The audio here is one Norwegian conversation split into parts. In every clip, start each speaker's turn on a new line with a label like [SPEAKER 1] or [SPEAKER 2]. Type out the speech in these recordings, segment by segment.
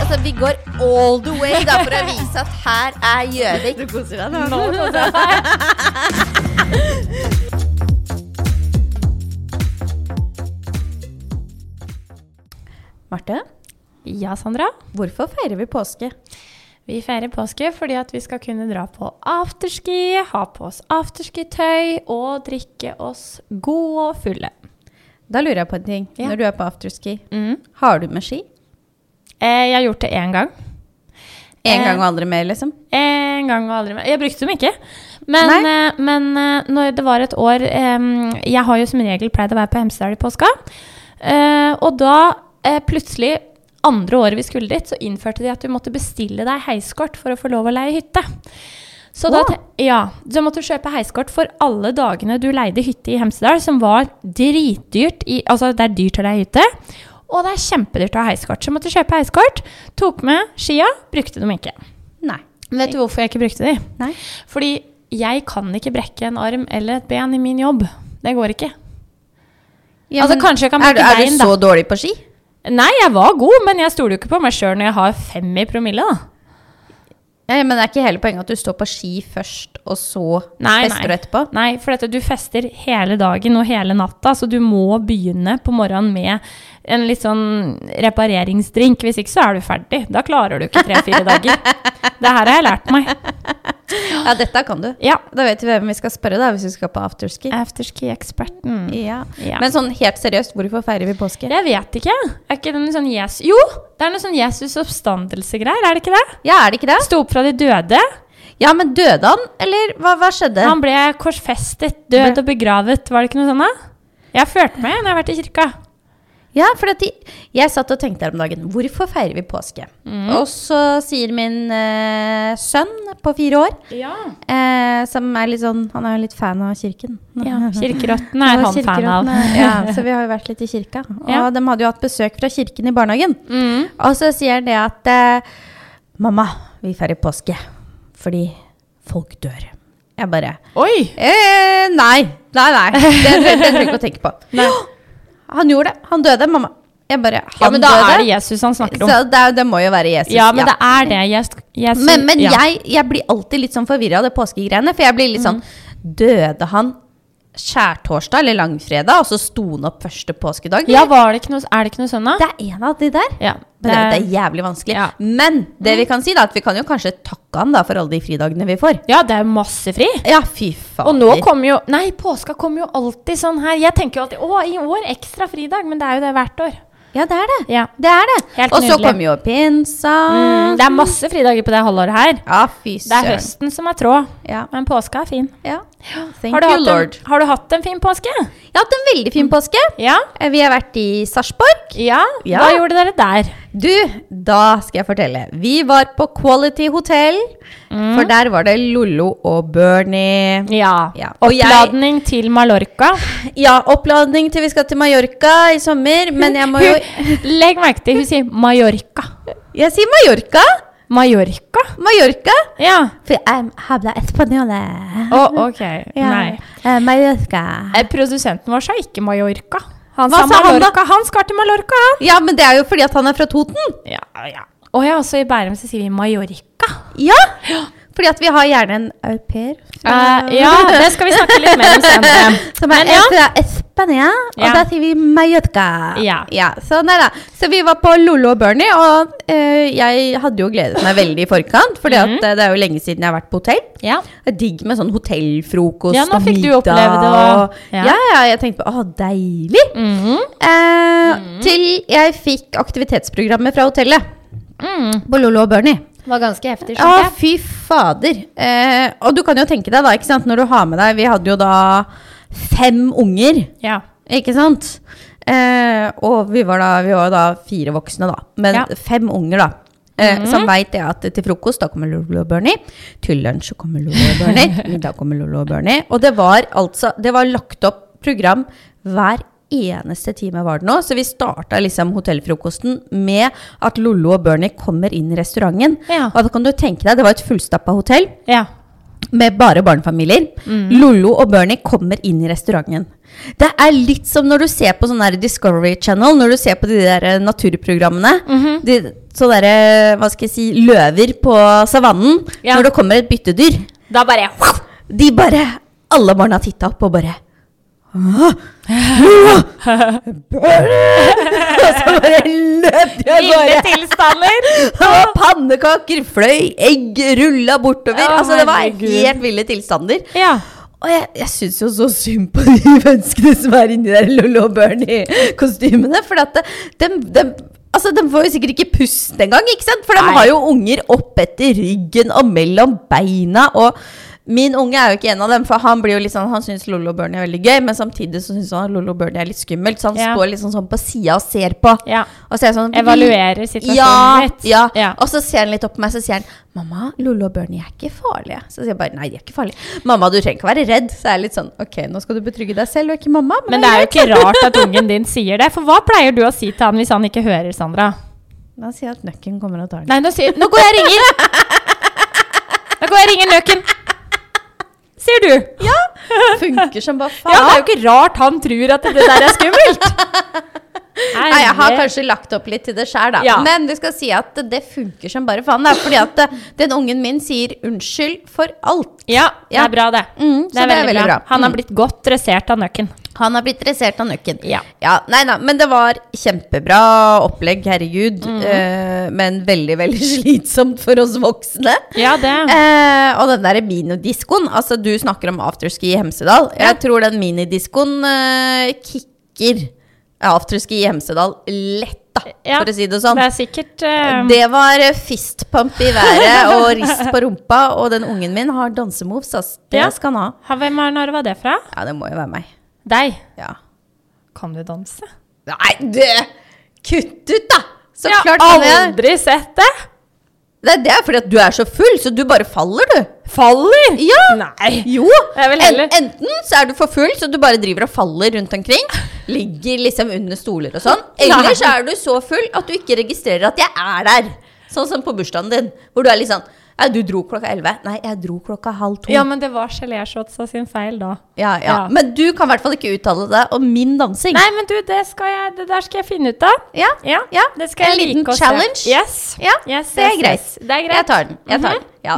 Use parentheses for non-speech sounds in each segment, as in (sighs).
[SPEAKER 1] altså, vi går all the way da, for å vise at her er Gjøvik.
[SPEAKER 2] Du koser deg, da. Marte,
[SPEAKER 3] Ja, Sandra.
[SPEAKER 2] hvorfor feirer vi påske?
[SPEAKER 3] Vi feirer påske fordi at vi skal kunne dra på afterski, ha på oss afterskitøy og drikke oss gode og fulle.
[SPEAKER 2] Da lurer jeg på en ting.
[SPEAKER 3] Ja.
[SPEAKER 2] Når du er på afterski, har du med ski?
[SPEAKER 3] Eh, jeg har gjort det én gang.
[SPEAKER 2] En
[SPEAKER 3] Eh,
[SPEAKER 2] gang og aldri mer, liksom?
[SPEAKER 3] En gang og aldri mer. Jeg brukte dem ikke. Men,
[SPEAKER 2] Nei.
[SPEAKER 3] eh, men eh, når det var et år eh, Jeg har jo som regel pleid å være på Hemsedal i påska. Eh, og da eh, plutselig, andre året vi skulle dit, så innførte de at du måtte bestille deg heiskort for å få lov å leie hytte. Så da,
[SPEAKER 2] Wow.
[SPEAKER 3] te- ja, så måtte du kjøpe heiskort for alle dagene du leide hytte i Hemsedal, som var dritdyrt. I, altså, det er dyrt å leie hytte, og det er kjempedyrt å ha heiskort. Så måtte du kjøpe heiskort, tok med skia, brukte dem ikke.
[SPEAKER 2] Nei.
[SPEAKER 3] Vet du hvorfor jeg ikke brukte de?
[SPEAKER 2] Nei.
[SPEAKER 3] Fordi jeg kan ikke brekke en arm eller et ben i min jobb. Det går ikke.
[SPEAKER 2] Ja,
[SPEAKER 3] Altså,
[SPEAKER 2] men
[SPEAKER 3] kanskje jeg kan
[SPEAKER 2] er du,
[SPEAKER 3] bruke
[SPEAKER 2] er
[SPEAKER 3] bein,
[SPEAKER 2] du
[SPEAKER 3] da.
[SPEAKER 2] så dårlig på ski?
[SPEAKER 3] Nei, jeg var god, men jeg stoler jo ikke på meg sjøl når jeg har fem i promille, da.
[SPEAKER 2] Ja, men det er ikke hele poenget at du står på ski først, og så
[SPEAKER 3] Nei,
[SPEAKER 2] fester du
[SPEAKER 3] nei.
[SPEAKER 2] etterpå?
[SPEAKER 3] Nei, for dette, du fester hele dagen og hele natta, så du må begynne på morgenen med en litt sånn repareringsdrink. Hvis ikke så er du ferdig. Da klarer du ikke tre-fire (laughs) dager. Det her har jeg lært meg.
[SPEAKER 2] Ja, dette kan du.
[SPEAKER 3] Ja.
[SPEAKER 2] Da vet vi hvem vi skal spørre da, hvis vi skal på afterski.
[SPEAKER 3] Afterski-eksperten.
[SPEAKER 2] Ja.
[SPEAKER 3] Ja.
[SPEAKER 2] Men sånn helt seriøst, hvorfor feirer vi påske?
[SPEAKER 3] Jeg vet ikke. Er ikke det noe sånn Jesus Jo, det er noe sånn Jesus oppstandelse-greier, er det ikke det?
[SPEAKER 2] Ja, er det ikke det?
[SPEAKER 3] Sto opp fra de døde.
[SPEAKER 2] Ja, men døde han, eller hva, hva skjedde?
[SPEAKER 3] Han ble korsfestet, død og begravet. Var det ikke noe sånt, da? Jeg har ført med når jeg har vært i kirka.
[SPEAKER 2] Ja, for at de, jeg satt og tenkte her om dagen, hvorfor feirer vi påske?
[SPEAKER 3] Mm.
[SPEAKER 2] Og så sier min eh, sønn på fire år,
[SPEAKER 3] Ja.
[SPEAKER 2] eh, som er litt sånn, han er jo litt fan av kirken.
[SPEAKER 3] Kirkerottene er han fan av.
[SPEAKER 2] Kirkerottene, Ja,
[SPEAKER 3] (laughs)
[SPEAKER 2] så vi har jo vært litt i kirka. Og
[SPEAKER 3] Ja.
[SPEAKER 2] de hadde jo hatt besøk fra kirken i barnehagen.
[SPEAKER 3] Mm.
[SPEAKER 2] Og så sier han det at eh, mamma, vi feirer påske, fordi folk dør. Jeg bare,
[SPEAKER 3] Oi!
[SPEAKER 2] eh, nei, nei, nei, det, det, det trenger du ikke å tenke på. Han gjorde det, han døde, mamma. Jeg bare, han
[SPEAKER 3] Ja, men da
[SPEAKER 2] døde.
[SPEAKER 3] er det Jesus han snakker om.
[SPEAKER 2] Så det, er- det må jo være Jesus.
[SPEAKER 3] Ja, men det er det. Jesus, Jesus,
[SPEAKER 2] men, men
[SPEAKER 3] ja.
[SPEAKER 2] jeg, jeg blir alltid litt sånn forvirra av det påskegreiene. For jeg blir litt sånn Døde han skjærtorsdag eller langfredag, og så sto han opp første påskedag?
[SPEAKER 3] Ja, var det ikke noe, er det ikke noe sånt, da?
[SPEAKER 2] Det er en av de der.
[SPEAKER 3] Ja,
[SPEAKER 2] Men det, er- det er jævlig vanskelig.
[SPEAKER 3] Ja. Mm.
[SPEAKER 2] Men det vi kan si da, at vi kan jo kanskje takke han da for alle de fridagene vi får.
[SPEAKER 3] ja, det er masse fri.
[SPEAKER 2] Ja, fy faen.
[SPEAKER 3] Og nå kommer jo Nei, påska kommer jo alltid sånn her. Jeg tenker jo alltid å, i år ekstra fridag, men det er jo det hvert år.
[SPEAKER 2] Ja, det er det.
[SPEAKER 3] Ja.
[SPEAKER 2] Det er det.
[SPEAKER 3] Helt
[SPEAKER 2] og så
[SPEAKER 3] nydelig.
[SPEAKER 2] kommer jo pinsa.
[SPEAKER 3] Mm, det er masse fridager på det halvåret her.
[SPEAKER 2] Ja, fy søren.
[SPEAKER 3] Det er høsten som er tråd,
[SPEAKER 2] Ja.
[SPEAKER 3] men påska er fin.
[SPEAKER 2] ja. Thank
[SPEAKER 3] Har du,
[SPEAKER 2] you,
[SPEAKER 3] hatt en,
[SPEAKER 2] lord. Mm.
[SPEAKER 3] har du hatt en fin påske?
[SPEAKER 2] Jeg har hatt en veldig fin påske.
[SPEAKER 3] Ja.
[SPEAKER 2] Eh, Vi har vært i Sarpsborg.
[SPEAKER 3] Ja,
[SPEAKER 2] Ja.
[SPEAKER 3] Hva gjorde dere der?
[SPEAKER 2] Du, da skal jeg fortelle. Vi var på Quality Hotel, for der var det Lollo og Bernie.
[SPEAKER 3] Ja.
[SPEAKER 2] Ja. Og jeg-
[SPEAKER 3] Oppladning til Mallorca.
[SPEAKER 2] Ja, oppladning til vi skal til Mallorca i sommer, men jeg (laughs) må jo
[SPEAKER 3] Hun- Legg merke til, hun sier Mallorca.
[SPEAKER 2] Jeg sier Mallorca!
[SPEAKER 3] Mallorca?
[SPEAKER 2] Mallorca!
[SPEAKER 3] Ja.
[SPEAKER 2] For jeg habla espanjole.
[SPEAKER 3] Å, ok. Nei.
[SPEAKER 2] Mallorca.
[SPEAKER 3] Eh, Produsenten vår sa ikke Mallorca. Han
[SPEAKER 2] Hva
[SPEAKER 3] sa
[SPEAKER 2] sa han da?
[SPEAKER 3] Mallorca. Han skal til Mallorca, han.
[SPEAKER 2] Ja, men det er jo fordi at han er fra Toten.
[SPEAKER 3] Ja, ja. Å ja, så i Bærum så sier vi Mallorca.
[SPEAKER 2] Ja! Fordi at vi har gjerne en au pair.
[SPEAKER 3] Eh, (laughs) ja, det skal vi snakke litt mer om senere.
[SPEAKER 2] (laughs) Som er
[SPEAKER 3] Men ja.
[SPEAKER 2] fra Spania, og
[SPEAKER 3] Ja.
[SPEAKER 2] da sier vi Mallorca.
[SPEAKER 3] Ja.
[SPEAKER 2] sånn er det. Så vi var på Lollo og Bernie, og eh, jeg hadde jo gledet meg veldig i forkant, for
[SPEAKER 3] Mhm.
[SPEAKER 2] det er jo lenge siden jeg har vært på hotell.
[SPEAKER 3] (laughs) Ja.
[SPEAKER 2] Det er digg med sånn hotellfrokost
[SPEAKER 3] Ja, nå
[SPEAKER 2] og
[SPEAKER 3] fikk du
[SPEAKER 2] middag.
[SPEAKER 3] oppleve det, og-
[SPEAKER 2] ja.
[SPEAKER 3] ja. Mm.
[SPEAKER 2] ja, jeg tenkte på, å, deilig.
[SPEAKER 3] Mhm.
[SPEAKER 2] Eh, Til jeg fikk aktivitetsprogrammet fra hotellet
[SPEAKER 3] Mm.
[SPEAKER 2] på Lollo og Bernie.
[SPEAKER 3] Var ganske heftig, skjønte
[SPEAKER 2] Ja, fy fader. Eh, og du kan jo tenke deg da, ikke sant, når du har med deg Vi hadde jo da fem unger,
[SPEAKER 3] Ja.
[SPEAKER 2] ikke sant? Eh, og vi var, da, vi var da fire voksne, da. Men
[SPEAKER 3] Ja. Mhm.
[SPEAKER 2] fem unger, da. Eh, Som veit jeg at til frokost da kommer Lolo og Bernie. Til lunsj så kommer Lolo og
[SPEAKER 3] (laughs)
[SPEAKER 2] Bernie. Middag kommer Lolo og Bernie. Og det var altså Det var lagt opp program hver eneste time var det nå. Så vi starta liksom hotellfrokosten med at Lollo og Bernie kommer inn i restauranten.
[SPEAKER 3] Ja.
[SPEAKER 2] Og da kan du tenke deg, det var et fullstappa hotell.
[SPEAKER 3] ja.
[SPEAKER 2] med bare barnefamilier.
[SPEAKER 3] Mm.
[SPEAKER 2] Lollo og Bernie kommer inn i restauranten. Det er litt som når du ser på sånn der Discovery Channel, når du ser på de der eh, naturprogrammene.
[SPEAKER 3] Mhm.
[SPEAKER 2] de, så derre, hva skal jeg si, løver på savannen.
[SPEAKER 3] Ja.
[SPEAKER 2] Når det kommer et byttedyr.
[SPEAKER 3] Da bare
[SPEAKER 2] De bare Alle barna titta opp og bare «Åh, Bernie!» Og så bare løp de av
[SPEAKER 3] Ville
[SPEAKER 2] gårde.
[SPEAKER 3] tilstander!
[SPEAKER 2] Og pannekaker, fløy, egg rulla bortover.
[SPEAKER 3] Å,
[SPEAKER 2] altså, det var
[SPEAKER 3] herregud.
[SPEAKER 2] helt ville tilstander.
[SPEAKER 3] (laughs) Ja.
[SPEAKER 2] Og jeg, jeg syns jo så synd på de (laughs) menneskene som er inni der Lollo og Bernie-kostymene. For at det, dem, dem, altså, de får jo sikkert ikke pust engang, ikke sant? For de
[SPEAKER 3] Nei.
[SPEAKER 2] har jo unger opp etter ryggen og mellom beina. og... Min unge er jo ikke en av dem, for han blir jo litt sånn, han syns Lollo og Bernie er veldig gøy, men samtidig så syns han Lollo og Bernie er litt skummelt, så han
[SPEAKER 3] Ja.
[SPEAKER 2] står liksom sånn på sida og ser på.
[SPEAKER 3] Ja.
[SPEAKER 2] Og så er jeg sånn,
[SPEAKER 3] Evaluerer situasjonen
[SPEAKER 2] ja,
[SPEAKER 3] litt.
[SPEAKER 2] Ja.
[SPEAKER 3] Ja.
[SPEAKER 2] Og så ser han litt opp på meg så sier han, 'Mamma, Lollo og Bernie er ikke farlige.' Så sier jeg bare 'Nei, de er ikke farlige'. 'Mamma, du trenger ikke være redd.' Så er jeg litt sånn 'Ok, nå skal du betrygge deg selv og ikke mamma.'
[SPEAKER 3] Men det er jo ikke rart at ungen din sier det. For hva pleier du å si til han hvis han ikke hører, Sandra?
[SPEAKER 2] Da sier jeg at nøkken kommer og tar den.
[SPEAKER 3] Nei, nå, sier, nå går jeg og ringer! Nå går jeg og ringer nøkken! Sier du. Ja,
[SPEAKER 2] Funker som bare faen.
[SPEAKER 3] det er jo ikke rart han tror at det der er skummelt. (laughs)
[SPEAKER 2] Nei, jeg har kanskje lagt opp litt til det sjæl, da.
[SPEAKER 3] Ja.
[SPEAKER 2] Men det skal si at det funker som bare faen. Det er fordi at eh, den ungen min sier unnskyld for alt.
[SPEAKER 3] Ja, det
[SPEAKER 2] Ja.
[SPEAKER 3] er bra, det.
[SPEAKER 2] Mm, så
[SPEAKER 3] det er veldig, bra. Han
[SPEAKER 2] Mm.
[SPEAKER 3] har blitt godt dressert av nøkken.
[SPEAKER 2] Han har blitt dressert av nøkken.
[SPEAKER 3] Ja.
[SPEAKER 2] nei, nei, men det var kjempebra opplegg, herregud.
[SPEAKER 3] Mhm.
[SPEAKER 2] Eh, men veldig, veldig (laughs) slitsomt for oss voksne.
[SPEAKER 3] Ja, det.
[SPEAKER 2] Eh, og den der minidiskoen. Altså, du snakker om afterski i Hemsedal. Jeg tror den minidiskoen eh, kicker afterski i Hemsedal lett, da,
[SPEAKER 3] Ja,
[SPEAKER 2] for å si det sånn.
[SPEAKER 3] Det er sikkert eh,
[SPEAKER 2] Det var eh, fistpump i været og rist på rumpa, og den ungen min har dansemoves, ass. Det
[SPEAKER 3] Ja.
[SPEAKER 2] skal han ha.
[SPEAKER 3] ha, Hvem var når var det fra?
[SPEAKER 2] Ja, det må jo være meg.
[SPEAKER 3] Deg.
[SPEAKER 2] Ja.
[SPEAKER 3] Kan du danse?
[SPEAKER 2] Nei, det Kutt ut, da! Så
[SPEAKER 3] jeg
[SPEAKER 2] klart
[SPEAKER 3] har
[SPEAKER 2] kan jeg.
[SPEAKER 3] aldri sett det!
[SPEAKER 2] Det, det er fordi at du er så full, så du bare faller, du.
[SPEAKER 3] Faller!
[SPEAKER 2] Ja!
[SPEAKER 3] Nei!
[SPEAKER 2] Jo!
[SPEAKER 3] Det er
[SPEAKER 2] En,
[SPEAKER 3] vel heller-
[SPEAKER 2] enten så er du for full, så du bare driver og faller rundt
[SPEAKER 3] (laughs)
[SPEAKER 2] omkring. Ligger liksom under stoler og sånn. Eller så er du så full at du ikke registrerer at jeg er der. Sånn som på bursdagen din, hvor du er litt sånn Nei, du dro klokka elleve. Nei, jeg dro klokka halv to.
[SPEAKER 3] Ja, men det var geléshotsa sin feil da.
[SPEAKER 2] Ja, ja.
[SPEAKER 3] Ja.
[SPEAKER 2] Men du kan i hvert fall ikke uttale deg om min dansing.
[SPEAKER 3] Nei, men du, det, skal jeg, det der skal jeg finne ut av.
[SPEAKER 2] Ja.
[SPEAKER 3] Ja,
[SPEAKER 2] Ja,
[SPEAKER 3] det skal
[SPEAKER 2] en
[SPEAKER 3] jeg
[SPEAKER 2] liten
[SPEAKER 3] like å se.
[SPEAKER 2] challenge.
[SPEAKER 3] Yes.
[SPEAKER 2] Ja,
[SPEAKER 3] yes,
[SPEAKER 2] det er
[SPEAKER 3] yes,
[SPEAKER 2] greit.
[SPEAKER 3] yes. Det er greit. Mhm.
[SPEAKER 2] Jeg tar den. Jeg tar den. Ja.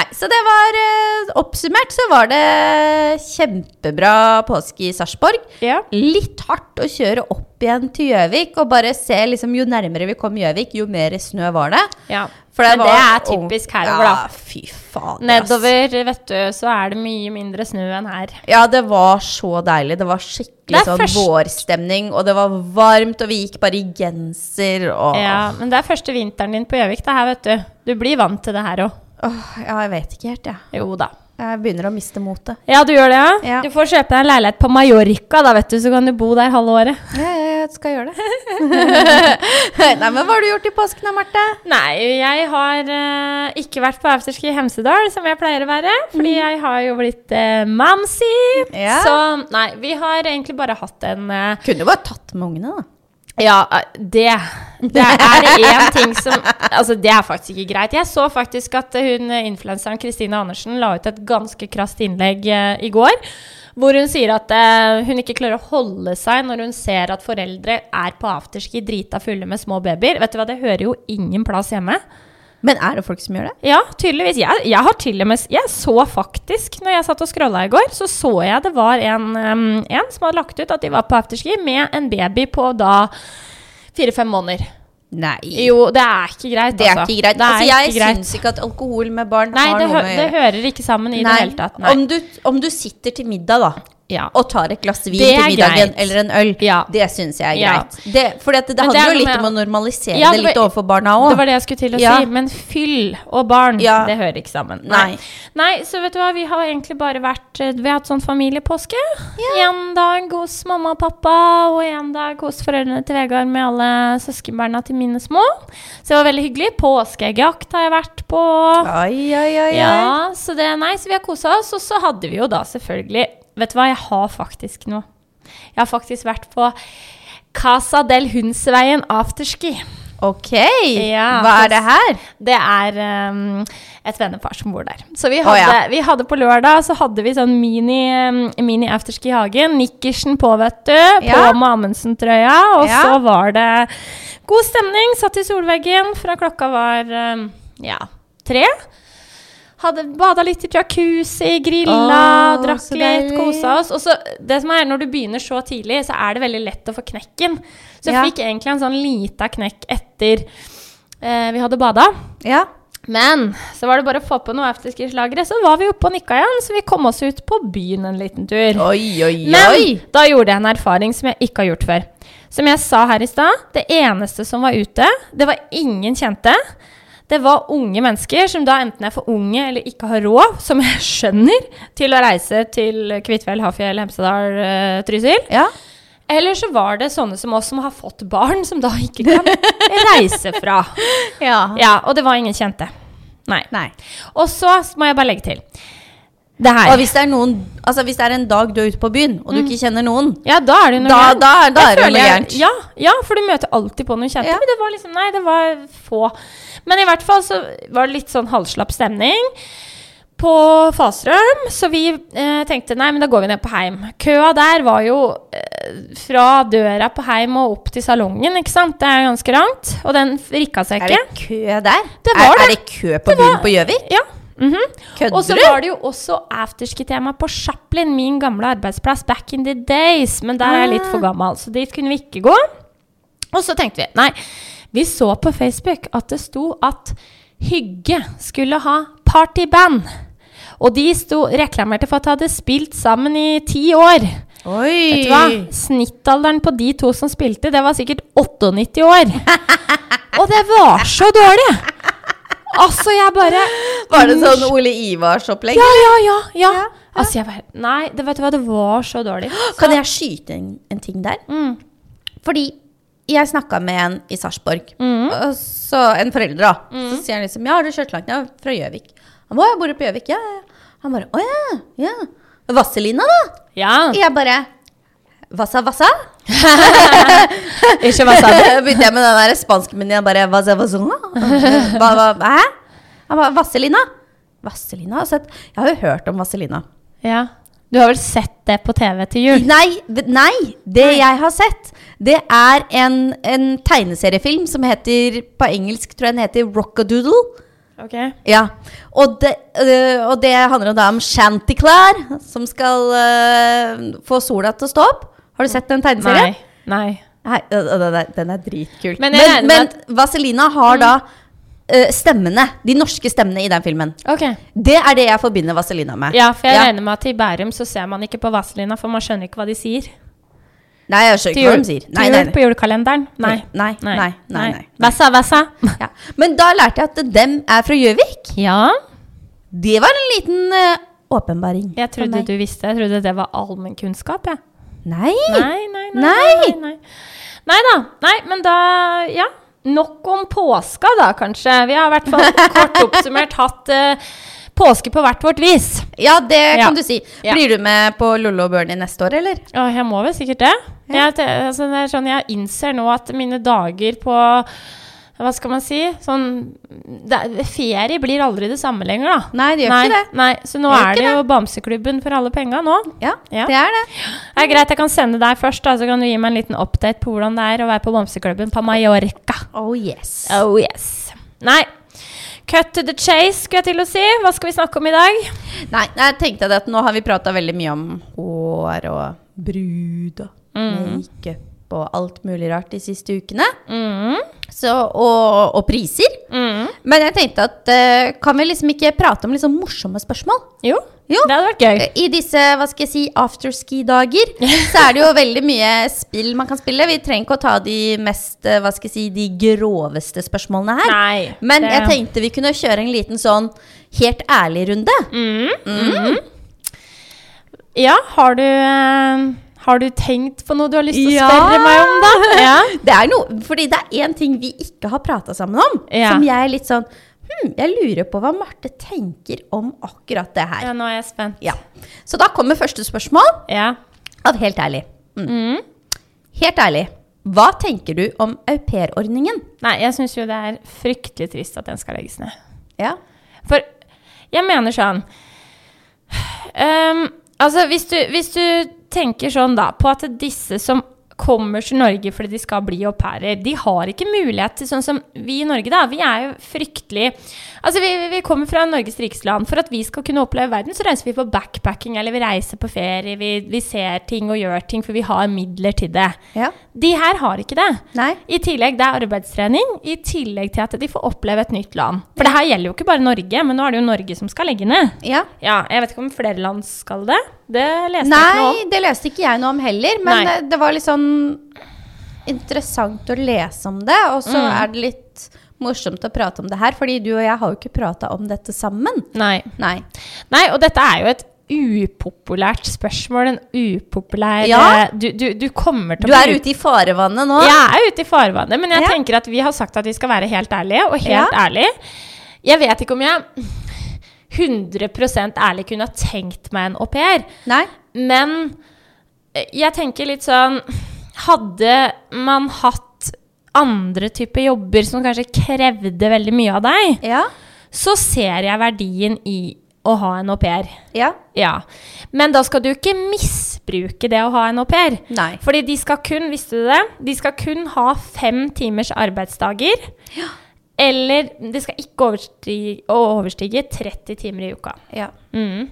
[SPEAKER 2] Nei, så det var eh, Oppsummert så var det kjempebra påske i Sarpsborg.
[SPEAKER 3] Ja.
[SPEAKER 2] Litt hardt å kjøre opp igjen til Gjøvik og bare se liksom Jo nærmere vi kom Gjøvik, jo mer snø var det.
[SPEAKER 3] Ja.
[SPEAKER 2] For
[SPEAKER 3] Men det
[SPEAKER 2] var-
[SPEAKER 3] er typisk herover,
[SPEAKER 2] ja,
[SPEAKER 3] da.
[SPEAKER 2] Fy faen.
[SPEAKER 3] Nedover, vet du, så er det mye mindre snø enn her.
[SPEAKER 2] Ja, det var så deilig. Det var skikkelig
[SPEAKER 3] Det er
[SPEAKER 2] sånn
[SPEAKER 3] først-
[SPEAKER 2] vårstemning, og det var varmt, og vi gikk bare i genser og
[SPEAKER 3] Ja, men det er første vinteren din på Gjøvik, det her, vet du. Du blir vant til det her òg.
[SPEAKER 2] Åh, ja, jeg vet ikke helt, jeg.
[SPEAKER 3] Jo da.
[SPEAKER 2] Jeg begynner å miste motet.
[SPEAKER 3] Ja, du gjør det, ja?
[SPEAKER 2] Ja.
[SPEAKER 3] Du får kjøpe deg en leilighet på Mallorca, da, vet du, så kan du bo der halve året.
[SPEAKER 2] Ja, jeg skal gjøre det. (laughs) Nei, men Hva har du gjort i påsken da, Marte?
[SPEAKER 3] Nei, jeg har eh, ikke vært på afterski i Hemsedal, som jeg pleier å være. Fordi jeg har jo blitt uh, mamsi.
[SPEAKER 2] Ja.
[SPEAKER 3] Så nei, vi har egentlig bare hatt en eh,
[SPEAKER 2] Kunne jo bare tatt med ungene, da.
[SPEAKER 3] Ja, eh, det Det er én ting som Altså, det er faktisk ikke greit. Jeg så faktisk at eh, hun eh, influenseren Kristine Andersen la ut et ganske krast innlegg eh, i går. Hvor hun sier at eh, hun ikke klarer å holde seg når hun ser at foreldre er på afterski drita fulle med små babyer. Vet du hva, det hører jo ingen plass hjemme.
[SPEAKER 2] Men er det folk som gjør det?
[SPEAKER 3] Ja, tydeligvis. Jeg, jeg har til og med Jeg så faktisk, når jeg satt og scrolla i går, så så jeg det var en, em, en som hadde lagt ut at de var på afterski med en baby på da fire-fem måneder.
[SPEAKER 2] Nei.
[SPEAKER 3] Jo, det er ikke greit,
[SPEAKER 2] det er
[SPEAKER 3] altså.
[SPEAKER 2] ikke greit.
[SPEAKER 3] Det er
[SPEAKER 2] altså, jeg
[SPEAKER 3] ikke greit.
[SPEAKER 2] syns ikke at alkohol med barn
[SPEAKER 3] Nei,
[SPEAKER 2] har
[SPEAKER 3] det,
[SPEAKER 2] noe
[SPEAKER 3] hø
[SPEAKER 2] med å
[SPEAKER 3] det
[SPEAKER 2] gjøre.
[SPEAKER 3] hører ikke sammen i det hele tatt. Nei.
[SPEAKER 2] Om, du, om du sitter til middag, da.
[SPEAKER 3] Ja.
[SPEAKER 2] Og tar et glass vin
[SPEAKER 3] Det er
[SPEAKER 2] til middagen
[SPEAKER 3] greit.
[SPEAKER 2] eller en øl.
[SPEAKER 3] Ja.
[SPEAKER 2] Det syns jeg er
[SPEAKER 3] Ja.
[SPEAKER 2] greit. Det, fordi at det,
[SPEAKER 3] Men
[SPEAKER 2] handler
[SPEAKER 3] det er
[SPEAKER 2] jo
[SPEAKER 3] noe
[SPEAKER 2] litt
[SPEAKER 3] med-
[SPEAKER 2] om å normalisere
[SPEAKER 3] Ja,
[SPEAKER 2] det,
[SPEAKER 3] det var-
[SPEAKER 2] litt overfor barna
[SPEAKER 3] Det
[SPEAKER 2] òg.
[SPEAKER 3] var det jeg skulle til å
[SPEAKER 2] Ja.
[SPEAKER 3] si. Men fyll og barn,
[SPEAKER 2] Ja.
[SPEAKER 3] det hører ikke sammen.
[SPEAKER 2] Nei.
[SPEAKER 3] Nei, så vet du hva, vi har egentlig bare vært eh, Vi har hatt sånn familiepåske. En dag hos mamma og pappa, og en dag hos foreldrene til Vegard med alle søskenbarna til mine små. Så det var veldig hyggelig. Påskeeggjakt har jeg vært på.
[SPEAKER 2] Oi, oi, oi, oi.
[SPEAKER 3] Ja, så det er nice. Vi har kosa oss. Og så hadde vi jo da selvfølgelig Vet du hva, jeg har faktisk noe. Jeg har faktisk vært på Casa del Hundsveien afterski.
[SPEAKER 2] Ok,
[SPEAKER 3] Ja.
[SPEAKER 2] hva er det her?
[SPEAKER 3] Det er ehm, et vennepar som bor der. Så vi
[SPEAKER 2] Å,
[SPEAKER 3] hadde,
[SPEAKER 2] ja.
[SPEAKER 3] vi hadde på lørdag så hadde vi sånn mini, ehm, mini afterski i hagen. Nikkersen på, vet du.
[SPEAKER 2] Ja.
[SPEAKER 3] På med Amundsen-trøya. Og
[SPEAKER 2] Ja.
[SPEAKER 3] så var det god stemning. Satt i solveggen fra klokka var ehm, ja, tre. Hadde bada litt i jacuzzi, grilla,
[SPEAKER 2] Å,
[SPEAKER 3] drakk
[SPEAKER 2] så
[SPEAKER 3] litt,
[SPEAKER 2] deilig.
[SPEAKER 3] kosa oss. Og så, det som er, når du begynner så tidlig, så er det veldig lett å få knekken. Så jeg
[SPEAKER 2] Ja.
[SPEAKER 3] fikk egentlig en sånn lita knekk etter eh, vi hadde bada.
[SPEAKER 2] Ja.
[SPEAKER 3] Men så var det bare å få på noe afterski-slagere, så var vi oppe og nikka igjen, så vi kom oss ut på byen en liten tur.
[SPEAKER 2] Oi, oi, oi.
[SPEAKER 3] Men da gjorde jeg en erfaring som jeg ikke har gjort før. Som jeg sa her i stad, det eneste som var ute, det var ingen kjente. Det var unge mennesker som da enten er for unge eller ikke har råd, som jeg (laughs) skjønner, til å reise til Kvitfjell, Hafjell, Hemsedal, eh, Trysil.
[SPEAKER 2] Ja.
[SPEAKER 3] Eller så var det sånne som oss som har fått barn, som da ikke kan (laughs) reise fra. Ja, og det var ingen kjente. Nei.
[SPEAKER 2] Nei.
[SPEAKER 3] Og så må jeg bare legge til. Det her.
[SPEAKER 2] Og hvis det, er noen, altså hvis det er en dag du er ute på byen, og du ikke kjenner noen
[SPEAKER 3] ja, da er det jo noe
[SPEAKER 2] Da-
[SPEAKER 3] gærent.
[SPEAKER 2] da- da
[SPEAKER 3] Jeg
[SPEAKER 2] er det jo
[SPEAKER 3] føler
[SPEAKER 2] noe
[SPEAKER 3] jeg-
[SPEAKER 2] gærent.
[SPEAKER 3] Ja, ja, for du møter alltid på noen kjente.
[SPEAKER 2] Ja.
[SPEAKER 3] Men det var liksom, nei, det var få. Men i hvert fall så var det litt sånn halvslapp stemning på Fastrøm, så vi eh, tenkte nei, men da går vi ned på Heim. Køa der var jo eh, fra døra på Heim og opp til salongen, ikke sant. Det er ganske langt. Og den rikka seg
[SPEAKER 2] Er det
[SPEAKER 3] ikke.
[SPEAKER 2] kø der?
[SPEAKER 3] Det var
[SPEAKER 2] er, er
[SPEAKER 3] det.
[SPEAKER 2] det kø på byen på Gjøvik?
[SPEAKER 3] Ja. mhm. Og så
[SPEAKER 2] Kødder du?
[SPEAKER 3] var det jo også afterski-tema på Chaplin, min gamle arbeidsplass back in the days. Men der er jeg litt
[SPEAKER 2] Ah.
[SPEAKER 3] for gammel, så dit kunne vi ikke gå. Og så tenkte vi nei, vi så på Facebook at det sto at Hygge skulle ha partyband. Og de sto, reklamerte for at de hadde spilt sammen i ti år.
[SPEAKER 2] Oi.
[SPEAKER 3] Vet du hva? Snittalderen på de to som spilte, det var sikkert
[SPEAKER 2] (laughs)
[SPEAKER 3] 98 år. Og det var så dårlig! Altså, jeg bare
[SPEAKER 2] Var det sånn Ole Ivars-opplegg?
[SPEAKER 3] ja, ja, ja, ja. Altså, jeg bare Nei, det, vet du hva, det var så
[SPEAKER 2] (gasps)
[SPEAKER 3] dårlig.
[SPEAKER 2] Kan jeg skyte en, en ting der? Mm. Fordi jeg snakka med en i Sarpsborg, og så en forelder, da. Så sier han liksom 'Ja, har du kjørt langt?' Ja, fra Gjøvik. Han bare 'Å, jeg bor på Gjøvik', ja, ja, ja. Han bare 'Å ja, ja'. Vazelina, da?
[SPEAKER 3] Ja.
[SPEAKER 2] Jeg bare Vassa, vassa?
[SPEAKER 3] Ikke hva sa du?
[SPEAKER 2] (laughs) Begynte jeg med den der spansken jeg bare Vassa, vassona? Hva, hva, hæ? Han bare Vazelina. Vazelina? Altså, jeg har jo hørt om Vazelina.
[SPEAKER 3] Ja. Du har vel sett det på TV til jul?
[SPEAKER 2] Nei, v- nei, det jeg har sett, det er en, en tegneseriefilm som heter, på engelsk tror jeg den heter Rockadoodle.
[SPEAKER 3] Ok.
[SPEAKER 2] Ja, og det, øh, og det handler da om Chanticleer, som skal øh, få sola til å stå opp. Har du sett den
[SPEAKER 3] Nei.
[SPEAKER 2] tegneserien?
[SPEAKER 3] Nei.
[SPEAKER 2] Nei, øh, øh, den, er, den er dritkul.
[SPEAKER 3] Men
[SPEAKER 2] Men,
[SPEAKER 3] jeg regner
[SPEAKER 2] men,
[SPEAKER 3] med Mm.
[SPEAKER 2] Vaselina har da øh, stemmene, de norske stemmene i den filmen.
[SPEAKER 3] Ok.
[SPEAKER 2] Det er det jeg forbinder Vaselina med.
[SPEAKER 3] Ja, for jeg regner med at i Bærum så ser man ikke på Vazelina, for man skjønner ikke hva de sier.
[SPEAKER 2] Nei, jeg skjønner
[SPEAKER 3] Til
[SPEAKER 2] ikke hva
[SPEAKER 3] jul,
[SPEAKER 2] de sier.
[SPEAKER 3] til jul på julekalenderen? Nei.
[SPEAKER 2] Nei, nei, nei, nei, nei.
[SPEAKER 3] Vassa,
[SPEAKER 2] (laughs)
[SPEAKER 3] vassa.
[SPEAKER 2] Ja. Men da lærte jeg at dem er fra Gjøvik.
[SPEAKER 3] Ja.
[SPEAKER 2] Det var en liten eh, åpenbaring.
[SPEAKER 3] Jeg
[SPEAKER 2] for
[SPEAKER 3] trodde
[SPEAKER 2] meg.
[SPEAKER 3] du visste. Jeg trodde det var allmennkunnskap, jeg. Ja.
[SPEAKER 2] Nei!
[SPEAKER 3] Nei, nei, nei.
[SPEAKER 2] Nei!
[SPEAKER 3] Nei, nei. nei da. Nei, men da Ja. Nok om påska, da, kanskje. Vi har i hvert fall
[SPEAKER 2] (laughs)
[SPEAKER 3] kort oppsummert hatt eh, påske på hvert vårt vis.
[SPEAKER 2] Ja, det
[SPEAKER 3] Ja.
[SPEAKER 2] kan du si.
[SPEAKER 3] Ja.
[SPEAKER 2] Blir du med på Lollo og Bernie neste år, eller?
[SPEAKER 3] Ja, jeg må vel sikkert det. Jeg, te- altså, det er sånn, jeg innser nå at mine dager på hva skal man si? Sånn, det, er- ferie blir aldri det samme lenger, da.
[SPEAKER 2] Nei, det gjør
[SPEAKER 3] nei,
[SPEAKER 2] ikke det.
[SPEAKER 3] Nei, så nå
[SPEAKER 2] Det gjør
[SPEAKER 3] er
[SPEAKER 2] ikke
[SPEAKER 3] det jo Bamseklubben for alle penga nå.
[SPEAKER 2] Ja,
[SPEAKER 3] Ja.
[SPEAKER 2] det er det.
[SPEAKER 3] Det er greit, jeg kan sende deg først, da, så kan du gi meg en liten update på hvordan det er å være på Bamseklubben på Mallorca.
[SPEAKER 2] Oh yes.
[SPEAKER 3] Oh yes. Nei. Cut to the chase, skulle jeg til å si. Hva skal vi snakke om i dag?
[SPEAKER 2] Nei, jeg tenkte det at nå har vi prata veldig mye om hår og brud og
[SPEAKER 3] Mm.
[SPEAKER 2] makeup og alt mulig rart de siste ukene.
[SPEAKER 3] Mm.
[SPEAKER 2] Så, og, og priser. Men jeg tenkte at eh, kan vi liksom ikke prate om liksom morsomme spørsmål?
[SPEAKER 3] Jo, Eh,
[SPEAKER 2] Jo.
[SPEAKER 3] det hadde vært gøy.
[SPEAKER 2] I disse hva skal jeg si, afterski-dager så er det jo veldig mye spill man kan spille. Vi trenger ikke å ta de mest eh, hva skal jeg si, de groveste spørsmålene her.
[SPEAKER 3] Nei,
[SPEAKER 2] Men
[SPEAKER 3] det-
[SPEAKER 2] jeg tenkte vi kunne kjøre en liten sånn helt ærlig-runde.
[SPEAKER 3] Ja, har du, eh, har du tenkt på noe du har lyst til å
[SPEAKER 2] Ja.
[SPEAKER 3] spørre meg om,
[SPEAKER 2] (laughs)
[SPEAKER 3] da? (laughs) Ja.
[SPEAKER 2] Det er noe, fordi det er én ting vi ikke har prata sammen om,
[SPEAKER 3] Ja.
[SPEAKER 2] som jeg er litt sånn hm, Jeg lurer på hva Marte tenker om akkurat det her.
[SPEAKER 3] ja, nå er jeg spent.
[SPEAKER 2] Ja. Så da kommer første spørsmål
[SPEAKER 3] Ja. Mm.
[SPEAKER 2] av Helt ærlig. Mm. Helt ærlig, Hva tenker du om aupairordningen?
[SPEAKER 3] Nei, jeg syns jo det er fryktelig trist at den skal legges ned.
[SPEAKER 2] Ja.
[SPEAKER 3] For jeg mener sånn Ehm, Altså, hvis du, hvis du tenker sånn, da, på at disse som kommer til Norge fordi de skal bli au pairer, de har ikke mulighet til sånn som vi i Norge, da. Vi er jo fryktelig Altså, vi, vi kommer fra Norges rikeste land. For at vi skal kunne oppleve verden, så reiser vi på backpacking, eller vi reiser på ferie, vi, vi ser ting og gjør ting, for vi har midler til det.
[SPEAKER 2] ja.
[SPEAKER 3] De her har ikke det.
[SPEAKER 2] Nei.
[SPEAKER 3] I tillegg det er arbeidstrening, i tillegg til at de får oppleve et nytt land. For det her gjelder jo ikke bare Norge, men nå er det jo Norge som skal legge ned.
[SPEAKER 2] Ja.
[SPEAKER 3] Ja, Jeg vet ikke om flere land skal det. Det leste jeg ikke noe om.
[SPEAKER 2] Nei, det leste ikke jeg noe om heller, men
[SPEAKER 3] Nei.
[SPEAKER 2] eh, det var litt sånn interessant å lese om det. Og så er det litt morsomt å prate om det her, fordi du og jeg har jo ikke prata om dette sammen.
[SPEAKER 3] Nei.
[SPEAKER 2] Nei.
[SPEAKER 3] Nei, og dette er jo et upopulært spørsmål. En upopulær
[SPEAKER 2] Ja.
[SPEAKER 3] eh, du, du, du kommer til
[SPEAKER 2] Du er ute i farevannet nå.
[SPEAKER 3] Jeg er ute i farvannet, men jeg
[SPEAKER 2] Ja.
[SPEAKER 3] tenker at vi har sagt at vi skal være helt ærlige, og helt
[SPEAKER 2] Ja.
[SPEAKER 3] ærlig. Jeg vet ikke om jeg 100 ærlig kunne ha tenkt meg en au pair.
[SPEAKER 2] Nei.
[SPEAKER 3] Men eh, jeg tenker litt sånn Hadde man hatt andre typer jobber som kanskje krevde veldig mye av deg,
[SPEAKER 2] Ja.
[SPEAKER 3] så ser jeg verdien i å ha en au pair.
[SPEAKER 2] Ja.
[SPEAKER 3] Ja. Men da skal du ikke misbruke det å ha en au pair.
[SPEAKER 2] Nei.
[SPEAKER 3] Fordi de skal kun, visste du det? De skal kun ha fem timers arbeidsdager. Eller det skal ikke overstige, overstige 30 timer i uka.
[SPEAKER 2] Ja.
[SPEAKER 3] Mm.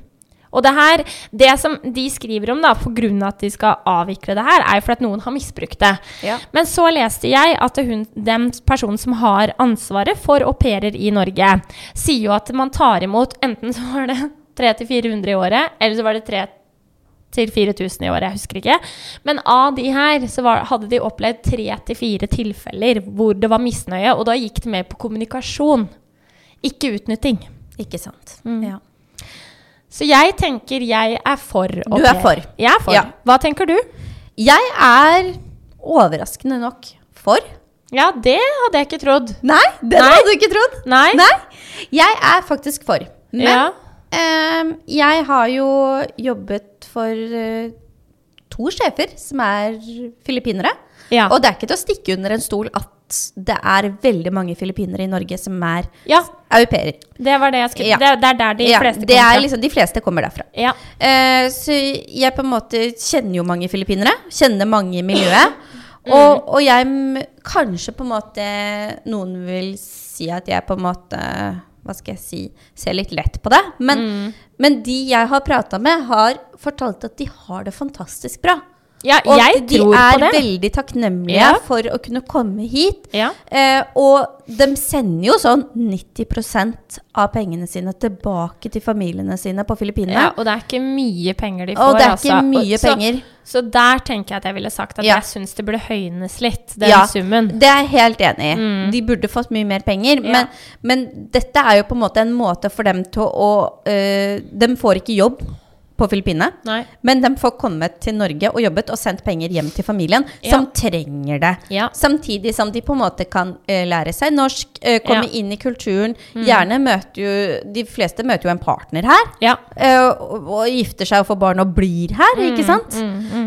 [SPEAKER 3] Og det her, det som de skriver om da, på grunn av at de skal avvikle det her, er jo fordi at noen har misbrukt det.
[SPEAKER 2] Ja.
[SPEAKER 3] Men så leste jeg at hun, den personen som har ansvaret for au pairer i Norge, sier jo at man tar imot enten så var det 300-400 i året, eller så var det 3000-4000 i året, jeg husker ikke. Men av de her så var, hadde de opplevd 3-4 tilfeller hvor det var misnøye, og da gikk det mer på kommunikasjon, ikke utnytting.
[SPEAKER 2] Ikke sant.
[SPEAKER 3] Mm.
[SPEAKER 2] Ja.
[SPEAKER 3] Så jeg tenker jeg er for au
[SPEAKER 2] Du er
[SPEAKER 3] pair.
[SPEAKER 2] for.
[SPEAKER 3] Jeg er for.
[SPEAKER 2] Ja.
[SPEAKER 3] Hau tenker du?
[SPEAKER 2] Jeg er overraskende nok for.
[SPEAKER 3] Ja, det hadde jeg ikke trodd.
[SPEAKER 2] Nei, det
[SPEAKER 3] Nei.
[SPEAKER 2] hadde du ikke trodd.
[SPEAKER 3] Nei.
[SPEAKER 2] Jeg er faktisk for. Men
[SPEAKER 3] Ja.
[SPEAKER 2] Ehm, jeg har jo jobbet for eh, to sjefer som er filippinere.
[SPEAKER 3] Ja.
[SPEAKER 2] Og det er ikke til å stikke under en stol at det er veldig mange filippinere i Norge som er
[SPEAKER 3] ja,
[SPEAKER 2] au pairer.
[SPEAKER 3] det var det jeg skulle
[SPEAKER 2] Ja.
[SPEAKER 3] det, det er der de
[SPEAKER 2] Ja,
[SPEAKER 3] fleste
[SPEAKER 2] det
[SPEAKER 3] kommer
[SPEAKER 2] er
[SPEAKER 3] fra.
[SPEAKER 2] liksom, de fleste kommer derfra.
[SPEAKER 3] Ja.
[SPEAKER 2] Eh, så jeg på en måte kjenner jo mange filippinere. Kjenner mange i miljøet.
[SPEAKER 3] Mm.
[SPEAKER 2] Og, og jeg m- kanskje på en måte Noen vil si at jeg på en måte Hva skal jeg si Ser litt lett på det. Men,
[SPEAKER 3] Mm.
[SPEAKER 2] men de jeg har prata med, har fortalt at de har det fantastisk bra.
[SPEAKER 3] ja,
[SPEAKER 2] Og
[SPEAKER 3] jeg
[SPEAKER 2] at de
[SPEAKER 3] tror
[SPEAKER 2] er
[SPEAKER 3] på det.
[SPEAKER 2] veldig takknemlige
[SPEAKER 3] Ja.
[SPEAKER 2] for å kunne komme hit.
[SPEAKER 3] Ja.
[SPEAKER 2] Eh, og de sender jo sånn 90 av pengene sine tilbake til familiene sine på Filippinene.
[SPEAKER 3] Ja, og det er ikke mye penger de får.
[SPEAKER 2] Og det er ikke
[SPEAKER 3] altså.
[SPEAKER 2] mye
[SPEAKER 3] så,
[SPEAKER 2] penger.
[SPEAKER 3] Så der tenker jeg at jeg ville sagt at
[SPEAKER 2] Ja.
[SPEAKER 3] jeg syns det burde høynes litt, den
[SPEAKER 2] Ja,
[SPEAKER 3] summen.
[SPEAKER 2] Det er jeg helt enig i. De burde fått mye mer penger.
[SPEAKER 3] Mm. Ja.
[SPEAKER 2] Men, men dette er jo på en måte en måte for dem til å øh, De får ikke jobb på Filippinene.
[SPEAKER 3] Nei.
[SPEAKER 2] Men de får kommet til Norge og jobbet og sendt penger hjem til familien,
[SPEAKER 3] Ja.
[SPEAKER 2] som trenger det.
[SPEAKER 3] Ja.
[SPEAKER 2] Samtidig som de på en måte kan eh, lære seg norsk, eh, komme
[SPEAKER 3] Ja. Mm.
[SPEAKER 2] inn i kulturen. Gjerne møter jo De fleste møter jo en partner her.
[SPEAKER 3] Ja.
[SPEAKER 2] eh, og, og gifter seg og får barn og blir her,
[SPEAKER 3] Mm,
[SPEAKER 2] ikke sant?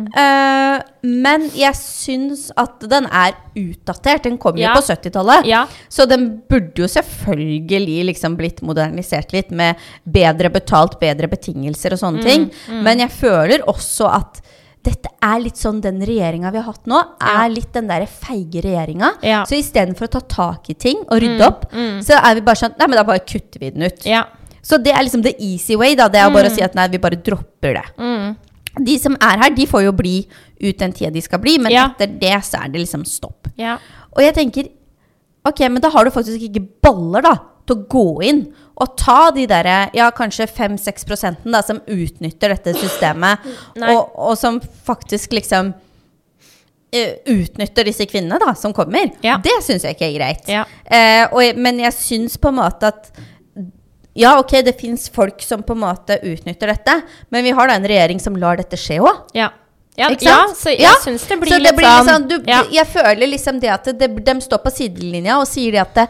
[SPEAKER 2] Eh, men jeg syns at den er utdatert. Den kom
[SPEAKER 3] Ja.
[SPEAKER 2] jo på 70-tallet.
[SPEAKER 3] Ja.
[SPEAKER 2] Så den burde jo selvfølgelig liksom blitt modernisert litt med bedre betalt, bedre betingelser og
[SPEAKER 3] Mm,
[SPEAKER 2] sånne ting. Men jeg føler også at dette er litt sånn den regjeringa vi har hatt nå, er litt den derre feige regjeringa.
[SPEAKER 3] Ja. Mm,
[SPEAKER 2] Så istedenfor å ta tak i ting og rydde opp, så er vi bare sånn Nei, men da bare kutter vi den ut.
[SPEAKER 3] ja. Mm.
[SPEAKER 2] Så det er liksom the easy way, da. Det er jo bare å si at nei, vi bare dropper det. De som er her, de får jo bli ut den tida de skal bli, men
[SPEAKER 3] Ja.
[SPEAKER 2] etter det så er det liksom stopp.
[SPEAKER 3] ja.
[SPEAKER 2] Og jeg tenker Ok, men da har du faktisk ikke baller da til å gå inn og ta de der ja, kanskje 5-6 prosenten da, som utnytter dette systemet,
[SPEAKER 3] (clears throat) Nei.
[SPEAKER 2] og, og som faktisk liksom eh, utnytter disse kvinnene da, som kommer.
[SPEAKER 3] Ja.
[SPEAKER 2] Det syns jeg ikke er greit.
[SPEAKER 3] Ja.
[SPEAKER 2] Eh, og, jeg- men jeg syns på en måte at ja, ok, det fins folk som på en måte utnytter dette, men vi har da en regjering som lar dette skje òg.
[SPEAKER 3] Ja. Ja,
[SPEAKER 2] Ikke
[SPEAKER 3] ja,
[SPEAKER 2] sant?
[SPEAKER 3] så jeg
[SPEAKER 2] Ja,
[SPEAKER 3] syns det blir
[SPEAKER 2] så liksom,
[SPEAKER 3] litt sånn,
[SPEAKER 2] du,
[SPEAKER 3] ja.
[SPEAKER 2] Jeg føler liksom det at det, de står på sidelinja og sier det at det,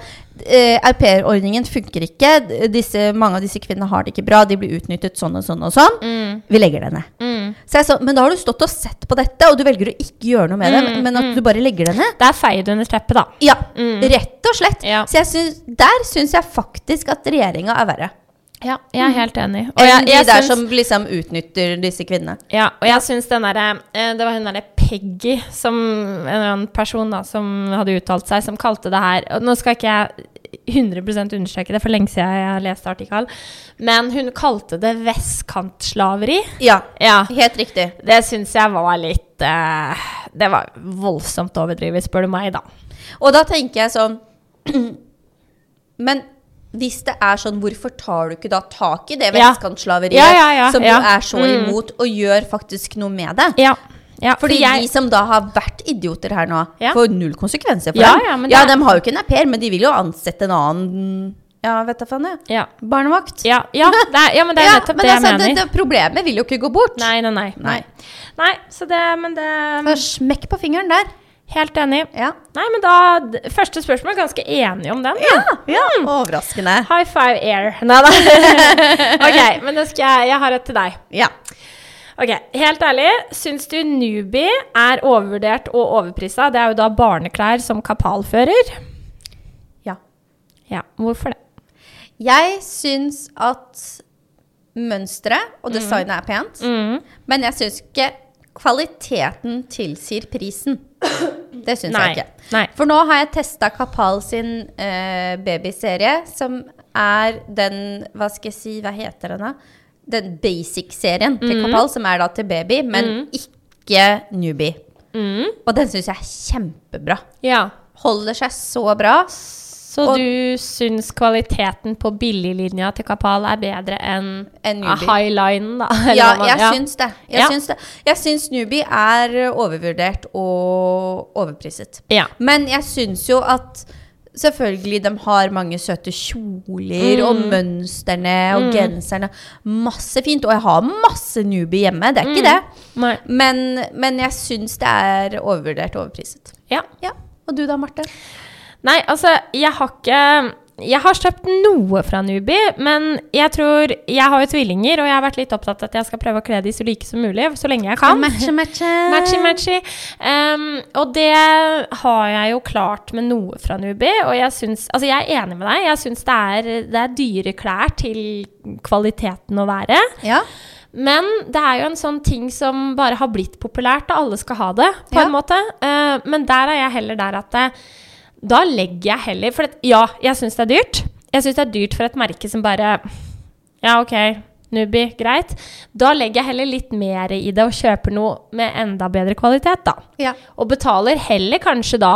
[SPEAKER 2] eh, aupairordningen funker ikke.
[SPEAKER 3] Mm.
[SPEAKER 2] Disse, mange av disse kvinnene har det ikke bra, de blir utnyttet sånn og sånn og sånn. Vi legger det ned. Så jeg sa, men da har du stått og sett på dette, og du velger å ikke gjøre noe med det,
[SPEAKER 3] Mm,
[SPEAKER 2] men at du bare legger det ned.
[SPEAKER 3] Det er feid under teppet, da.
[SPEAKER 2] Ja,
[SPEAKER 3] Mm.
[SPEAKER 2] rett og slett.
[SPEAKER 3] Ja.
[SPEAKER 2] Så jeg syns- der syns jeg faktisk at regjeringa er verre.
[SPEAKER 3] Ja, jeg er helt enig. Og
[SPEAKER 2] Enn
[SPEAKER 3] jeg, jeg
[SPEAKER 2] de der
[SPEAKER 3] syns-
[SPEAKER 2] som liksom utnytter disse kvinnene.
[SPEAKER 3] Ja, og jeg syns den derre eh, Det var hun derre Peggy, som en eller annen person da, som hadde uttalt seg, som kalte det her og Nå skal ikke jeg 100 understreke det, for lenge siden jeg leste artikkelen, men hun kalte det vestkantslaveri.
[SPEAKER 2] Ja,
[SPEAKER 3] Ja.
[SPEAKER 2] helt riktig.
[SPEAKER 3] Det syns jeg var litt eh, Det var voldsomt overdrevet, spør du meg, da.
[SPEAKER 2] Og da tenker jeg sånn (clears throat) Men hvis det er sånn, hvorfor tar du ikke da tak i det
[SPEAKER 3] Ja.
[SPEAKER 2] vestkantslaveriet
[SPEAKER 3] Ja, ja, ja,
[SPEAKER 2] som du
[SPEAKER 3] ja. Mm.
[SPEAKER 2] er så imot, og gjør faktisk noe med det?
[SPEAKER 3] Ja. ja
[SPEAKER 2] Fordi
[SPEAKER 3] jeg-
[SPEAKER 2] de som da har vært idioter her nå,
[SPEAKER 3] Ja.
[SPEAKER 2] får null konsekvenser for
[SPEAKER 3] Ja,
[SPEAKER 2] dem.
[SPEAKER 3] ja, men
[SPEAKER 2] ja,
[SPEAKER 3] det er-
[SPEAKER 2] de har jo ikke en au pair, men de vil jo ansette en annen Ja, vet da faen, jeg.
[SPEAKER 3] ja.
[SPEAKER 2] Barnevakt.
[SPEAKER 3] Ja, ja, det er, ja, men det er nettopp det jeg mener.
[SPEAKER 2] altså, Det, det problemet vil jo ikke gå bort.
[SPEAKER 3] Nei, nei, nei.
[SPEAKER 2] Nei.
[SPEAKER 3] Nei, så det Men det um,
[SPEAKER 2] Så Smekk på fingeren der.
[SPEAKER 3] Helt enig.
[SPEAKER 2] Ja.
[SPEAKER 3] Nei, men da d- Første spørsmål er ganske enige om den. da. Mm.
[SPEAKER 2] Overraskende.
[SPEAKER 3] High five
[SPEAKER 2] (laughs)
[SPEAKER 3] air. Nei da. (laughs) ok, men da skal jeg Jeg har et til deg.
[SPEAKER 2] Ja.
[SPEAKER 3] Ok, Helt ærlig, syns du Nubie er overvurdert og overprisa? Det er jo da barneklær som kapalfører.
[SPEAKER 2] ja.
[SPEAKER 3] Ja, hvorfor det?
[SPEAKER 2] Jeg syns at mønsteret
[SPEAKER 3] Mm.
[SPEAKER 2] og designet er pent, men jeg syns ikke kvaliteten tilsier prisen. Det syns
[SPEAKER 3] Nei,
[SPEAKER 2] jeg ikke.
[SPEAKER 3] nei.
[SPEAKER 2] For nå har jeg testa Kapal sin eh, babyserie, som er den Hva skal jeg si, hva heter den, da? Den basic-serien til
[SPEAKER 3] Mm.
[SPEAKER 2] Kapal, som er da til baby, men ikke newbie. Og den syns jeg er kjempebra.
[SPEAKER 3] Mm. Ja,
[SPEAKER 2] Holder seg så bra.
[SPEAKER 3] Så
[SPEAKER 2] Og-
[SPEAKER 3] du syns kvaliteten på billiglinja til Kapal er bedre enn
[SPEAKER 2] Enn Nubie.
[SPEAKER 3] highlinen, da? (laughs) eller
[SPEAKER 2] Ja,
[SPEAKER 3] hva man-
[SPEAKER 2] jeg syns det. Jeg,
[SPEAKER 3] Ja.
[SPEAKER 2] syns det. jeg syns Nubi er overvurdert og overpriset.
[SPEAKER 3] Ja.
[SPEAKER 2] Men jeg syns jo at selvfølgelig de har mange søte kjoler og mønstrene og genserne. Masse fint. Og jeg har masse Nubi hjemme, det er ikke det.
[SPEAKER 3] Nei.
[SPEAKER 2] Men, men jeg syns det er overvurdert og overpriset.
[SPEAKER 3] Ja.
[SPEAKER 2] Ja. Og du da, Marte?
[SPEAKER 3] Nei, altså, jeg har ikke jeg har kjøpt noe fra Nubi, men jeg tror Jeg har jo tvillinger, og jeg har vært litt opptatt av at jeg skal prøve å kle de så like som mulig, så lenge jeg kan.
[SPEAKER 2] Matche, matche.
[SPEAKER 3] Matchy, matchy. Ehm, og det har jeg jo klart med noe fra Nubi. Og jeg, syns, altså jeg er enig med deg. Jeg syns det er, det er dyre klær til kvaliteten å være.
[SPEAKER 2] Ja.
[SPEAKER 3] Men det er jo en sånn ting som bare har blitt populært, og alle skal ha det, på
[SPEAKER 2] Ja.
[SPEAKER 3] en måte. Eh, men der er jeg heller der at eh, da legger jeg heller For at, ja, jeg syns det er dyrt. Jeg syns det er dyrt for et merke som bare Ja, OK, Nubi, greit. Da legger jeg heller litt mer i det og kjøper noe med enda bedre kvalitet, da.
[SPEAKER 2] ja.
[SPEAKER 3] Og betaler heller kanskje da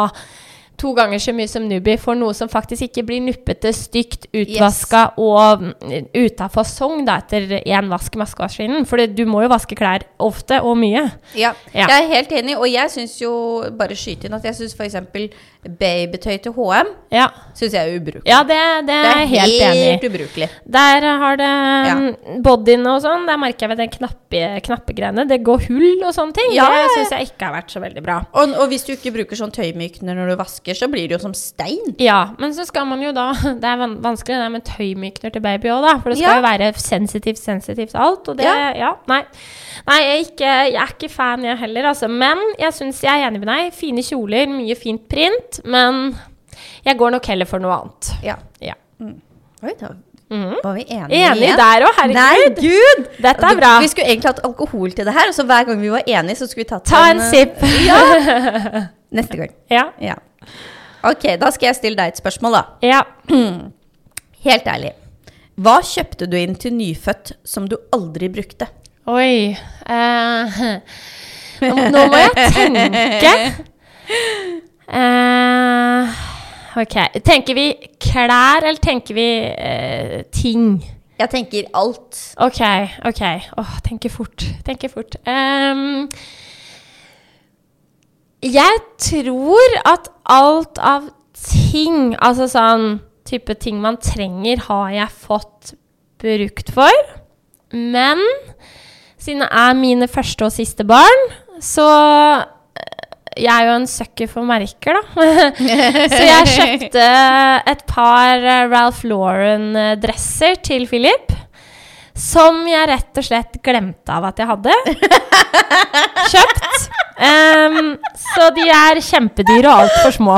[SPEAKER 3] to ganger så mye som Nubi for noe som faktisk ikke blir nuppete, stygt, utvaska og mm, ute av fasong da, etter én vask i vaskemaskinen. For du må jo vaske klær ofte og mye.
[SPEAKER 2] Ja,
[SPEAKER 3] Ja.
[SPEAKER 2] jeg er helt enig, og jeg syns jo Bare skyte inn at jeg syns f.eks. babytøy til HM
[SPEAKER 3] Ja,
[SPEAKER 2] syns jeg er ubrukelig.
[SPEAKER 3] ja det, det er jeg helt enig i.
[SPEAKER 2] ubrukelig.
[SPEAKER 3] Der har det mm, bodyene og sånn. Der merker jeg ved den knappe, knappegreiene. Det går hull og sånne ting.
[SPEAKER 2] Ja.
[SPEAKER 3] Det syns jeg ikke har vært så veldig bra.
[SPEAKER 2] Og, og hvis du ikke bruker sånn tøymykner når du vasker, så blir det jo som stein.
[SPEAKER 3] Ja, men så skal man jo da (laughs) Det er van- vanskelig det der med tøymykner til baby òg, da. For det skal
[SPEAKER 2] Ja.
[SPEAKER 3] jo være sensitivt, sensitivt alt. Og det Ja.
[SPEAKER 2] Ja.
[SPEAKER 3] nei. Nei, jeg er, ikke, jeg er ikke fan, jeg heller, altså. Men jeg syns jeg er enig med deg. Fine kjoler, mye fint print. Men jeg går nok heller for noe annet.
[SPEAKER 2] Ja. Mm.
[SPEAKER 3] Ja. Mhm.
[SPEAKER 2] Oi, da var vi enige
[SPEAKER 3] Enig
[SPEAKER 2] igjen.
[SPEAKER 3] der òg, herregud.
[SPEAKER 2] Nei, gud!
[SPEAKER 3] Dette er
[SPEAKER 2] Du-
[SPEAKER 3] bra.
[SPEAKER 2] Vi skulle egentlig hatt alkohol til det her, og så hver gang vi var enige, så skulle vi tatt
[SPEAKER 3] Ta en
[SPEAKER 2] eh,
[SPEAKER 3] sipp.
[SPEAKER 2] Ja. Neste gang.
[SPEAKER 3] (laughs) Ja.
[SPEAKER 2] Ja. Ok, da skal jeg stille deg et spørsmål, da.
[SPEAKER 3] ja.
[SPEAKER 2] Helt ærlig. Hva kjøpte du inn til nyfødt som du aldri brukte?
[SPEAKER 3] Oi. Eh, (laughs) nå, nå må jeg tenke. Eh, ok. Tenker vi klær, eller tenker vi eh, ting?
[SPEAKER 2] Jeg tenker alt.
[SPEAKER 3] Ok, ok. Åh, tenker fort. Tenker fort. Ehm, jeg tror at alt av ting, altså sånn type ting man trenger, har jeg fått brukt for. Men siden det er mine første og siste barn, så eh, jeg er jo en søkker for merker, da. (laughs) så jeg kjøpte et par eh, Ralph Lauren-dresser til eh, Philip. Som jeg rett og slett glemte av at jeg
[SPEAKER 2] (laughs)
[SPEAKER 3] hadde. Kjøpt. Em, så de er kjempedyre og altfor små.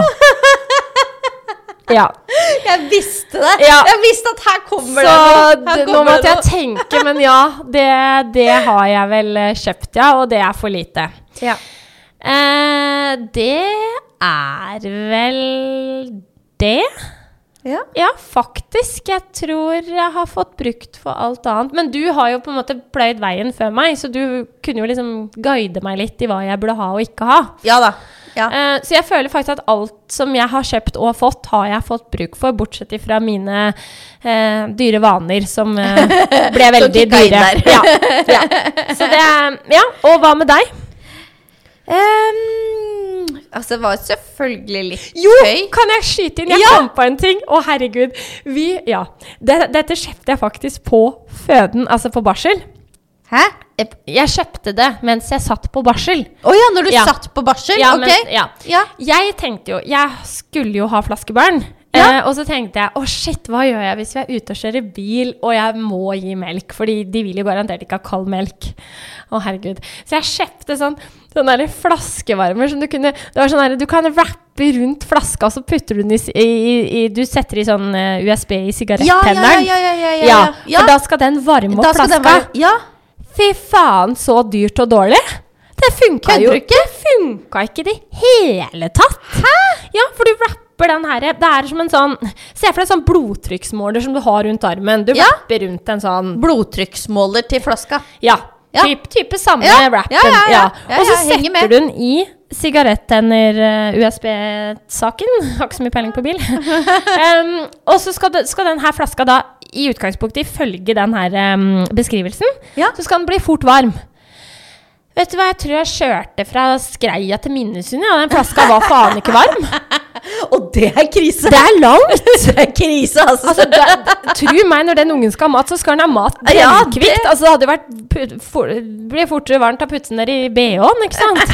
[SPEAKER 3] Ja.
[SPEAKER 2] (laughs) Jeg visste det!
[SPEAKER 3] Ja.
[SPEAKER 2] Jeg visste at her kommer
[SPEAKER 3] Så
[SPEAKER 2] det noe! Her
[SPEAKER 3] d- nå
[SPEAKER 2] kommer
[SPEAKER 3] måtte
[SPEAKER 2] det
[SPEAKER 3] jeg tenke, men ja, det, det har jeg vel eh, kjøpt, ja. Og det er for lite.
[SPEAKER 2] noe. Ja.
[SPEAKER 3] Eh, det er vel det.
[SPEAKER 2] Ja.
[SPEAKER 3] Ja, faktisk. Jeg tror jeg har fått brukt for alt annet. Men du har jo på en måte pløyd veien før meg, så du kunne jo liksom guide meg litt i hva jeg burde ha og ikke ha.
[SPEAKER 2] ja da. Ja.
[SPEAKER 3] Eh, Så jeg føler faktisk at alt som jeg har kjøpt og fått, har jeg fått bruk for, bortsett fra mine eh, dyre vaner, som eh, ble veldig
[SPEAKER 2] kicka inn
[SPEAKER 3] dyre.
[SPEAKER 2] der.
[SPEAKER 3] Ja, ja. Så det er, ja. Og hva med deg? Eh.
[SPEAKER 2] Ehm, altså, det var selvfølgelig litt
[SPEAKER 3] Jo,
[SPEAKER 2] gøy.
[SPEAKER 3] kan jeg skyte inn? Jeg
[SPEAKER 2] Ja.
[SPEAKER 3] kom på en ting. Å, herregud. Vi, ja. Det, dette kjøpte jeg faktisk på føden, altså på barsel.
[SPEAKER 2] Hæ?
[SPEAKER 3] Jeg kjøpte det mens jeg satt på barsel.
[SPEAKER 2] Å ja, når du
[SPEAKER 3] Ja.
[SPEAKER 2] satt på barsel?
[SPEAKER 3] Ja,
[SPEAKER 2] ok.
[SPEAKER 3] men- ja.
[SPEAKER 2] Ja.
[SPEAKER 3] Jeg tenkte jo Jeg skulle jo ha flaskebarn.
[SPEAKER 2] Ja.
[SPEAKER 3] Eh, og så tenkte jeg å shit, hva gjør jeg hvis vi er ute og kjører bil og jeg må gi melk? Fordi de vil jo garantert ikke ha kald melk. Å herregud. Så jeg kjøpte sånn sånn derre flaskevarmer som du kunne Det var sånn derre du kan wrappe rundt flaska, og så putter du den i, s- i, i, i Du setter i sånn eh, USB i
[SPEAKER 2] Ja, ja, ja,
[SPEAKER 3] sigarettenneren.
[SPEAKER 2] ja, ja, ja, ja, ja. Ja.
[SPEAKER 3] For da skal den varme opp
[SPEAKER 2] skal den
[SPEAKER 3] flaska.
[SPEAKER 2] være Ja.
[SPEAKER 3] Fy faen, så dyrt og dårlig. Det funka jo
[SPEAKER 2] Kødder du
[SPEAKER 3] ikke. Det funka ikke i det hele tatt. Hæ? Ja, for du wrapper den herre Det er som en sånn Se for deg en sånn blodtrykksmåler som du har rundt armen. Du
[SPEAKER 2] Ja.
[SPEAKER 3] wrapper rundt en sånn
[SPEAKER 2] Blodtrykksmåler til flaska.
[SPEAKER 3] Ja.
[SPEAKER 2] Ja.
[SPEAKER 3] Typ, type samme
[SPEAKER 2] Ja,
[SPEAKER 3] wrappen.
[SPEAKER 2] ja, ja, ja. Ja,
[SPEAKER 3] Og så
[SPEAKER 2] ja, jeg henger med.
[SPEAKER 3] setter du den i eh, sigarettenner-USB-saken. (laughs) Har ikke så mye peiling på
[SPEAKER 2] (laughs)
[SPEAKER 3] bil. Em, og så skal, det- skal den her flaska da i utgangspunktet ifølge den her em, beskrivelsen,
[SPEAKER 2] Ja.
[SPEAKER 3] så skal den bli fort varm. Vet du hva, jeg tror jeg kjørte fra Skreia til Minnesund, ja. Den flaska var faen ikke varm.
[SPEAKER 2] Og (laughs) det er krise!
[SPEAKER 3] Det er langt!
[SPEAKER 2] Det er krise, altså.
[SPEAKER 3] Altså, da, tru meg, når den ungen skal ha mat, så skal den ha mat
[SPEAKER 2] Ja, det-
[SPEAKER 3] kvikt. Altså, det hadde jo vært put- for, blir fortere varmt av putte den der i BH-en, ikke sant?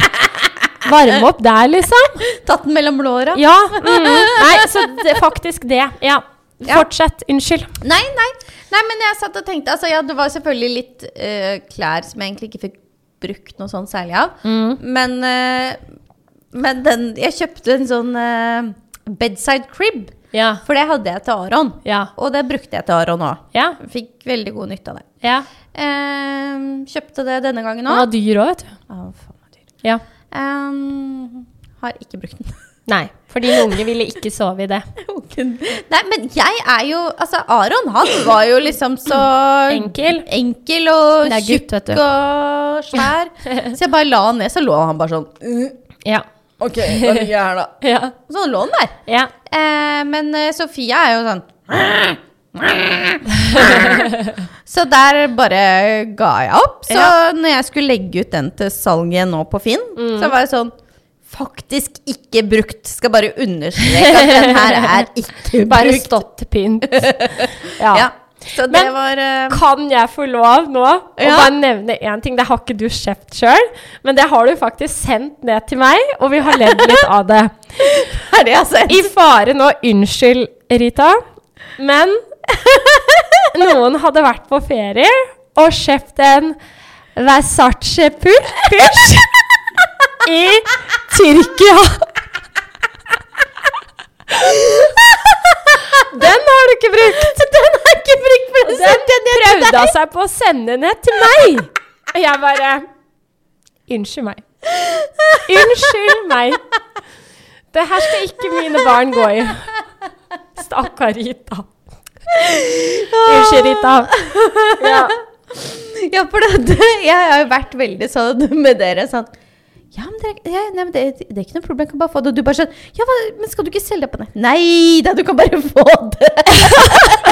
[SPEAKER 3] Varme opp der, liksom.
[SPEAKER 2] Tatt den mellom låra.
[SPEAKER 3] Ja. Mm. Nei, så det, faktisk det. Ja.
[SPEAKER 2] Ja.
[SPEAKER 3] Fortsett. Unnskyld.
[SPEAKER 2] Nei, nei. nei, men jeg satt og tenkte altså, Ja, det var selvfølgelig litt eh, klær som jeg egentlig ikke fikk brukt noe sånn særlig av. Men, eh, men den Jeg kjøpte en sånn eh, bedside crib,
[SPEAKER 3] Ja.
[SPEAKER 2] for det hadde jeg til Aron.
[SPEAKER 3] Ja.
[SPEAKER 2] Og det brukte jeg til Aron òg.
[SPEAKER 3] Ja.
[SPEAKER 2] Fikk veldig god nytte av det.
[SPEAKER 3] ja.
[SPEAKER 2] Ehm, kjøpte det denne gangen
[SPEAKER 3] Den
[SPEAKER 2] òg.
[SPEAKER 3] var dyr òg, vet du. Ja.
[SPEAKER 2] Ehm, har ikke brukt den. (laughs)
[SPEAKER 3] Nei. For din unge ville ikke sove i det.
[SPEAKER 2] Nei, men jeg er jo Altså, Aron, han var jo liksom så
[SPEAKER 3] Enkel.
[SPEAKER 2] Enkel og
[SPEAKER 3] Det er gutt,
[SPEAKER 2] tjukk
[SPEAKER 3] vet du.
[SPEAKER 2] og
[SPEAKER 3] (laughs)
[SPEAKER 2] svær. Så jeg bare la han ned, så lå han bare sånn «Uh,
[SPEAKER 3] Ja.
[SPEAKER 2] Ok, da ligger jeg her, da.
[SPEAKER 3] Ja.
[SPEAKER 2] Så lå han der.
[SPEAKER 3] Ja.
[SPEAKER 2] Eh, men eh, Sofia er jo sånn (laughs) Så der bare ga jeg opp. Så
[SPEAKER 3] Ja. Mm.
[SPEAKER 2] når jeg skulle legge ut den til salg igjen nå på Finn, så var jeg sånn Faktisk ikke brukt. Skal bare understreke at den her er ikke brukt.
[SPEAKER 3] (laughs) Bare stått pynt.
[SPEAKER 2] Ja. Så det
[SPEAKER 3] Men-
[SPEAKER 2] var eh, (laughs)
[SPEAKER 3] Kan jeg få lov nå å
[SPEAKER 2] Ja.
[SPEAKER 3] bare nevne én ting? Det har ikke du kjøpt sjøl, men det har du faktisk sendt ned til meg, og vi har ledd litt av det.
[SPEAKER 2] Er det altså
[SPEAKER 3] I fare nå, unnskyld, Rita, men noen hadde vært på ferie og kjøpt en Versace pul- pulsj i Tyrkia. Den har du ikke brukt! Den har ikke brukt for Den prøvde hun seg på å sende ned til meg. Og jeg bare Unnskyld meg. (laughs) Unnskyld meg. Det her skal ikke mine barn gå i. Stakkar Rita. Unnskyld, Rita. Ja.
[SPEAKER 2] Ja, for det, det, jeg har jo vært veldig sånn med dere sånn ja, men, dere, ja, nei, men det, det er ikke noe problem, jeg kan bare få det. Og du bare sånn Ja, hva, men skal du ikke selge det på nett? Nei da, du kan bare få det!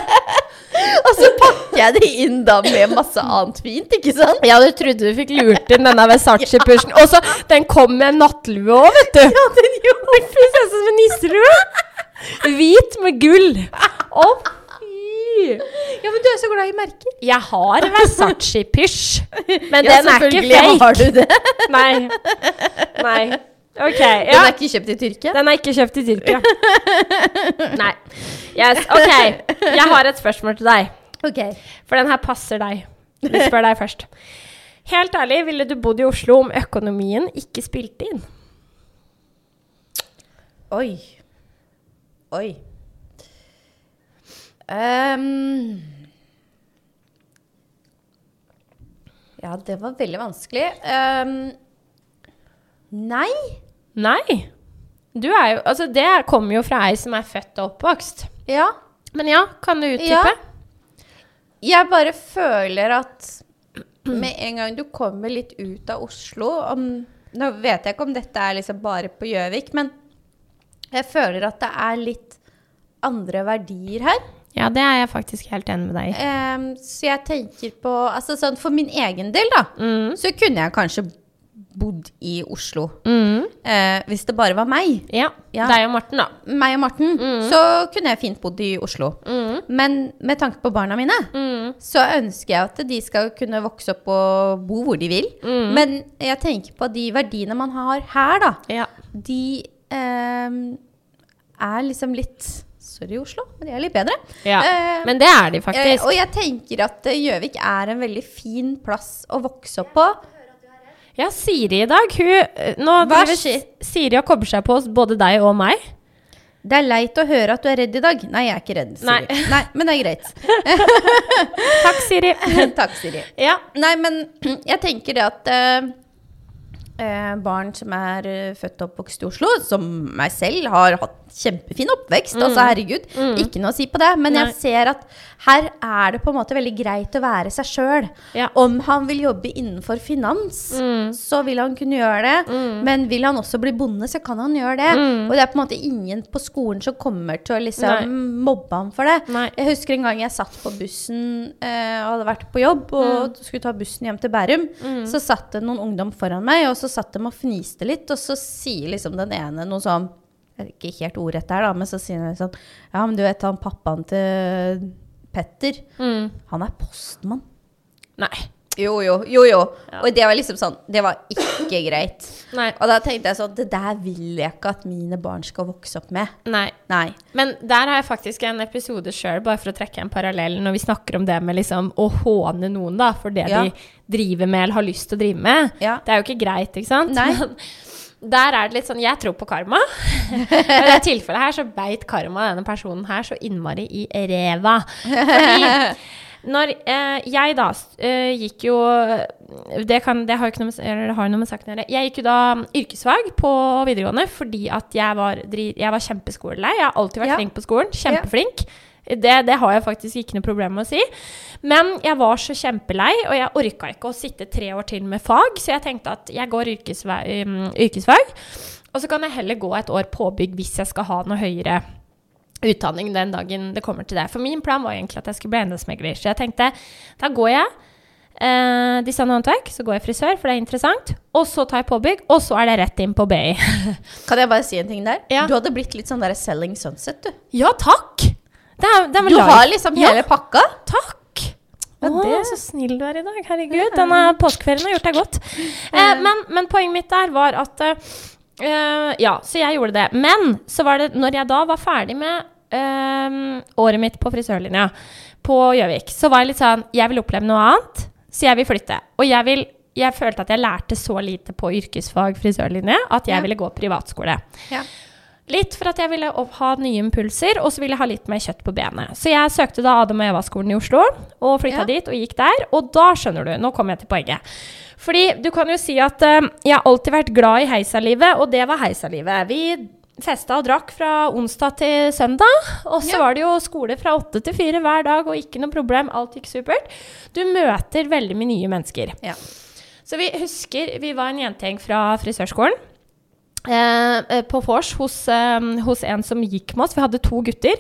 [SPEAKER 2] (laughs) og så pakker jeg det inn da med masse annet fint, ikke sant?
[SPEAKER 3] ja, du trodde du fikk lurt inn denne Versace-pysjen. Og så, den kom med en nattlue òg, vet du.
[SPEAKER 2] (laughs) Ja, den gjorde
[SPEAKER 3] En Prinsesse med nisselue. Hvit med gull. Å, fy.
[SPEAKER 2] Ja, men du er så glad i merker.
[SPEAKER 3] Jeg har Versace-pysj, men
[SPEAKER 2] ja,
[SPEAKER 3] den er ikke
[SPEAKER 2] selvfølgelig
[SPEAKER 3] fake.
[SPEAKER 2] Har du det?
[SPEAKER 3] Nei. Nei. OK.
[SPEAKER 2] Den
[SPEAKER 3] Ja.
[SPEAKER 2] er ikke kjøpt i Tyrkia?
[SPEAKER 3] Den er ikke kjøpt i Tyrkia. Nei. Yes, ok, jeg har et spørsmål til deg.
[SPEAKER 4] Ok.
[SPEAKER 3] For den her passer deg. Vi spør deg først. Helt ærlig, ville du bodd i Oslo om økonomien ikke spilte inn?
[SPEAKER 2] Oi. Oi. Ehm. ja, det var veldig vanskelig. Ehm. nei.
[SPEAKER 3] Nei. Du er jo, altså det kommer jo fra ei som er født og oppvokst.
[SPEAKER 2] Ja.
[SPEAKER 3] Men ja, kan du utdype?
[SPEAKER 2] Ja. Jeg bare føler at med en gang du kommer litt ut av Oslo om, Nå vet jeg ikke om dette er liksom bare på Gjøvik, men jeg føler at det er litt andre verdier her.
[SPEAKER 3] Ja, det er jeg faktisk helt enig med deg i.
[SPEAKER 2] Ehm, så jeg tenker på altså sånn For min egen del, da, så kunne jeg kanskje bodd i Oslo. Eh, hvis det bare var meg.
[SPEAKER 3] Mm. Ja.
[SPEAKER 2] Ja.
[SPEAKER 3] Deg og Morten, da.
[SPEAKER 2] Meg og Morten. Så kunne jeg fint bodd i Oslo. Men med tanke på barna mine, så ønsker jeg at de skal kunne vokse opp og bo hvor de vil. Men jeg tenker på de verdiene man har her, da.
[SPEAKER 3] Ja.
[SPEAKER 2] De ehm, er liksom litt Sorry, Oslo, men de er litt bedre. Eh,
[SPEAKER 3] Men det er de
[SPEAKER 2] Eh,
[SPEAKER 3] faktisk.
[SPEAKER 2] og jeg tenker at eh, Gjøvik er en veldig fin plass å vokse opp på.
[SPEAKER 3] Ja, Siri i dag, hun eh, Nå
[SPEAKER 2] Hva
[SPEAKER 3] driver
[SPEAKER 2] skjer?
[SPEAKER 3] Siri og kobler seg på oss, både deg og meg.
[SPEAKER 2] Det er leit å høre at du er redd i dag. Nei, jeg er ikke redd, Siri.
[SPEAKER 3] Nei.
[SPEAKER 2] (laughs) Nei, men det er greit. (laughs)
[SPEAKER 3] Takk, (laughs) Siri.
[SPEAKER 2] Takk, Siri.
[SPEAKER 3] ja.
[SPEAKER 2] Nei, men (clears throat) jeg tenker det at eh, eh, barn som er eh, født og oppvokst i Oslo, som meg selv, har hatt kjempefin oppvekst. Altså, herregud, ikke noe å si på det. Men
[SPEAKER 3] Mm. Nei.
[SPEAKER 2] jeg ser at her er det på en måte veldig greit å være seg sjøl.
[SPEAKER 3] Ja. Mm.
[SPEAKER 2] Om han vil jobbe innenfor finans, så vil han kunne gjøre det. Men vil han også bli bonde, så kan han gjøre det. Og det er på en måte ingen på skolen som kommer til å liksom
[SPEAKER 3] Nei.
[SPEAKER 2] mobbe ham for det.
[SPEAKER 3] Nei.
[SPEAKER 2] Jeg husker en gang jeg satt på bussen eh, og hadde vært på jobb og skulle ta bussen hjem til Bærum. Så satt det noen ungdom foran meg, og så satt de og fniste litt. Og så sier liksom den ene noe sånn jeg vet Ikke helt ordrett der, da, men så sier han sånn Ja, men du vet han pappaen til Petter, han er postmann.
[SPEAKER 3] Mm. Nei.
[SPEAKER 2] Jo, jo, jo, jo. Og det var liksom sånn Det var ikke greit.
[SPEAKER 3] Nei.
[SPEAKER 2] Og da tenkte jeg sånn Det der vil jeg ikke at mine barn skal vokse opp med.
[SPEAKER 3] Nei.
[SPEAKER 2] Nei.
[SPEAKER 3] Men der har jeg faktisk en episode sjøl, bare for å trekke en parallell, når vi snakker om det med liksom å håne noen da, for det
[SPEAKER 2] Ja.
[SPEAKER 3] de driver med eller har lyst til å drive med.
[SPEAKER 2] Ja.
[SPEAKER 3] Det er jo ikke greit, ikke sant? (laughs)
[SPEAKER 2] Nei.
[SPEAKER 3] Men der er det litt sånn Jeg tror på
[SPEAKER 2] (laughs)
[SPEAKER 3] karma. Og I det tilfellet her så beit karma denne personen her så innmari i ræva. Fordi
[SPEAKER 2] (laughs)
[SPEAKER 3] når eh, jeg da s- eh, gikk jo Det, kan, det har jo ikke noe med, s- eller det har jo noe med saken å gjøre. Jeg gikk jo da mm, yrkesfag på videregående fordi at jeg var, dri, jeg var kjempeskolelei. Jeg har alltid vært
[SPEAKER 2] Ja.
[SPEAKER 3] flink på skolen. Kjempeflink. Det, det har jeg faktisk ikke noe problem med å si. Men jeg var så kjempelei, og jeg orka ikke å sitte tre år til med fag, så jeg tenkte at jeg går yrkesfag, yrkesfag og så kan jeg heller gå et år påbygg hvis jeg skal ha noe høyere utdanning den dagen det kommer til det. For min plan var egentlig at jeg skulle bli eiendomsmegler. Så jeg tenkte da går jeg eh, design og håndverk, så går jeg frisør, for det er interessant. Og så tar jeg påbygg, og så er det rett inn på BI.
[SPEAKER 2] Kan jeg bare si en ting der?
[SPEAKER 3] Ja.
[SPEAKER 2] Du hadde blitt litt sånn der Selling Sunset, du.
[SPEAKER 3] (laughs) ja, takk! Det er, det er
[SPEAKER 2] Du
[SPEAKER 3] vel lag-
[SPEAKER 2] har liksom hele
[SPEAKER 3] ja,
[SPEAKER 2] pakka.
[SPEAKER 3] Takk!
[SPEAKER 2] Ja,
[SPEAKER 3] Å,
[SPEAKER 2] det-
[SPEAKER 3] så snill du er i dag. Herregud, denne påskeferien har gjort deg godt. Eh, men, men poenget mitt der var at eh, eh, Ja, så jeg gjorde det. Men så var det når jeg da var ferdig med eh, året mitt på frisørlinja på Gjøvik, så var jeg litt sånn Jeg vil oppleve noe annet, så jeg vil flytte. Og jeg, vil, jeg følte at jeg lærte så lite på yrkesfag frisørlinje at jeg
[SPEAKER 2] Ja.
[SPEAKER 3] ville gå privatskole.
[SPEAKER 2] Ja.
[SPEAKER 3] Litt for at jeg ville opp, ha nye impulser, og så ville jeg ha litt mer kjøtt på benet. Så jeg søkte da Adam og Eva-skolen i Oslo, og flytta
[SPEAKER 2] Ja.
[SPEAKER 3] dit og gikk der. Og da skjønner du, nå kommer jeg til poenget. Fordi du kan jo si at eh, jeg har alltid vært glad i heisalivet, og det var heisalivet. Vi festa og drakk fra onsdag til søndag, og så
[SPEAKER 2] Ja.
[SPEAKER 3] var det jo skole fra åtte til fire hver dag, og ikke noe problem, alt gikk supert. Du møter veldig mye nye mennesker.
[SPEAKER 2] Ja.
[SPEAKER 3] Så vi husker vi var en jentegjeng fra frisørskolen. Eh, eh, på vors hos, eh, hos en som gikk med oss. Vi hadde to gutter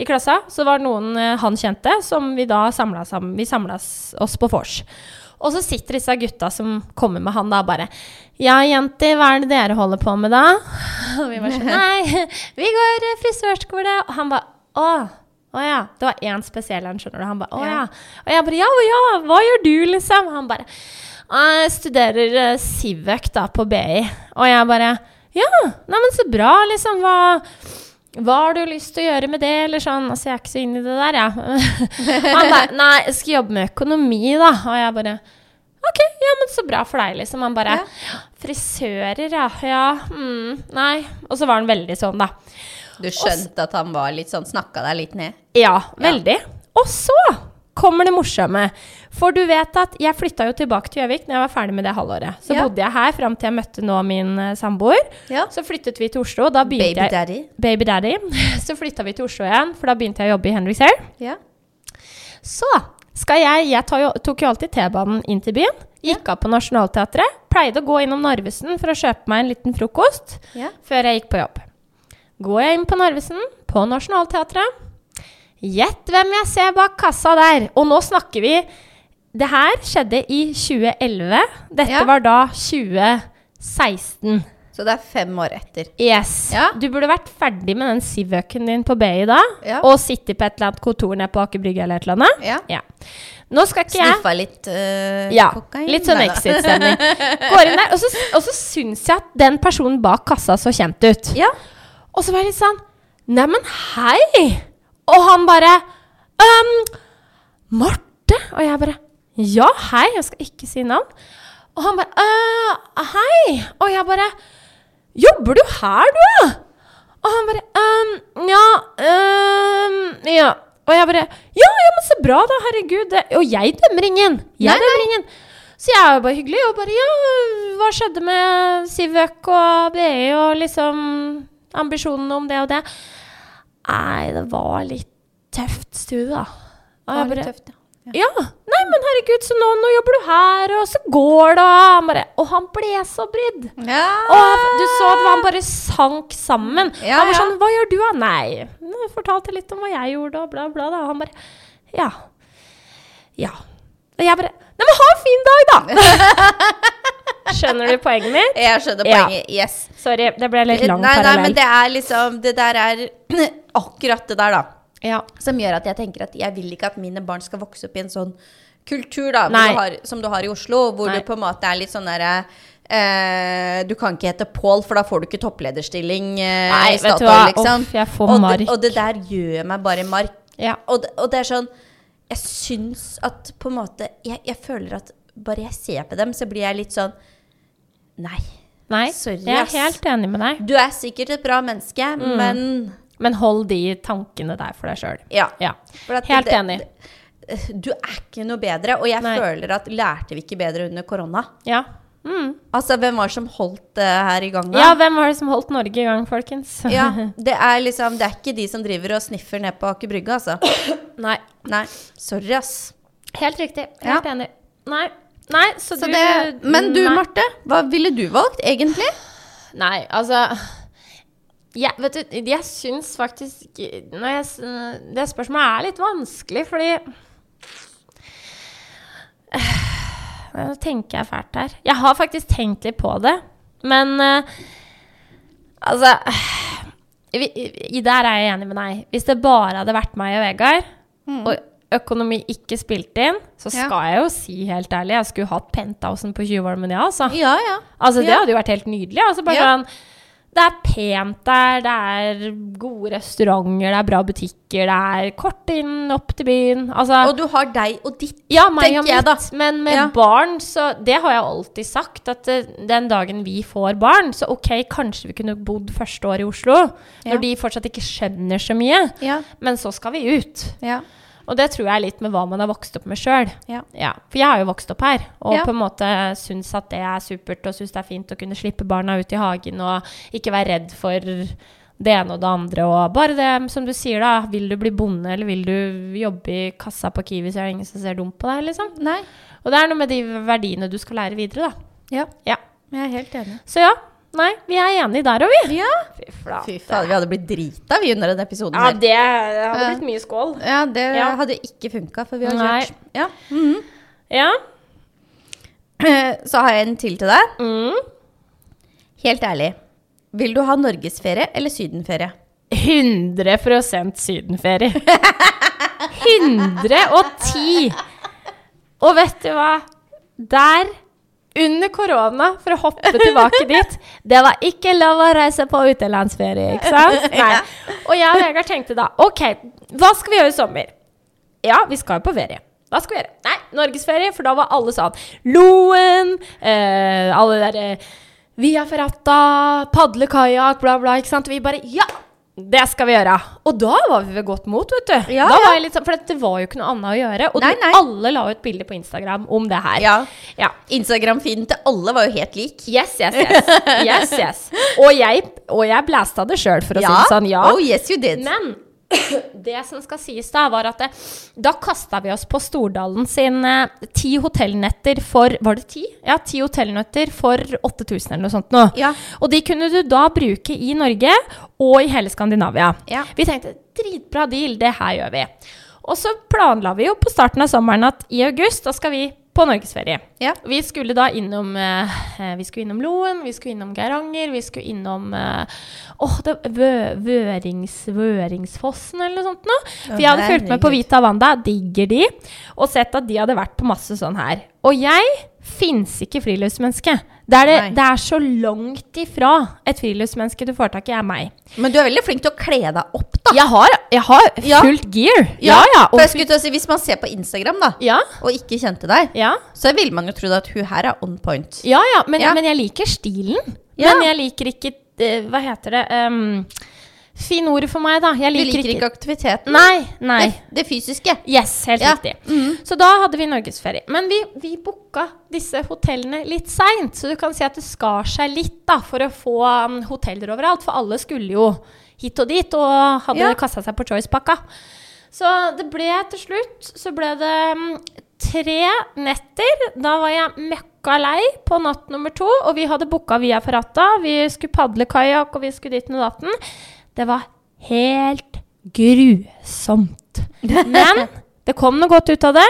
[SPEAKER 3] i klassa. Så var det noen eh, han kjente, som vi da samla sammen. Vi samla oss på vors. Og så sitter disse gutta som kommer med han da, bare Ja, jenter, hva er det dere holder på med, da? (laughs) Og vi bare sånn Nei, (laughs) vi går eh, frisørskole. Og han bare Å. Å ja. Det var én spesiell en, skjønner du. Han bare Å ja. Og jeg bare Ja, ja, hva gjør du, liksom? Han bare jeg studerer eh, Civøk da, på BI. Og jeg bare Ja, nei, men så bra, liksom. Hva, Hva har du lyst til å gjøre med det, eller sånn? Altså, jeg er ikke så inn i det der, jeg. (laughs) Han bare Nei, jeg skal jobbe med økonomi, da. Og jeg bare OK, ja, men så bra for deg, liksom. Han bare Frisører, ja. Ja. Mm, nei. Og så var han veldig sånn, da.
[SPEAKER 2] Du skjønte at han var litt sånn, snakka deg litt ned?
[SPEAKER 3] Ja, veldig. Og så kommer det morsomme. For du vet at jeg flytta jo tilbake til Gjøvik når jeg var ferdig med det halvåret. Så
[SPEAKER 2] Ja.
[SPEAKER 3] bodde jeg her fram til jeg møtte nå min eh, samboer.
[SPEAKER 2] Ja.
[SPEAKER 3] Så flyttet vi til Oslo, og da begynte
[SPEAKER 2] Baby
[SPEAKER 3] jeg
[SPEAKER 2] daddy?
[SPEAKER 3] Baby daddy. (laughs) Så flytta vi til Oslo igjen, for da begynte jeg å jobbe i Henriks Hair.
[SPEAKER 2] Ja.
[SPEAKER 3] Så skal jeg Jeg tar jo, tok jo alltid T-banen inn til byen. Gikk av på Nationaltheatret. Pleide å gå innom Narvesen for å kjøpe meg en liten frokost
[SPEAKER 2] Ja.
[SPEAKER 3] før jeg gikk på jobb. Går jeg inn på Narvesen, på Nationaltheatret. Gjett hvem jeg ser bak kassa der! Og nå snakker vi Det her skjedde i 2011. Dette
[SPEAKER 2] Ja.
[SPEAKER 3] var da 2016.
[SPEAKER 2] Så det er fem år etter.
[SPEAKER 3] Yes.
[SPEAKER 2] Ja.
[SPEAKER 3] Du burde vært ferdig med den sivøken din på BI da,
[SPEAKER 2] Ja.
[SPEAKER 3] og sittet på et eller annet kontor nede på Aker Brygge eller et eller annet.
[SPEAKER 2] Ja.
[SPEAKER 3] Ja. Nå skal ikke jeg
[SPEAKER 2] Sniffa litt øh,
[SPEAKER 3] ja,
[SPEAKER 2] kokain?
[SPEAKER 3] litt sånn
[SPEAKER 2] Neida.
[SPEAKER 3] exit-stemning. Går inn der, og så, og så syns jeg at den personen bak kassa så kjent ut.
[SPEAKER 2] (laughs) Ja.
[SPEAKER 3] Og så var jeg litt sånn Neimen, hei! Og han bare «Øhm, Marte? Og jeg bare Ja, hei. Jeg skal ikke si navn. Og han bare «Øh, Hei. Og jeg bare Jobber du her, du, da? Og han bare «Øhm, Ja. øhm, ja. Og jeg bare Ja, ja, men så bra, da. Herregud. det- Og jeg dømmer ingen. Jeg
[SPEAKER 2] Nei, nei.
[SPEAKER 3] dømmer ingen. Så jeg er jo bare hyggelig og bare Ja, hva skjedde med Sivøk og BI og liksom ambisjonene om det og det? Nei, det var litt tøft studie, da. Og jeg bare,
[SPEAKER 2] tøft, ja.
[SPEAKER 3] ja. Nei, men herregud, så nå, nå jobber du her, og så går det, og han bare Og han ble så brydd.
[SPEAKER 2] ja.
[SPEAKER 3] Og du så at han bare sank sammen.
[SPEAKER 2] Ja,
[SPEAKER 3] han var
[SPEAKER 2] ja.
[SPEAKER 3] sånn Hva gjør du, da? Nei, nå fortalte jeg litt om hva jeg gjorde, og bla, bla, da. Og han bare Ja. Ja. Og jeg bare Nei, men ha en fin dag, da! Skjønner du poenget mitt?
[SPEAKER 2] (laughs) Jeg skjønner
[SPEAKER 3] Ja.
[SPEAKER 2] poenget. Yes.
[SPEAKER 3] Sorry, det ble litt lang
[SPEAKER 2] nei, nei, men
[SPEAKER 3] parallell.
[SPEAKER 2] det er liksom Det der er (clears throat) akkurat det der, da.
[SPEAKER 3] Ja.
[SPEAKER 2] Som gjør at jeg tenker at jeg vil ikke at mine barn skal vokse opp i en sånn kultur da, hvor
[SPEAKER 3] Nei.
[SPEAKER 2] du har, som du har i Oslo, hvor
[SPEAKER 3] Nei.
[SPEAKER 2] du på en måte er litt sånn derre eh, Du kan ikke hete Pål, for da får du ikke topplederstilling eh,
[SPEAKER 3] Nei,
[SPEAKER 2] i
[SPEAKER 3] vet du
[SPEAKER 2] Statoil,
[SPEAKER 3] hva?
[SPEAKER 2] liksom.
[SPEAKER 3] Uff, jeg får
[SPEAKER 2] og,
[SPEAKER 3] mark.
[SPEAKER 2] det, og det der gjør meg bare mark.
[SPEAKER 3] ja.
[SPEAKER 2] Og, det- og det er sånn Jeg syns at på en måte jeg, jeg føler at bare jeg ser på dem, så blir jeg litt sånn Nei.
[SPEAKER 3] Nei,
[SPEAKER 2] Sorry,
[SPEAKER 3] jeg er
[SPEAKER 2] ass.
[SPEAKER 3] helt enig med deg.
[SPEAKER 2] Du er sikkert et bra menneske,
[SPEAKER 3] Mm.
[SPEAKER 2] men
[SPEAKER 3] Men hold de tankene der for deg sjøl.
[SPEAKER 2] Ja.
[SPEAKER 3] Ja.
[SPEAKER 2] For at
[SPEAKER 3] Helt
[SPEAKER 2] det-
[SPEAKER 3] enig.
[SPEAKER 2] det- Du er ikke noe bedre, og jeg
[SPEAKER 3] Nei.
[SPEAKER 2] føler at lærte vi ikke bedre under korona?
[SPEAKER 3] Ja. Mm.
[SPEAKER 2] Altså, hvem var det som holdt det her i gang, da?
[SPEAKER 3] ja, hvem var det som holdt Norge i gang, folkens?
[SPEAKER 2] Ja,
[SPEAKER 3] (laughs)
[SPEAKER 2] det er liksom, det er ikke de som driver og sniffer ned på Aker Brygge, altså.
[SPEAKER 3] (coughs) Nei.
[SPEAKER 2] Nei, sorry, ass.
[SPEAKER 3] Helt riktig. Helt enig. Nei. Nei, så,
[SPEAKER 2] Så
[SPEAKER 3] du
[SPEAKER 2] det, men du,
[SPEAKER 3] nei.
[SPEAKER 2] Marte, hva ville du valgt, egentlig?
[SPEAKER 3] Nei, altså jeg, vet du, jeg syns faktisk når jeg, s- Det spørsmålet er litt vanskelig, fordi (sighs) Nå tenker jeg fælt her. Jeg har faktisk tenkt litt på det, men eh, Altså (sighs) vi, i- Der er jeg enig med deg. Hvis det bare hadde vært meg og Vegard, og økonomi ikke spilte inn, så
[SPEAKER 2] Ja.
[SPEAKER 3] skal jeg jo si helt ærlig, jeg skulle hatt penthousen på Tjuvholmen, ja, altså.
[SPEAKER 2] Ja, ja.
[SPEAKER 3] Altså, det
[SPEAKER 2] Ja.
[SPEAKER 3] hadde jo vært helt nydelig. Altså, bare
[SPEAKER 2] Ja.
[SPEAKER 3] sånn, det er pent der, det er gode restauranter, det er bra butikker, det er kort inn opp til byen. Altså,
[SPEAKER 2] Og du har deg og ditt.
[SPEAKER 3] ja, meg
[SPEAKER 2] tenker
[SPEAKER 3] og
[SPEAKER 2] jeg da.
[SPEAKER 3] mitt, men med
[SPEAKER 2] Ja.
[SPEAKER 3] barn, så Det har jeg alltid sagt, at eh, den dagen vi får barn, så ok, kanskje vi kunne bodd første år i Oslo,
[SPEAKER 2] Ja.
[SPEAKER 3] når de fortsatt ikke skjønner så mye,
[SPEAKER 2] Ja,
[SPEAKER 3] men så skal vi ut.
[SPEAKER 2] ja.
[SPEAKER 3] Og det tror jeg er litt med hva man har vokst opp med sjøl.
[SPEAKER 2] Ja.
[SPEAKER 3] For jeg har jo vokst opp her, og
[SPEAKER 2] Ja.
[SPEAKER 3] på en måte syns at det er supert, og syns det er fint å kunne slippe barna ut i hagen og ikke være redd for det ene og det andre. Og bare det som du sier, da. Vil du bli bonde, eller vil du jobbe i kassa på Kiwi, så er det ingen som ser dumt på deg, liksom.
[SPEAKER 2] Nei,
[SPEAKER 3] Og det er noe med de verdiene du skal lære videre, da.
[SPEAKER 2] ja.
[SPEAKER 3] Ja.
[SPEAKER 2] Jeg er helt enig.
[SPEAKER 3] Så ja. Nei, vi er enige der òg, vi.
[SPEAKER 2] Ja.
[SPEAKER 3] Fy flate.
[SPEAKER 2] Fy faen, vi hadde blitt drita, vi, under den episoden
[SPEAKER 3] Ja,
[SPEAKER 2] her.
[SPEAKER 3] det hadde blitt mye skål.
[SPEAKER 2] Ja, det
[SPEAKER 3] Ja.
[SPEAKER 2] hadde ikke funka, for vi har
[SPEAKER 3] Nei.
[SPEAKER 2] kjørt. Ja.
[SPEAKER 3] Ja.
[SPEAKER 2] Eh, Så har jeg en til til deg.
[SPEAKER 3] Mm.
[SPEAKER 2] Helt ærlig. Vil du ha norgesferie eller sydenferie?
[SPEAKER 3] 100 sydenferie. 110! Og vet du hva? Der under korona for å hoppe tilbake dit. Det var ikke lov å reise på utenlandsferie, ikke sant? Nei. Og jeg og Vegard tenkte da OK, hva skal vi gjøre i sommer? Ja, vi skal jo på ferie. Hva skal vi gjøre? Nei, norgesferie, for da var alle sånn Loen, eh, alle der eh, Via Ferrata, padle kajakk, bla, bla. Ikke sant? Vi bare Ja! Det skal vi gjøre. Og da var vi ved godt mot, vet du.
[SPEAKER 2] Ja, ja.
[SPEAKER 3] da var jeg litt sånn, For det var jo ikke noe annet å gjøre. Og
[SPEAKER 2] Nei,
[SPEAKER 3] du-
[SPEAKER 2] nei.
[SPEAKER 3] alle la ut bilder på Instagram om det her.
[SPEAKER 2] Ja.
[SPEAKER 3] ja.
[SPEAKER 2] Instagram-feeden til alle var jo helt lik.
[SPEAKER 3] Yes, yes,
[SPEAKER 2] (laughs)
[SPEAKER 3] yes. yes, yes. Og jeg, og jeg blæsta det sjøl, for å si det sånn. Ja.
[SPEAKER 2] Oh, yes you did.
[SPEAKER 3] Men det som skal sies da, var at det, da kasta vi oss på Stordalen sin eh, ti hotellnetter for Var det ti? Ja, ti hotellnetter for 8000 eller noe sånt nå.
[SPEAKER 2] Ja.
[SPEAKER 3] Og de kunne du da bruke i Norge og i hele Skandinavia.
[SPEAKER 2] Ja.
[SPEAKER 3] Vi tenkte dritbra deal, det her gjør vi. Og så planla vi jo på starten av sommeren at i august da skal vi på norgesferie.
[SPEAKER 2] Ja.
[SPEAKER 3] Vi skulle da innom eh, Vi skulle innom Loen, vi skulle innom Geiranger, vi skulle innom eh, Åh, det vø, Vørings, Vøringsfossen eller noe sånt noe. For jeg hadde fulgt med på
[SPEAKER 2] herregud.
[SPEAKER 3] Vita Wanda, digger de, og sett at de hadde vært på masse sånn her. Og jeg fins ikke friluftsmenneske. Det er, det,
[SPEAKER 2] Nei.
[SPEAKER 3] det er så langt ifra et friluftsmenneske du får tak i, er meg.
[SPEAKER 2] Men du er veldig flink til å kle deg opp, da.
[SPEAKER 3] Jeg har, jeg har
[SPEAKER 2] Ah. Ja.
[SPEAKER 3] fullt gear. Ja, ja.
[SPEAKER 2] For jeg
[SPEAKER 3] Og,
[SPEAKER 2] skulle til å si, Hvis man ser på Instagram da,
[SPEAKER 3] ja,
[SPEAKER 2] og ikke kjente deg,
[SPEAKER 3] ja.
[SPEAKER 2] så ville man jo trodd at hun her er on point.
[SPEAKER 3] Ja, ja, men,
[SPEAKER 2] Ja.
[SPEAKER 3] men jeg liker stilen.
[SPEAKER 2] Ja.
[SPEAKER 3] Men jeg liker ikke eh, Hva heter det um, Fin ordet for meg, da. Jeg
[SPEAKER 2] Du
[SPEAKER 3] liker,
[SPEAKER 2] liker
[SPEAKER 3] ikke
[SPEAKER 2] ikke aktiviteten.
[SPEAKER 3] Nei. nei.
[SPEAKER 2] Det, det fysiske. Mhm.
[SPEAKER 3] Yes, helt
[SPEAKER 2] Ja.
[SPEAKER 3] riktig. Så da hadde vi norgesferie. Men vi, vi booka disse hotellene litt seint, så du kan si at det skar seg litt da, for å få um, hoteller overalt. For alle skulle jo hit og dit, og hadde
[SPEAKER 2] Ja.
[SPEAKER 3] kasta seg på Choice-pakka. Så det ble til slutt Så ble det mm, tre netter. Da var jeg møkka lei på natt nummer to, og vi hadde booka Via Ferrata. Vi skulle padle kajakk, og vi skulle dit med datten. Det var helt grusomt. Men det kom noe godt ut av det.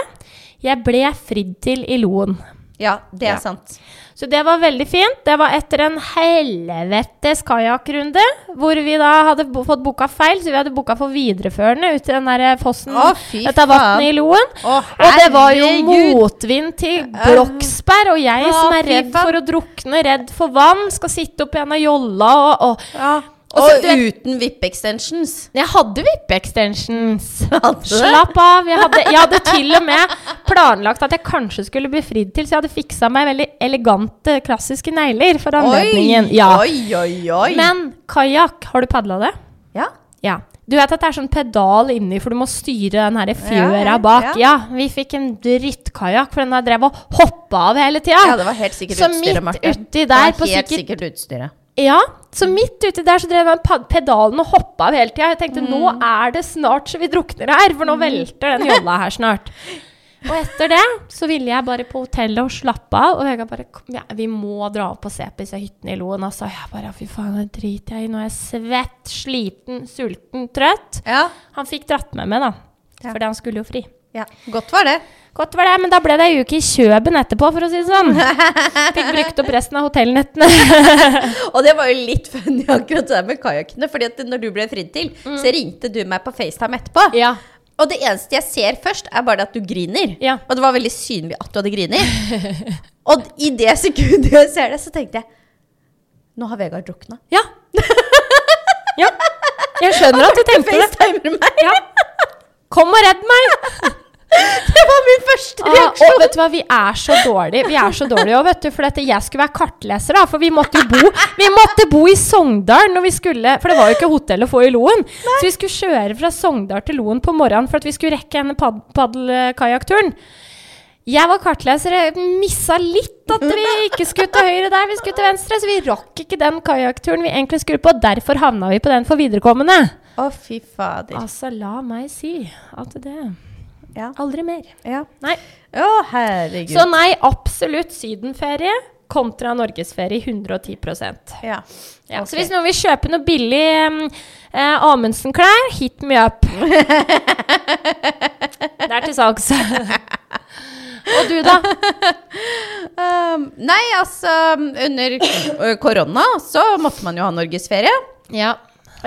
[SPEAKER 3] Jeg ble fridd til i Loen.
[SPEAKER 2] (laughs) Ja, det er
[SPEAKER 3] Ja.
[SPEAKER 2] sant.
[SPEAKER 3] Så det var veldig fint. Det var etter en helvetes kajakkrunde, hvor vi da hadde bo fått boka feil, så vi hadde boka for videreførende ut i den der eh, fossen,
[SPEAKER 2] Å, fy
[SPEAKER 3] dette vannet i Loen.
[SPEAKER 2] Å,
[SPEAKER 3] Og det var jo
[SPEAKER 2] herregud.
[SPEAKER 3] motvind til Bloksberg, og jeg
[SPEAKER 2] Å,
[SPEAKER 3] som er
[SPEAKER 2] fy
[SPEAKER 3] redd
[SPEAKER 2] faen.
[SPEAKER 3] for å drukne, redd for vann, skal sitte opp igjen av jolla og, og
[SPEAKER 2] Ja.
[SPEAKER 3] Og
[SPEAKER 2] Og
[SPEAKER 3] så du-
[SPEAKER 2] uten VIP-extensions. (laughs)
[SPEAKER 3] jeg hadde vippe-extensions.
[SPEAKER 2] Hadde du?
[SPEAKER 3] Slapp av. Jeg hadde, jeg hadde til og med planlagt at jeg kanskje skulle bli fridd til, så jeg hadde fiksa meg veldig elegante, klassiske negler for anledningen. Ja.
[SPEAKER 2] oi, oi, oi.
[SPEAKER 3] Men kajakk, har du padla det?
[SPEAKER 2] ja.
[SPEAKER 3] Ja. Du vet at det er sånn pedal inni, for du må styre den her fjøra
[SPEAKER 2] ja,
[SPEAKER 3] bak.
[SPEAKER 2] ja.
[SPEAKER 3] Ja, vi fikk en drittkajakk, for den har drevet og hoppa av hele tida.
[SPEAKER 2] ja, det var helt sikkert
[SPEAKER 3] Så
[SPEAKER 2] utstyret,
[SPEAKER 3] midt
[SPEAKER 2] Marte.
[SPEAKER 3] uti der
[SPEAKER 2] Det var
[SPEAKER 3] på
[SPEAKER 2] helt
[SPEAKER 3] sikkert-
[SPEAKER 2] sikkert utstyret.
[SPEAKER 3] Ja, så midt uti der så drev den pad- pedalen og hoppa av hele tida. Jeg tenkte nå er det snart så vi drukner her, for nå velter den jolla her snart. Og etter det så ville jeg bare på hotellet og slappe av. Og Vegard bare «Kom, ja, Vi må dra opp og se på disse hyttene i Loen. Altså, jeg bare fy faen, det driter jeg i. Nå er jeg svett, sliten, sulten, trøtt.
[SPEAKER 2] Ja.
[SPEAKER 3] Han fikk dratt med meg, da. Fordi han skulle jo fri.
[SPEAKER 2] ja. Godt var det.
[SPEAKER 3] Godt var det, men da ble det ei uke i Kjøben etterpå, for å si det sånn. Fikk brukt opp resten av hotellnettene.
[SPEAKER 2] Og det var jo litt funny akkurat det der med kajakkene. Fordi at når du ble fridd til, så ringte du meg på FaceTime etterpå.
[SPEAKER 3] ja.
[SPEAKER 2] Og det eneste jeg ser først, er bare det at du griner.
[SPEAKER 3] Ja.
[SPEAKER 2] Og det var veldig synlig at du hadde griner. (laughs) og i det sekundet jeg ser det, så tenkte jeg Nå har Vegard (laughs) drukna.
[SPEAKER 3] Ja. ja. Jeg skjønner at du tenkte det.
[SPEAKER 2] FaceTimer meg! (laughs)
[SPEAKER 3] Ja. Kom og redd meg!
[SPEAKER 2] Det var min første
[SPEAKER 3] Ah,
[SPEAKER 2] reaksjon.
[SPEAKER 3] og vet du hva, vi er så dårlige. Vi er så dårlige også, vet du. For dette, jeg skulle være kartleser, da. For vi måtte jo bo Vi måtte bo i Sogndal når vi skulle For det var jo ikke hotell å få i Loen. Så vi skulle kjøre fra Sogndal til Loen på morgenen for at vi skulle rekke denne pad paddelkajakkturen. Jeg var kartleser, jeg missa litt at vi ikke skulle til høyre der, vi skulle til venstre. Så vi rakk ikke den kajakkturen vi egentlig skulle på, og derfor havna vi på den for viderekommende.
[SPEAKER 2] Å, fy fader.
[SPEAKER 3] Altså, la meg si at det
[SPEAKER 2] Ja.
[SPEAKER 3] Aldri mer.
[SPEAKER 2] Ja.
[SPEAKER 3] ah, Nei. Sånn.
[SPEAKER 2] Å, herregud.
[SPEAKER 3] Så nei, absolutt sydenferie kontra norgesferie 110
[SPEAKER 2] Ja.
[SPEAKER 3] ja,
[SPEAKER 2] Ok.
[SPEAKER 3] Så hvis noen vil kjøpe noe billig um, eh, Amundsen-klær, hit me
[SPEAKER 2] (laughs)
[SPEAKER 3] up. det er til salgs. (laughs) Og du, da?
[SPEAKER 2] Um, nei, altså, under øh, ø, korona så måtte man jo ha norgesferie.
[SPEAKER 3] Ja.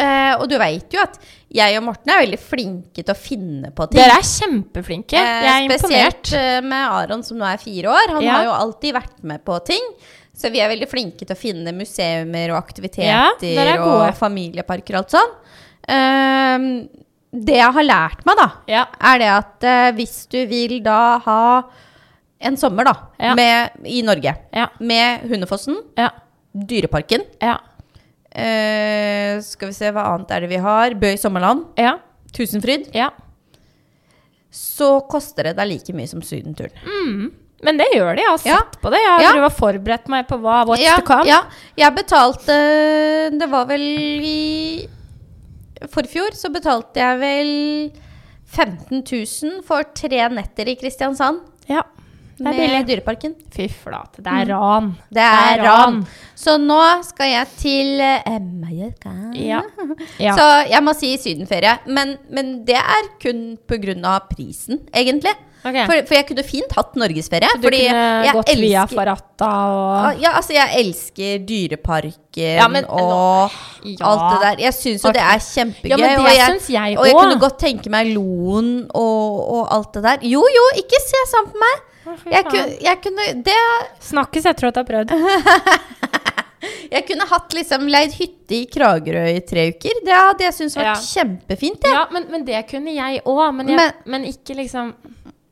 [SPEAKER 2] Eh, og du veit jo at jeg og Morten er veldig flinke til å finne på ting.
[SPEAKER 3] Dere er kjempeflinke. Jeg er
[SPEAKER 2] Eh,
[SPEAKER 3] imponert.
[SPEAKER 2] Spesielt eh, med Aron som nå er fire år. Han
[SPEAKER 3] Ja.
[SPEAKER 2] har jo alltid vært med på ting. Så vi er veldig flinke til å finne museumer og
[SPEAKER 3] Ja,
[SPEAKER 2] aktiviteter
[SPEAKER 3] dere er
[SPEAKER 2] og
[SPEAKER 3] gode.
[SPEAKER 2] familieparker og alt sånn. Ehm, det jeg har lært meg, da,
[SPEAKER 3] Ja.
[SPEAKER 2] er det at eh, hvis du vil da ha en sommer da,
[SPEAKER 3] Ja.
[SPEAKER 2] med, i Norge,
[SPEAKER 3] Ja.
[SPEAKER 2] med Hundefossen,
[SPEAKER 3] Ja.
[SPEAKER 2] Dyreparken
[SPEAKER 3] Ja.
[SPEAKER 2] eh, Skal vi se, hva annet er det vi har? Bø i sommerland,
[SPEAKER 3] Ja.
[SPEAKER 2] Tusenfryd.
[SPEAKER 3] ja.
[SPEAKER 2] Så koster det deg like mye som sydenturen.
[SPEAKER 3] Mm. Men det gjør de. Jeg har
[SPEAKER 2] Ja.
[SPEAKER 3] sett på det. Jeg har
[SPEAKER 2] Ja.
[SPEAKER 3] drevet og forberedt meg på hva what's
[SPEAKER 2] ja,
[SPEAKER 3] to come.
[SPEAKER 2] Ja. Jeg betalte Det var vel i forfjor, så betalte jeg vel 15 000 for tre netter i Kristiansand.
[SPEAKER 3] Ja. Det er billig.
[SPEAKER 2] Med Dyreparken.
[SPEAKER 3] Fy flate, det er ran.
[SPEAKER 2] Det er ran. Så nå skal jeg til eh, Mallorca. (laughs)
[SPEAKER 3] Ja. ja.
[SPEAKER 2] Så jeg må si sydenferie. Men, men det er kun pga. prisen, egentlig.
[SPEAKER 3] Ok.
[SPEAKER 2] For, for jeg kunne fint hatt norgesferie.
[SPEAKER 3] du
[SPEAKER 2] fordi
[SPEAKER 3] kunne
[SPEAKER 2] jeg
[SPEAKER 3] gått via
[SPEAKER 2] elsker-
[SPEAKER 3] Farratta og
[SPEAKER 2] Ja, altså, jeg elsker Dyreparken
[SPEAKER 3] Ja, men-
[SPEAKER 2] og
[SPEAKER 3] Ja.
[SPEAKER 2] alt det der. Jeg syns jo
[SPEAKER 3] Ok.
[SPEAKER 2] det er kjempegøy.
[SPEAKER 3] Ja, men det
[SPEAKER 2] og jeg,
[SPEAKER 3] syns jeg
[SPEAKER 2] og jeg
[SPEAKER 3] også.
[SPEAKER 2] kunne godt tenke meg Loen og, og alt det der. Jo, jo, ikke se sånn på meg!
[SPEAKER 3] fy
[SPEAKER 2] Jeg
[SPEAKER 3] faen.
[SPEAKER 2] kunne, jeg, kunne, det,
[SPEAKER 3] Snakkes etter at du har prøvd.
[SPEAKER 2] jeg kunne hatt liksom leid hytte i Kragerø i tre uker. Det hadde jeg syntes vært
[SPEAKER 3] Ja.
[SPEAKER 2] kjempefint.
[SPEAKER 3] Ja, men, men det kunne jeg òg. Men, jeg-
[SPEAKER 2] Men-
[SPEAKER 3] men ikke liksom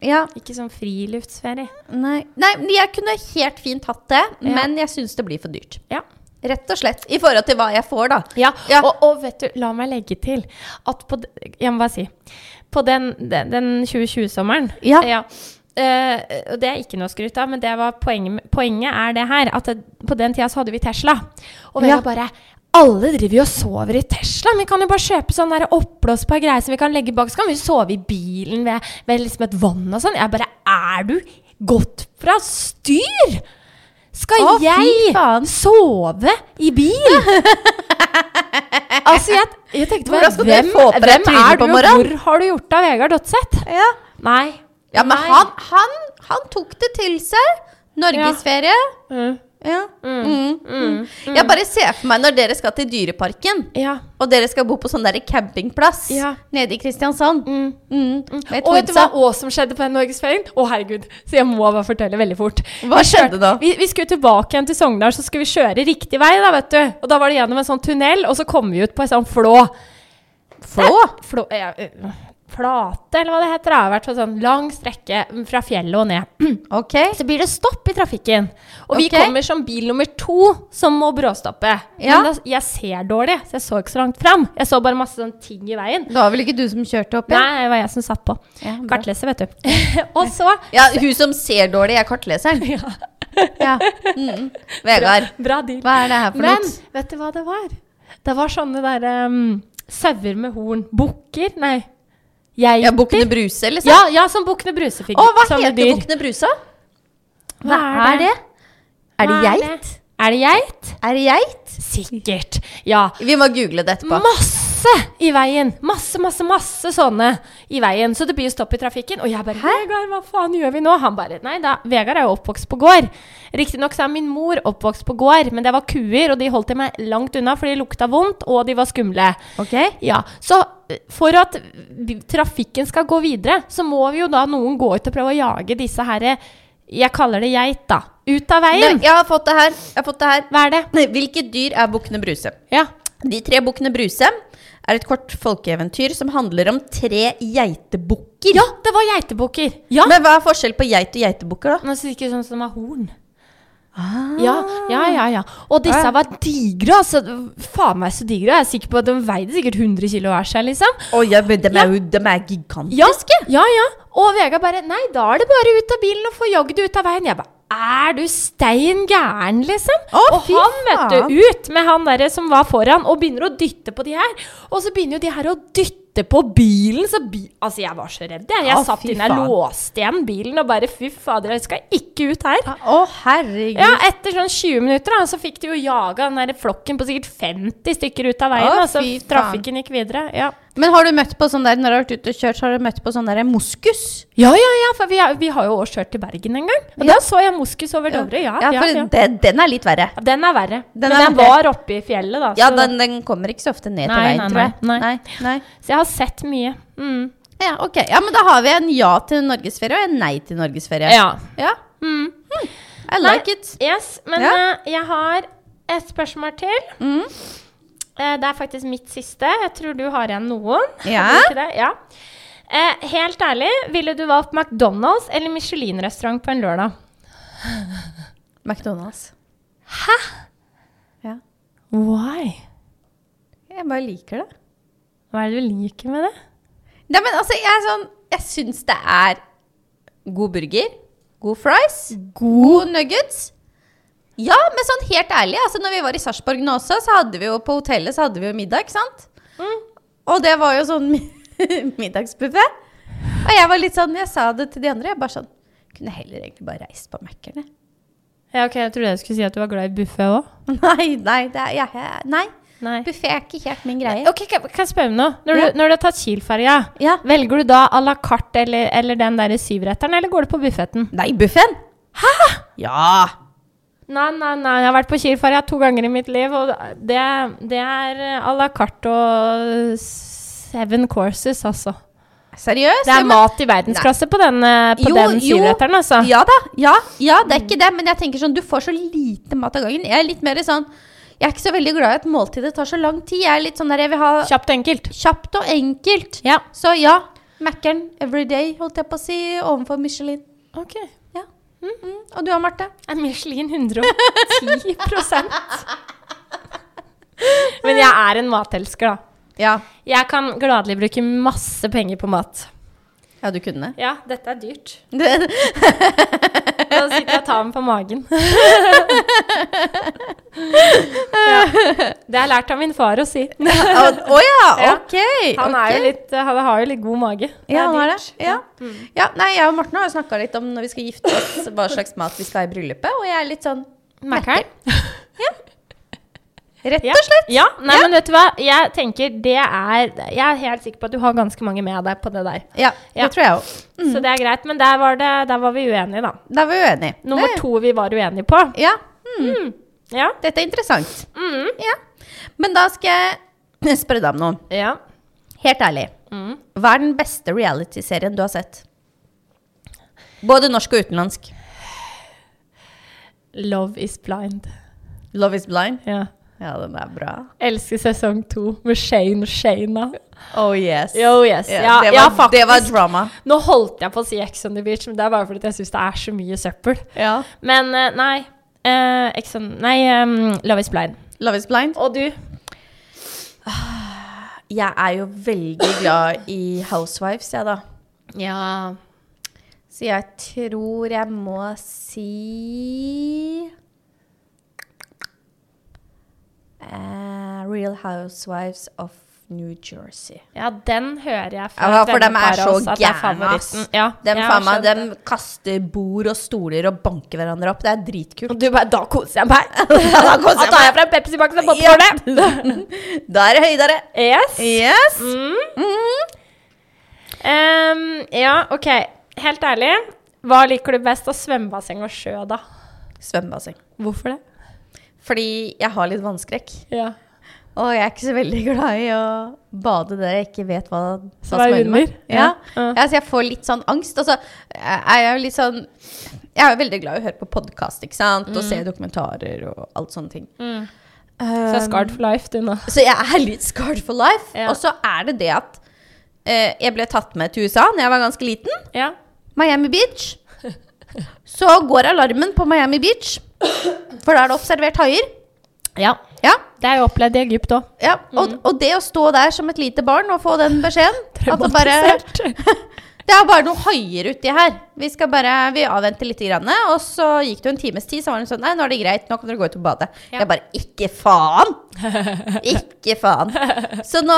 [SPEAKER 2] jeg. Ja,
[SPEAKER 3] Ikke sånn friluftsferie.
[SPEAKER 2] nei. nei, men jeg kunne helt fint hatt det,
[SPEAKER 3] Ja.
[SPEAKER 2] men jeg syns det blir for dyrt.
[SPEAKER 3] Ja.
[SPEAKER 2] Rett og slett. I forhold til hva jeg får, da.
[SPEAKER 3] Ja,
[SPEAKER 2] Ja.
[SPEAKER 3] Og, og vet du, la meg legge til at på d- Jeg må bare si. På den, den, den 2020-sommeren
[SPEAKER 2] Ja.
[SPEAKER 3] eh, og det er ikke noe å skryte av, men det var poenget, med- poenget er det her. At det, på den tida så hadde vi Tesla. Og vi
[SPEAKER 2] Ja.
[SPEAKER 3] var bare Alle driver jo og sover i Tesla. Vi kan jo bare kjøpe sånn der oppblåsbar greie som vi kan legge bak. Så kan vi sove i bilen ved, ved liksom et vann og sånn. Jeg bare Er du gått fra styr? Skal
[SPEAKER 2] Å, fy
[SPEAKER 3] jeg
[SPEAKER 2] faen.
[SPEAKER 3] sove i bil? altså, jeg, jeg tenkte bare
[SPEAKER 2] Hvordan skal du
[SPEAKER 3] Hvem,
[SPEAKER 2] få opp det
[SPEAKER 3] hvem
[SPEAKER 2] trynet
[SPEAKER 3] er du,
[SPEAKER 2] på
[SPEAKER 3] og hvor
[SPEAKER 2] morgenen?
[SPEAKER 3] har du gjort av Vegard Dotseth?
[SPEAKER 2] Ja.
[SPEAKER 3] Nei.
[SPEAKER 2] Ja, men
[SPEAKER 3] Nei.
[SPEAKER 2] han, han, han tok det til seg. Norgesferie.
[SPEAKER 3] Mm.
[SPEAKER 2] Ja. Mm. Mm. Jeg bare ser for meg når dere skal til Dyreparken,
[SPEAKER 3] Ja.
[SPEAKER 2] og dere skal bo på sånn der campingplass
[SPEAKER 3] Ja.
[SPEAKER 2] nede i Kristiansand.
[SPEAKER 3] Mm.
[SPEAKER 2] Mm. Med
[SPEAKER 3] Og vet du hva
[SPEAKER 2] Torsa.
[SPEAKER 3] også som skjedde på den norgesferien? Å, herregud. Så jeg må bare fortelle veldig fort.
[SPEAKER 2] Hva skjedde da?
[SPEAKER 3] Vi, vi skulle tilbake igjen til Sogndal, så skulle vi kjøre riktig vei, da, vet du. Og da var det gjennom en sånn tunnel, og så kom vi ut på en sånn flå.
[SPEAKER 2] Flå?
[SPEAKER 3] Flå ja, øh, flate, eller hva det heter. da. Det har vært en sånn lang strekke fra fjellet og ned.
[SPEAKER 2] Ok.
[SPEAKER 3] Så blir det stopp i trafikken. Og vi
[SPEAKER 2] Ok.
[SPEAKER 3] kommer som bil nummer to som må bråstoppe.
[SPEAKER 2] Ja.
[SPEAKER 3] Men da, jeg ser dårlig, så jeg så ikke så langt fram. Jeg så bare masse sånn ting i veien.
[SPEAKER 2] Det var vel ikke du som kjørte opp?
[SPEAKER 3] Nei, det var jeg som satt på.
[SPEAKER 2] Ja, bra.
[SPEAKER 3] Kartleser, vet du. (laughs) og så
[SPEAKER 2] Ja, hun som ser dårlig, er kartleseren.
[SPEAKER 3] ja,
[SPEAKER 2] (laughs) Ja. Mm. Vegard,
[SPEAKER 3] Bra deal.
[SPEAKER 2] hva er det her for
[SPEAKER 3] Men
[SPEAKER 2] noe?
[SPEAKER 3] vet du hva det var? Det var sånne derre um, sauer med horn. Bukker? Nei. Geiter?
[SPEAKER 2] Ja, Bukkene Bruse, sånn? liksom?
[SPEAKER 3] Ja, ja, som bukkene Bruse-figur.
[SPEAKER 2] Å, hva
[SPEAKER 3] som
[SPEAKER 2] heter
[SPEAKER 3] dyr.
[SPEAKER 2] Bukkene Brusa?
[SPEAKER 3] Hva er det?
[SPEAKER 2] Er det
[SPEAKER 3] Hva
[SPEAKER 2] geit?
[SPEAKER 3] Er det geit?
[SPEAKER 2] Er det geit?
[SPEAKER 3] Sikkert. Ja.
[SPEAKER 2] Vi må google det etterpå.
[SPEAKER 3] Masse i veien! Masse, masse, masse sånne i veien. Så det blir jo stopp i trafikken. Og jeg bare 'Vegard, hva faen gjør vi nå?' Han bare 'Nei da, Vegard er jo oppvokst på gård'. Riktignok så er min mor oppvokst på gård, men det var kuer, og de holdt jeg meg langt unna, for de lukta vondt, og de var skumle.
[SPEAKER 2] Ok.
[SPEAKER 3] Ja, Så eh, for at vi- trafikken skal gå videre, så må vi jo da noen gå ut og prøve å jage disse herre Jeg kaller det geit, da. Ut av
[SPEAKER 2] Nei,
[SPEAKER 3] veien.
[SPEAKER 2] jeg har fått det her. Jeg har fått det her.
[SPEAKER 3] Hva er det?
[SPEAKER 2] Nei, Hvilket dyr er bukkene Bruse?
[SPEAKER 3] Ja.
[SPEAKER 2] De tre bukkene Bruse er et kort folkeeventyr som handler om tre geitebukker.
[SPEAKER 3] ja, det var geitebukker. Ja.
[SPEAKER 2] Men hva er forskjell på geit og geitebukker, da?
[SPEAKER 3] Men så ikke sånn som har horn.
[SPEAKER 2] Ah.
[SPEAKER 3] Ja, ja, ja, ja. Og disse var digre, altså. Faen meg så digre. Jeg er sikker på at de veide sikkert 100 kilo hver seg, liksom.
[SPEAKER 2] Å ja, men de
[SPEAKER 3] Ja.
[SPEAKER 2] er jo de er gigantiske.
[SPEAKER 3] Ja, ja, ja. Og Vegard bare Nei, da er det bare ut av bilen og få jagd det ut av veien. Jeg bare er du stein gæren, liksom?
[SPEAKER 2] Å,
[SPEAKER 3] og
[SPEAKER 2] fy
[SPEAKER 3] han, vet
[SPEAKER 2] faen.
[SPEAKER 3] du, ut med han derre som var foran, og begynner å dytte på de her. Og så begynner jo de her å dytte satte på bilen, så bi Altså, jeg var så redd, jeg. Jeg
[SPEAKER 2] Å,
[SPEAKER 3] satt
[SPEAKER 2] fy
[SPEAKER 3] inne, jeg
[SPEAKER 2] faen.
[SPEAKER 3] låste igjen bilen og bare fy fader, jeg skal ikke ut her.
[SPEAKER 2] Å, herregud.
[SPEAKER 3] Ja, etter sånn 20 minutter da, så fikk de jo jaga den der flokken på sikkert 50 stykker ut av veien.
[SPEAKER 2] Å,
[SPEAKER 3] og så
[SPEAKER 2] fy faen.
[SPEAKER 3] trafikken gikk videre. Ja,
[SPEAKER 2] Men har du møtt på sånn der når du har vært ute og kjørt, så har du møtt på sånn der moskus?
[SPEAKER 3] ja, ja, ja for vi, har- vi har jo også kjørt til Bergen en gang. Og
[SPEAKER 2] Ja.
[SPEAKER 3] da så jeg moskus over Dovre. Ja,
[SPEAKER 2] Ja,
[SPEAKER 3] ja, ja,
[SPEAKER 2] for det, den er litt verre.
[SPEAKER 3] Ja, Den er verre.
[SPEAKER 2] Den
[SPEAKER 3] Men
[SPEAKER 2] er
[SPEAKER 3] den
[SPEAKER 2] verre.
[SPEAKER 3] var oppe i fjellet, da.
[SPEAKER 2] Ja,
[SPEAKER 3] så-
[SPEAKER 2] den, den kommer ikke så ofte ned til
[SPEAKER 3] Nei,
[SPEAKER 2] veien,
[SPEAKER 3] nei,
[SPEAKER 2] tror jeg.
[SPEAKER 3] nei, nei.
[SPEAKER 2] nei.
[SPEAKER 3] Så jeg har sett mye. Mm.
[SPEAKER 2] Ja, ok. Ja, men da har vi en ja til norgesferie og en nei til norgesferie.
[SPEAKER 3] Ja.
[SPEAKER 2] ja.
[SPEAKER 3] Mm.
[SPEAKER 2] I like it.
[SPEAKER 3] Yes, men
[SPEAKER 2] Ja.
[SPEAKER 3] eh, jeg har et spørsmål til.
[SPEAKER 2] Mm.
[SPEAKER 3] Eh, det er faktisk mitt siste. Jeg tror du har igjen noen.
[SPEAKER 2] Ja.
[SPEAKER 3] Har du ikke det? ja. Eh, helt ærlig, ville du valgt McDonald's eller Michelin-restaurant på en lørdag?
[SPEAKER 2] McDonald's. Hæ? Ja.
[SPEAKER 3] Why?
[SPEAKER 2] Jeg bare liker det.
[SPEAKER 3] Hva er det du liker med det?
[SPEAKER 2] Nei, men altså, jeg er sånn Jeg syns det er god burger, god fries, god nuggets. Ja, men sånn helt ærlig, altså når vi var i Sarpsborg nå også, så hadde vi jo på hotellet så hadde vi jo middag, ikke sant? Mm. Og det var jo sånn (laughs) middagsbuffé. Og jeg var litt sånn, jeg sa det til de andre, jeg bare sånn Kunne heller egentlig bare reist på Mækkern, jeg. (laughs)
[SPEAKER 3] Ja, ok, Jeg trodde jeg skulle si at du var glad i buffé òg.
[SPEAKER 2] Nei, nei, det er, jeg, jeg- nei.
[SPEAKER 3] Nei.
[SPEAKER 2] Buffé er ikke helt min greie.
[SPEAKER 3] Ok, Kan kan jeg spørre om noe? Når,
[SPEAKER 2] Ja.
[SPEAKER 3] du, når du har tatt Kiel-ferja,
[SPEAKER 2] Ja.
[SPEAKER 3] velger du da à la carte eller, eller den der syvretteren, eller går du på buffeten?
[SPEAKER 2] Nei, buffeen! Hæ? Ja.
[SPEAKER 3] Nei, nei, nei. Jeg har vært på Kielferja to ganger i mitt liv, og det, det er à la carte og seven courses, altså.
[SPEAKER 2] Seriøst?
[SPEAKER 3] Det
[SPEAKER 2] Ja,
[SPEAKER 3] er
[SPEAKER 2] men-
[SPEAKER 3] mat i verdensklasse på den, eh, på
[SPEAKER 2] Jo,
[SPEAKER 3] den
[SPEAKER 2] jo.
[SPEAKER 3] syvretteren, altså.
[SPEAKER 2] Ja da. Ja, ja, det er ikke det. Men jeg tenker sånn, du får så lite mat av gangen. Jeg er litt mer sånn Jeg er ikke så veldig glad i at måltidet tar så lang tid. Jeg er litt sånn der jeg vil ha
[SPEAKER 3] Kjapt og enkelt.
[SPEAKER 2] kjapt og enkelt.
[SPEAKER 3] Ja.
[SPEAKER 2] Så ja. Mækkern every day, holdt jeg på å si, overfor Michelin.
[SPEAKER 3] Ok.
[SPEAKER 2] Ja. Mm. Og du da, Marte?
[SPEAKER 3] Er Michelin 110 Men jeg er en matelsker, da.
[SPEAKER 2] Ja.
[SPEAKER 3] Jeg kan gladelig bruke masse penger på mat.
[SPEAKER 2] Ja, du (laughs) kunne
[SPEAKER 3] Ja, dette er dyrt.
[SPEAKER 2] det.
[SPEAKER 3] Da sitter jeg og tar meg på
[SPEAKER 2] (laughs)
[SPEAKER 3] magen. ja. Det har jeg lært av min far å si.
[SPEAKER 2] Å å ja,
[SPEAKER 3] Ja.
[SPEAKER 2] ok.
[SPEAKER 3] Han, er
[SPEAKER 2] ok.
[SPEAKER 3] jo litt, mm. han har jo litt god mage. Det
[SPEAKER 2] Ja, han har det.
[SPEAKER 3] dyrt.
[SPEAKER 2] Ja. ja, nei, jeg og Morten har jo snakka litt om når vi skal gifte oss, hva slags mat vi skal ha i bryllupet, og jeg er litt sånn
[SPEAKER 3] Mækkern?
[SPEAKER 2] (laughs) Rett
[SPEAKER 3] Ja.
[SPEAKER 2] og slett.
[SPEAKER 3] Ja, nei,
[SPEAKER 2] Ja.
[SPEAKER 3] men vet du hva? Jeg tenker det er Jeg er helt sikker på at du har ganske mange med deg på det der.
[SPEAKER 2] Ja,
[SPEAKER 3] Ja.
[SPEAKER 2] det tror jeg òg.
[SPEAKER 3] Så det er greit. Men der var, det, der var vi uenige, da.
[SPEAKER 2] Da var vi uenige.
[SPEAKER 3] Nummer
[SPEAKER 2] Det-
[SPEAKER 3] to vi var uenige på.
[SPEAKER 2] Ja.
[SPEAKER 3] Mm. Ja.
[SPEAKER 2] Dette er interessant.
[SPEAKER 3] Mm.
[SPEAKER 2] Ja. Men da skal jeg (laughs) spørre deg om noe.
[SPEAKER 3] ja.
[SPEAKER 2] Helt ærlig.
[SPEAKER 3] Mm.
[SPEAKER 2] Hva er den beste reality-serien du har sett? Både norsk og utenlandsk.
[SPEAKER 3] Love is blind.
[SPEAKER 2] Love is blind.
[SPEAKER 3] Ja.
[SPEAKER 2] Ja, den er bra.
[SPEAKER 3] Elsker sesong to med Shane og Shana.
[SPEAKER 2] Oh yes.
[SPEAKER 3] Oh, yes.
[SPEAKER 2] Ja,
[SPEAKER 3] Ja,
[SPEAKER 2] det, var,
[SPEAKER 3] ja, faktisk.
[SPEAKER 2] det var drama.
[SPEAKER 3] Nå holdt jeg på å si Ex on the beach, men det er bare fordi jeg syns det er så mye søppel.
[SPEAKER 2] Ja.
[SPEAKER 3] Men eh, nei. eh, Ex on Nei, em, Love is blind.
[SPEAKER 2] Love is blind.
[SPEAKER 3] Og du?
[SPEAKER 2] Jeg er jo veldig glad i Housewives, jeg, da.
[SPEAKER 3] Ja.
[SPEAKER 2] Så jeg tror jeg må si eh, Real Housewives of New Jersey.
[SPEAKER 3] Ja, den hører jeg fra
[SPEAKER 2] Ja,
[SPEAKER 3] et
[SPEAKER 2] for dem er
[SPEAKER 3] vennepar
[SPEAKER 2] så
[SPEAKER 3] av oss at det er
[SPEAKER 2] gærne, ass.
[SPEAKER 3] favoritten. Ja,
[SPEAKER 2] De,
[SPEAKER 3] jeg
[SPEAKER 2] faen meg,
[SPEAKER 3] skjønner
[SPEAKER 2] dem
[SPEAKER 3] det.
[SPEAKER 2] kaster bord og stoler og banker hverandre opp. Det er
[SPEAKER 3] (laughs)
[SPEAKER 2] dritkult.
[SPEAKER 3] Og du bare Da koser jeg meg!
[SPEAKER 2] Ja, (laughs) da koser
[SPEAKER 3] Da
[SPEAKER 2] jeg
[SPEAKER 3] tar
[SPEAKER 2] meg.
[SPEAKER 3] jeg frem Pepsi-baksen og
[SPEAKER 2] Ja.
[SPEAKER 3] popkornet!
[SPEAKER 2] (laughs) Da er det høydere.
[SPEAKER 3] Yes.
[SPEAKER 2] Yes.
[SPEAKER 3] Mm. Em, ja, OK. Helt ærlig, hva liker du best av svømmebasseng og sjø, da?
[SPEAKER 2] Svømmebasseng.
[SPEAKER 3] Hvorfor det?
[SPEAKER 2] Fordi jeg har litt vannskrekk.
[SPEAKER 3] Ja.
[SPEAKER 2] Og jeg er ikke så veldig glad i å bade der jeg ikke vet hva, hva
[SPEAKER 3] Som er
[SPEAKER 2] under meg.
[SPEAKER 3] under?
[SPEAKER 2] Ja.
[SPEAKER 3] Ja.
[SPEAKER 2] Ja, så jeg får litt sånn angst. Og så er jeg jo litt sånn Jeg er jo veldig glad i å høre på podkast ikke sant?
[SPEAKER 3] Mm.
[SPEAKER 2] og se dokumentarer og alt sånne ting.
[SPEAKER 3] Så jeg er
[SPEAKER 2] Um,
[SPEAKER 3] scarred for life, du nå.
[SPEAKER 2] så jeg er litt scarred for life.
[SPEAKER 3] Ja.
[SPEAKER 2] Og så er det det at eh, jeg ble tatt med til USA da jeg var ganske liten.
[SPEAKER 3] Ja.
[SPEAKER 2] Miami
[SPEAKER 3] (laughs)
[SPEAKER 2] Beach. Så går alarmen på Miami Beach, for da er det observert haier.
[SPEAKER 3] ja.
[SPEAKER 2] Ja,
[SPEAKER 3] Det har jeg opplevd i Egypt òg.
[SPEAKER 2] ja.
[SPEAKER 3] Mm.
[SPEAKER 2] Og, og det å stå der som et lite barn og få den beskjeden at det bare
[SPEAKER 3] Traumatisert.
[SPEAKER 2] (laughs) Det er bare noen haier uti her. Vi skal bare, vi avventer litt. Grann, og så gikk det en times tid, så var hun sånn Nei, nå er det greit, nå kan dere gå ut og bade.
[SPEAKER 3] Ja.
[SPEAKER 2] Jeg bare Ikke
[SPEAKER 3] (laughs)
[SPEAKER 2] faen! Ikke faen. Så nå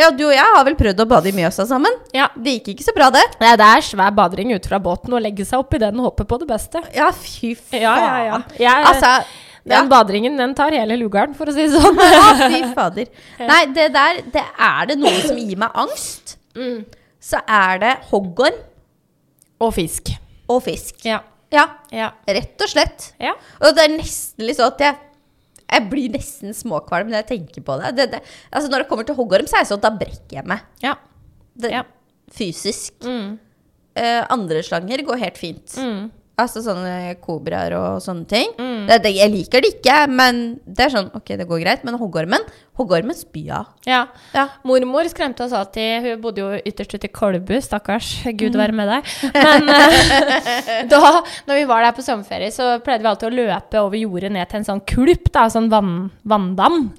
[SPEAKER 2] Ja, du og jeg har vel prøvd å bade i Mjøsa sammen.
[SPEAKER 3] Ja.
[SPEAKER 2] Det gikk ikke så bra, det.
[SPEAKER 3] Nei, det er svær badering ut fra båten å legge seg oppi den og håpe på det beste.
[SPEAKER 2] Ja, fy faen.
[SPEAKER 3] Ja, ja, ja. Jeg,
[SPEAKER 2] Altså,
[SPEAKER 3] den
[SPEAKER 2] ja.
[SPEAKER 3] baderingen den tar hele lugaren, for å si det sånn. (laughs)
[SPEAKER 2] Ja, fy fader. Nei, det der det Er det noe som gir meg angst,
[SPEAKER 3] Mm.
[SPEAKER 2] så er det hoggorm
[SPEAKER 3] Og fisk.
[SPEAKER 2] og fisk.
[SPEAKER 3] Ja.
[SPEAKER 2] Ja,
[SPEAKER 3] Ja.
[SPEAKER 2] rett og slett.
[SPEAKER 3] ja.
[SPEAKER 2] Og det er nesten litt sånn at jeg jeg blir nesten småkvalm når jeg tenker på det. det, det altså når det kommer til hoggorm, så er jeg sånn at da brekker jeg meg.
[SPEAKER 3] ja.
[SPEAKER 2] Det,
[SPEAKER 3] Ja.
[SPEAKER 2] Fysisk.
[SPEAKER 3] Mm.
[SPEAKER 2] Eh, andre slanger går helt fint.
[SPEAKER 3] Mm.
[SPEAKER 2] Altså sånne kobraer og sånne ting. Det, det, jeg liker det ikke, men det er sånn OK, det går greit. Men hoggormen Hoggormen spyr jeg av.
[SPEAKER 3] Ja.
[SPEAKER 2] Ja.
[SPEAKER 3] Mormor skremte oss alltid. Hun bodde jo ytterst ute i Kolbu, stakkars. Gud være med deg. (laughs) Men eh, (laughs) da når vi var der på sommerferie, så pleide vi alltid å løpe over jordet ned til en sånn kulp, da, sånn vann, vanndam.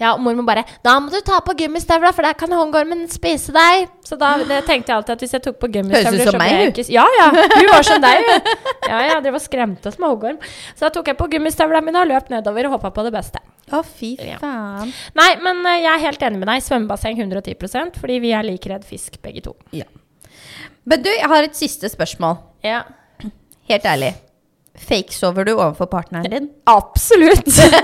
[SPEAKER 3] Ja, og mormor bare 'Da må du ta på gummistøvla, for der kan håndgormen spise deg'. Så da det tenkte jeg alltid at hvis jeg tok på gummistøvler
[SPEAKER 2] Høres ut som
[SPEAKER 3] så ble
[SPEAKER 2] meg,
[SPEAKER 3] jeg
[SPEAKER 2] hun.
[SPEAKER 3] ikke- Ja, ja. Hun var som deg, hun. Ja, ja, dere var skremte oss med håndgorm. Så da tok jeg på gummistøvla mine og løp nedover og håpa på det beste.
[SPEAKER 2] Å, fy
[SPEAKER 3] Ja.
[SPEAKER 2] faen.
[SPEAKER 3] Nei, men eh, jeg er helt enig med deg. Svømmebasseng 110 fordi vi er like redd fisk, begge to.
[SPEAKER 2] Men du, jeg har et siste spørsmål.
[SPEAKER 3] Ja.
[SPEAKER 2] Helt ærlig. Fakesover du overfor partneren din?
[SPEAKER 3] Absolutt! (laughs) jeg,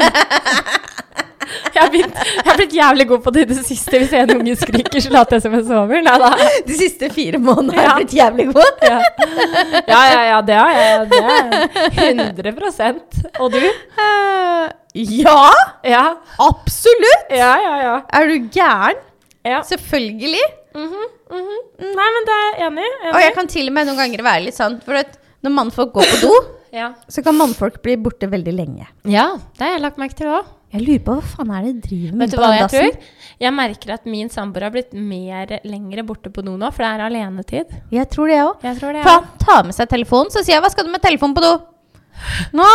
[SPEAKER 3] har blitt, jeg har blitt jævlig god på det i det siste. Hvis en unge skriker, så later jeg som jeg sover. Nei da.
[SPEAKER 2] (laughs) De siste fire månedene har
[SPEAKER 3] Ja.
[SPEAKER 2] jeg blitt jævlig god.
[SPEAKER 3] Ja. ja, ja, ja, det har jeg. Det er 100 Og du?
[SPEAKER 2] Eh, ja,
[SPEAKER 3] Ja.
[SPEAKER 2] absolutt!
[SPEAKER 3] Ja, ja, ja.
[SPEAKER 2] Er du gæren?
[SPEAKER 3] Ja.
[SPEAKER 2] Selvfølgelig.
[SPEAKER 3] Mhm, mhm. Nei, men det er jeg enig. i,
[SPEAKER 2] Og jeg
[SPEAKER 3] enig.
[SPEAKER 2] kan til og med noen ganger være litt sånn, for at når mannfolk går
[SPEAKER 3] (laughs)
[SPEAKER 2] på do,
[SPEAKER 3] Ja.
[SPEAKER 2] så kan mannfolk bli borte veldig lenge.
[SPEAKER 3] ja, det har jeg lagt merke til òg.
[SPEAKER 2] Jeg lurer på hva faen er det de driver med
[SPEAKER 3] Vet du
[SPEAKER 2] på
[SPEAKER 3] hva
[SPEAKER 2] den
[SPEAKER 3] jeg
[SPEAKER 2] dassen?
[SPEAKER 3] tror? Jeg merker at min samboer har blitt mer lengre borte på do nå, for det er alenetid.
[SPEAKER 2] Jeg tror det, jeg òg.
[SPEAKER 3] Jeg tror det.
[SPEAKER 2] For han tar med seg telefonen, så sier jeg 'hva skal du med telefonen på do'? Nå,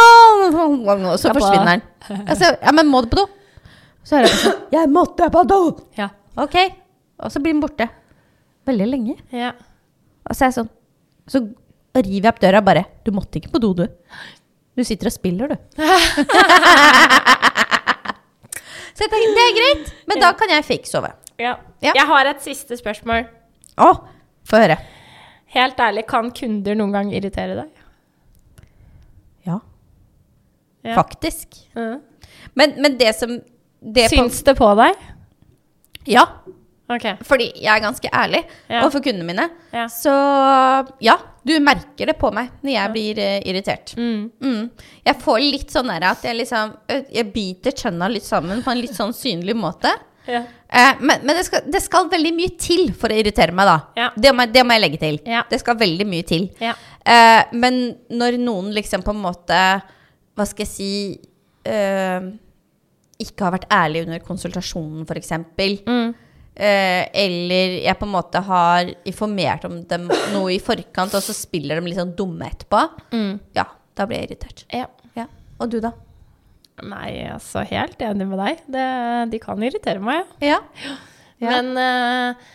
[SPEAKER 2] så
[SPEAKER 3] Slapp av.
[SPEAKER 2] forsvinner den. Jeg sier, ja, men må du på do? Så er det sånn (laughs) 'jeg måtte på do'.
[SPEAKER 3] Ja.
[SPEAKER 2] Ok. Og så blir den borte. Veldig lenge.
[SPEAKER 3] (laughs) ja.
[SPEAKER 2] Og så er jeg sånn Så river jeg opp døra og bare 'Du måtte ikke på do, du'. Du sitter og spiller, du. (laughs) så jeg tenker det er greit, men da kan jeg fake sove.
[SPEAKER 3] ja.
[SPEAKER 2] Ja.
[SPEAKER 3] Jeg har et siste spørsmål.
[SPEAKER 2] Å, få høre.
[SPEAKER 3] Helt ærlig, kan kunder noen gang irritere deg?
[SPEAKER 2] Ja,
[SPEAKER 3] Ja.
[SPEAKER 2] faktisk.
[SPEAKER 3] Mhm.
[SPEAKER 2] Men, men det som det på-
[SPEAKER 3] Syns det på deg?
[SPEAKER 2] Ja,
[SPEAKER 3] Ok.
[SPEAKER 2] fordi jeg er ganske ærlig
[SPEAKER 3] Ja.
[SPEAKER 2] overfor kundene mine.
[SPEAKER 3] Ja.
[SPEAKER 2] Så ja, du merker det på meg når jeg blir eh, irritert.
[SPEAKER 3] Mm.
[SPEAKER 2] Mm. Jeg får litt sånn der at jeg liksom ø, Jeg biter kjønna litt sammen på en litt sånn synlig måte.
[SPEAKER 3] Ja.
[SPEAKER 2] Eh, men men det, skal, det skal veldig mye til for å irritere meg, da.
[SPEAKER 3] Ja.
[SPEAKER 2] Det, må, jeg- det må jeg legge til.
[SPEAKER 3] Ja.
[SPEAKER 2] Det skal veldig mye til.
[SPEAKER 3] Ja.
[SPEAKER 2] Eh, men når noen liksom på en måte Hva skal jeg si eh, Ikke har vært ærlig under konsultasjonen, f.eks.
[SPEAKER 3] Mm.
[SPEAKER 2] Eh, eller jeg på en måte har informert om dem noe i forkant, og så spiller de litt sånn dumme etterpå.
[SPEAKER 3] Mm.
[SPEAKER 2] Ja, da blir jeg irritert.
[SPEAKER 3] Ja.
[SPEAKER 2] Ja. Og du, da?
[SPEAKER 3] Nei, altså helt enig med deg. Det, de kan irritere meg, ja.
[SPEAKER 2] Ja. Ja.
[SPEAKER 3] Men eh,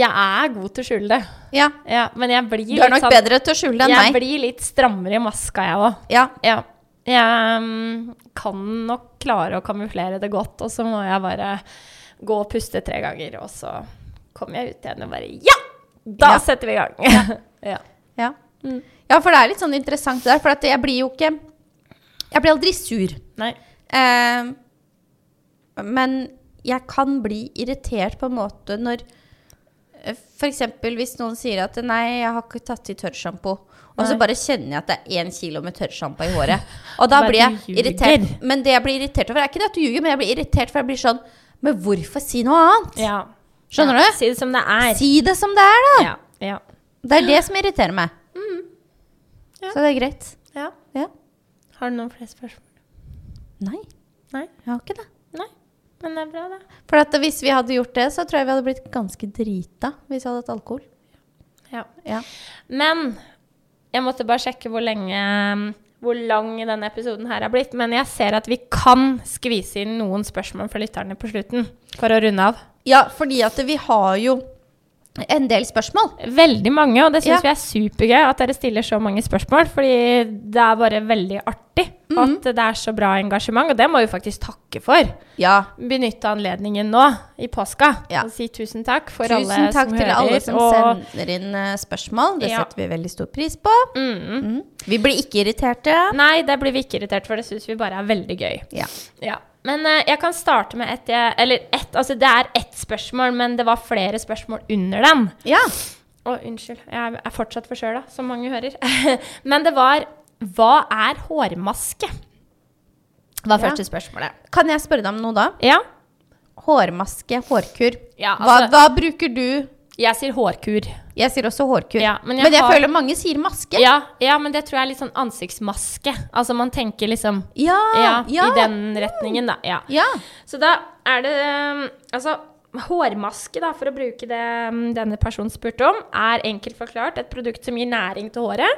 [SPEAKER 3] jeg er god til å skjule det.
[SPEAKER 2] ja.
[SPEAKER 3] Ja, men jeg blir
[SPEAKER 2] Du er
[SPEAKER 3] litt
[SPEAKER 2] nok
[SPEAKER 3] sånn-
[SPEAKER 2] bedre til å skjule enn
[SPEAKER 3] Jeg
[SPEAKER 2] meg.
[SPEAKER 3] blir litt strammere i maska, jeg òg.
[SPEAKER 2] Ja.
[SPEAKER 3] Ja. Jeg mm, kan nok klare å kamuflere det godt, og så må jeg bare gå og puste tre ganger, og så kommer jeg ut igjen og bare Ja! Da
[SPEAKER 2] Ja.
[SPEAKER 3] setter vi i gang. (laughs) ja.
[SPEAKER 2] Ja.
[SPEAKER 3] Mm.
[SPEAKER 2] ja, for det er litt sånn interessant det der. For at jeg blir jo ikke Jeg blir aldri sur.
[SPEAKER 3] Nei.
[SPEAKER 2] Eh, men jeg kan bli irritert på en måte når eh, for eksempel hvis noen sier at 'nei, jeg har ikke tatt i tørrsjampo', og så
[SPEAKER 3] Nei.
[SPEAKER 2] bare kjenner jeg at det er én kilo med tørrsjampo i håret. Og da
[SPEAKER 3] Bare
[SPEAKER 2] blir jeg
[SPEAKER 3] du ljuger.
[SPEAKER 2] irritert. Men det jeg blir irritert over, er ikke det at du ljuger, men jeg blir irritert for jeg blir sånn Men hvorfor si noe annet?
[SPEAKER 3] Ja.
[SPEAKER 2] Skjønner
[SPEAKER 3] ja.
[SPEAKER 2] du?
[SPEAKER 3] Si det som det er.
[SPEAKER 2] Si det som det er, da!
[SPEAKER 3] Ja. Ja.
[SPEAKER 2] Det er det som irriterer meg.
[SPEAKER 3] Mm. Ja.
[SPEAKER 2] Så det er greit.
[SPEAKER 3] ja.
[SPEAKER 2] Ja.
[SPEAKER 3] Har du noen flere spørsmål?
[SPEAKER 2] Nei,
[SPEAKER 3] Nei.
[SPEAKER 2] jeg har ikke det.
[SPEAKER 3] Nei. Men det er bra, det.
[SPEAKER 2] For at hvis vi hadde gjort det, så tror jeg vi hadde blitt ganske drita hvis vi hadde hatt alkohol.
[SPEAKER 3] Ja.
[SPEAKER 2] Ja.
[SPEAKER 3] Men jeg måtte bare sjekke hvor lenge hvor lang denne episoden her er blitt. Men jeg ser at vi kan skvise inn noen spørsmål fra lytterne på slutten. For å runde av.
[SPEAKER 2] ja, fordi at vi har jo
[SPEAKER 1] en del spørsmål.
[SPEAKER 3] Veldig mange, og det syns
[SPEAKER 1] Ja.
[SPEAKER 3] vi er supergøy at dere stiller så mange spørsmål. Fordi det er bare veldig artig
[SPEAKER 1] Mhm.
[SPEAKER 3] at det er så bra engasjement, og det må vi faktisk takke for.
[SPEAKER 1] Ja.
[SPEAKER 3] Benytte anledningen nå i påska
[SPEAKER 1] Ja.
[SPEAKER 3] og si tusen takk for
[SPEAKER 1] Tusen
[SPEAKER 3] alle
[SPEAKER 1] takk
[SPEAKER 3] som
[SPEAKER 1] til
[SPEAKER 3] hører.
[SPEAKER 1] alle som
[SPEAKER 3] og
[SPEAKER 1] sender inn eh, spørsmål. Det
[SPEAKER 3] Ja.
[SPEAKER 1] setter vi veldig stor pris på. Mm. Vi blir ikke irriterte.
[SPEAKER 3] Nei, det blir vi ikke irritert for. Det syns vi bare er veldig gøy.
[SPEAKER 1] Ja.
[SPEAKER 3] Ja. Men eh, jeg kan starte med et jeg Eller ett, altså det er ett spørsmål, men det var flere spørsmål under den.
[SPEAKER 1] ja.
[SPEAKER 3] Å, unnskyld. Jeg er fortsatt forkjøla, som mange hører. (laughs) men det var Hva er hårmaske? Var
[SPEAKER 1] Ja.
[SPEAKER 3] første spørsmålet.
[SPEAKER 1] Kan jeg spørre deg om noe da?
[SPEAKER 3] Ja.
[SPEAKER 1] Hårmaske, hårkur.
[SPEAKER 3] Ja,
[SPEAKER 1] hva,
[SPEAKER 3] altså-
[SPEAKER 1] hva bruker du?
[SPEAKER 3] Jeg sier hårkur.
[SPEAKER 1] Jeg sier også hårkur.
[SPEAKER 3] Ja, men
[SPEAKER 1] men
[SPEAKER 3] jeg
[SPEAKER 1] jeg,
[SPEAKER 3] har-
[SPEAKER 1] føler mange sier maske.
[SPEAKER 3] Ja, ja, men det tror jeg er litt sånn ansiktsmaske. Altså man tenker liksom
[SPEAKER 1] Ja,
[SPEAKER 3] Ja,
[SPEAKER 1] Ah, ja.
[SPEAKER 3] i den retningen, da. Ja.
[SPEAKER 1] Ja.
[SPEAKER 3] Så da er det um, Altså, hårmaske, da, for å bruke det um, denne personen spurte om, er enkelt forklart et produkt som gir næring til håret.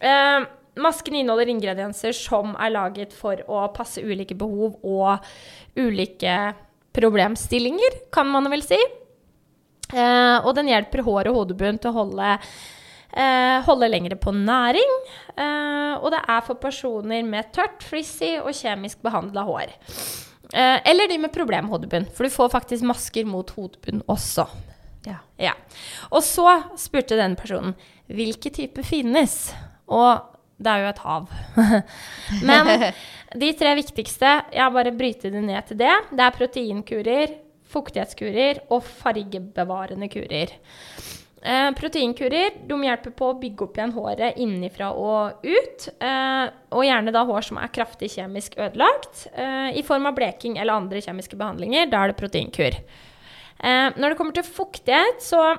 [SPEAKER 3] Eh, masken inneholder ingredienser som er laget for å passe ulike behov og ulike problemstillinger, kan man vel si. Eh, og den hjelper hår og hodebunnen til å holde, eh, holde lengre på næring. Eh, og det er for personer med tørt, frizzy og kjemisk behandla hår. Eh, eller de med problemhodebunn, for du får faktisk masker mot hodebunn også.
[SPEAKER 1] Ja.
[SPEAKER 3] Ja. Og så spurte den personen hvilke typer finnes. Og det er jo et hav. (laughs) Men de tre viktigste, jeg har bare brytet det ned til det. Det er proteinkurer, fuktighetskurer og fargebevarende kurer. Eh, proteinkurer de hjelper på å bygge opp igjen håret innenfra og ut. Eh, og gjerne da hår som er kraftig kjemisk ødelagt eh, i form av bleking eller andre kjemiske behandlinger. Da er det proteinkur. Eh, når det kommer til fuktighet, så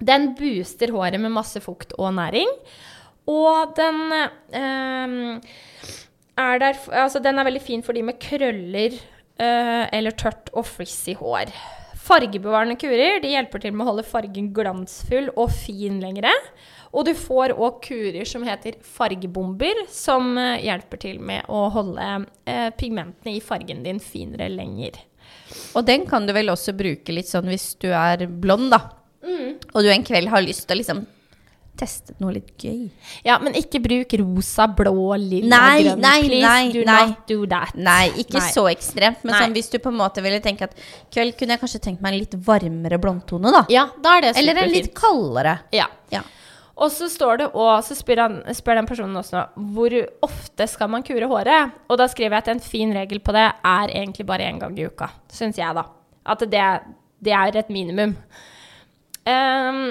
[SPEAKER 3] den booster håret med masse fukt og næring. Og den eh, er der f- Altså, den er veldig fin for de med krøller eh, eller tørt og frizzy hår. Fargebevarende kurer de hjelper til med å holde fargen glansfull og fin lengre. Og du får òg kurer som heter fargebomber, som eh, hjelper til med å holde eh, pigmentene i fargen din finere lenger.
[SPEAKER 1] Og den kan du vel også bruke litt sånn hvis du er blond, da.
[SPEAKER 3] Mm.
[SPEAKER 1] Og du en kveld har lyst til å liksom teste noe litt gøy.
[SPEAKER 3] Ja, men ikke bruk rosa, blå, lilla,
[SPEAKER 1] Nei,
[SPEAKER 3] grønn.
[SPEAKER 1] nei,
[SPEAKER 3] Please
[SPEAKER 1] nei,
[SPEAKER 3] do
[SPEAKER 1] nei.
[SPEAKER 3] not do that.
[SPEAKER 1] Nei, ikke
[SPEAKER 3] Nei.
[SPEAKER 1] så ekstremt. Men
[SPEAKER 3] Nei.
[SPEAKER 1] sånn, hvis du på en måte ville tenke at kveld kunne jeg kanskje tenkt meg en litt varmere blondtone, da.
[SPEAKER 3] Ja, da er det
[SPEAKER 1] Eller en litt
[SPEAKER 3] superfint.
[SPEAKER 1] kaldere.
[SPEAKER 3] Ja.
[SPEAKER 1] Ja.
[SPEAKER 3] Og så står det og så spør, han, spør den personen også hvor ofte skal man kure håret. Og da skriver jeg at en fin regel på det er egentlig bare én gang i uka. Syns jeg, da. At det, det er et minimum. Ehm,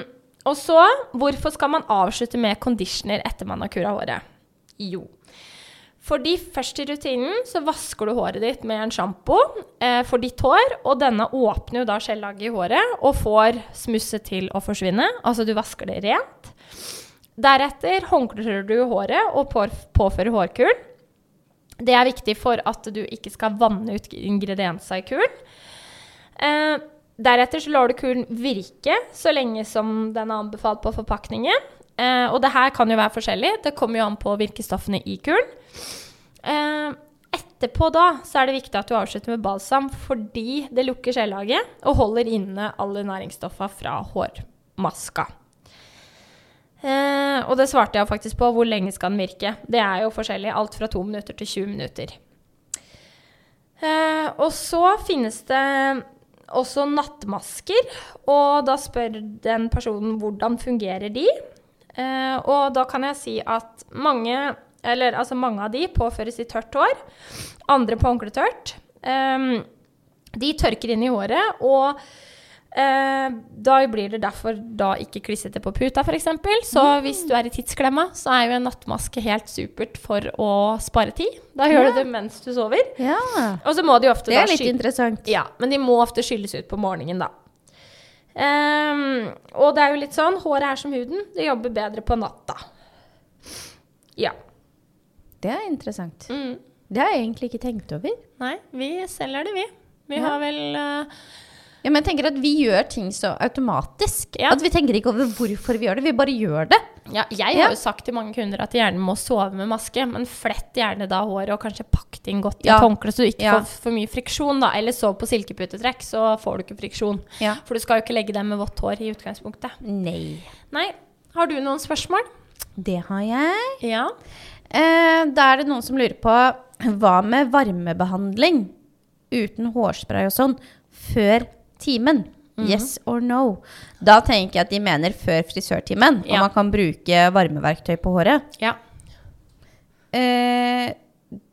[SPEAKER 3] og så, hvorfor skal man avslutte med conditioner etter man har kura håret? Jo. Fordi først i rutinen så vasker du håret ditt med en sjampo eh, for ditt hår, og denne åpner jo da skjellaget i håret og får smusset til å forsvinne. Altså du vasker det rent. Deretter håndkler du håret og på, påfører hårkull. Det er viktig for at du ikke skal vanne ut ingredienser i kulen. Eh, deretter så lar du kulen virke så lenge som den er anbefalt på forpakningen. Eh, og det her kan jo være forskjellig. Det kommer jo an på virkestoffene i kulen. Eh, etterpå da så er det viktig at du avslutter med balsam fordi det lukker skjellaget og holder inne alle næringsstoffa fra hårmaska. Eh, og det svarte jeg faktisk på. Hvor lenge skal den virke? Det er jo forskjellig. Alt fra to minutter til 20 minutter. Eh, og så finnes det også nattmasker, og da spør den personen hvordan fungerer de. Eh, og da kan jeg si at mange, eller, altså mange av de påføres i tørt hår, andre på håndkletørt. Eh, de tørker inn i håret, og eh, da blir det derfor da ikke klissete på puta, f.eks. Så hvis du er i tidsklemma, så er jo en nattmaske helt supert for å spare tid. Da gjør du det mens du sover.
[SPEAKER 1] Ja.
[SPEAKER 3] Og så må de ofte
[SPEAKER 1] Det er
[SPEAKER 3] da
[SPEAKER 1] litt
[SPEAKER 3] sky-
[SPEAKER 1] interessant.
[SPEAKER 3] Ja, men de må ofte skylles ut på morgenen, da. Ehm, og det er jo litt sånn, håret er som huden, det jobber bedre på natta. Ja.
[SPEAKER 1] Det er interessant.
[SPEAKER 3] Mm.
[SPEAKER 1] Det har jeg egentlig ikke tenkt over.
[SPEAKER 3] Nei, vi selger det, vi. Vi
[SPEAKER 1] Ja.
[SPEAKER 3] har vel eh,
[SPEAKER 2] Ja, men jeg tenker at vi gjør ting så automatisk.
[SPEAKER 3] Ja.
[SPEAKER 2] At vi tenker ikke over hvorfor vi gjør det, vi bare gjør det.
[SPEAKER 3] Ja, jeg har jo sagt til mange kunder at de gjerne må sove med maske, men flett gjerne da håret og kanskje pakk det inn godt i et
[SPEAKER 2] Ja.
[SPEAKER 3] håndkle så du ikke
[SPEAKER 2] Ja.
[SPEAKER 3] får for mye friksjon, da. Eller sov på silkeputetrekk, så får du ikke friksjon.
[SPEAKER 2] Ja.
[SPEAKER 3] For du skal jo ikke legge deg med vått hår i utgangspunktet.
[SPEAKER 2] Nei.
[SPEAKER 3] Nei, har du noen spørsmål?
[SPEAKER 2] Det har jeg.
[SPEAKER 3] Ja.
[SPEAKER 2] Eh, da er det noen som lurer på hva med varmebehandling uten hårspray og sånn før timen?
[SPEAKER 3] Mhm.
[SPEAKER 2] Yes or no? Da tenker jeg at de mener før frisørtimen, om
[SPEAKER 3] Ja.
[SPEAKER 2] man kan bruke varmeverktøy på håret.
[SPEAKER 3] ja.
[SPEAKER 2] Eh,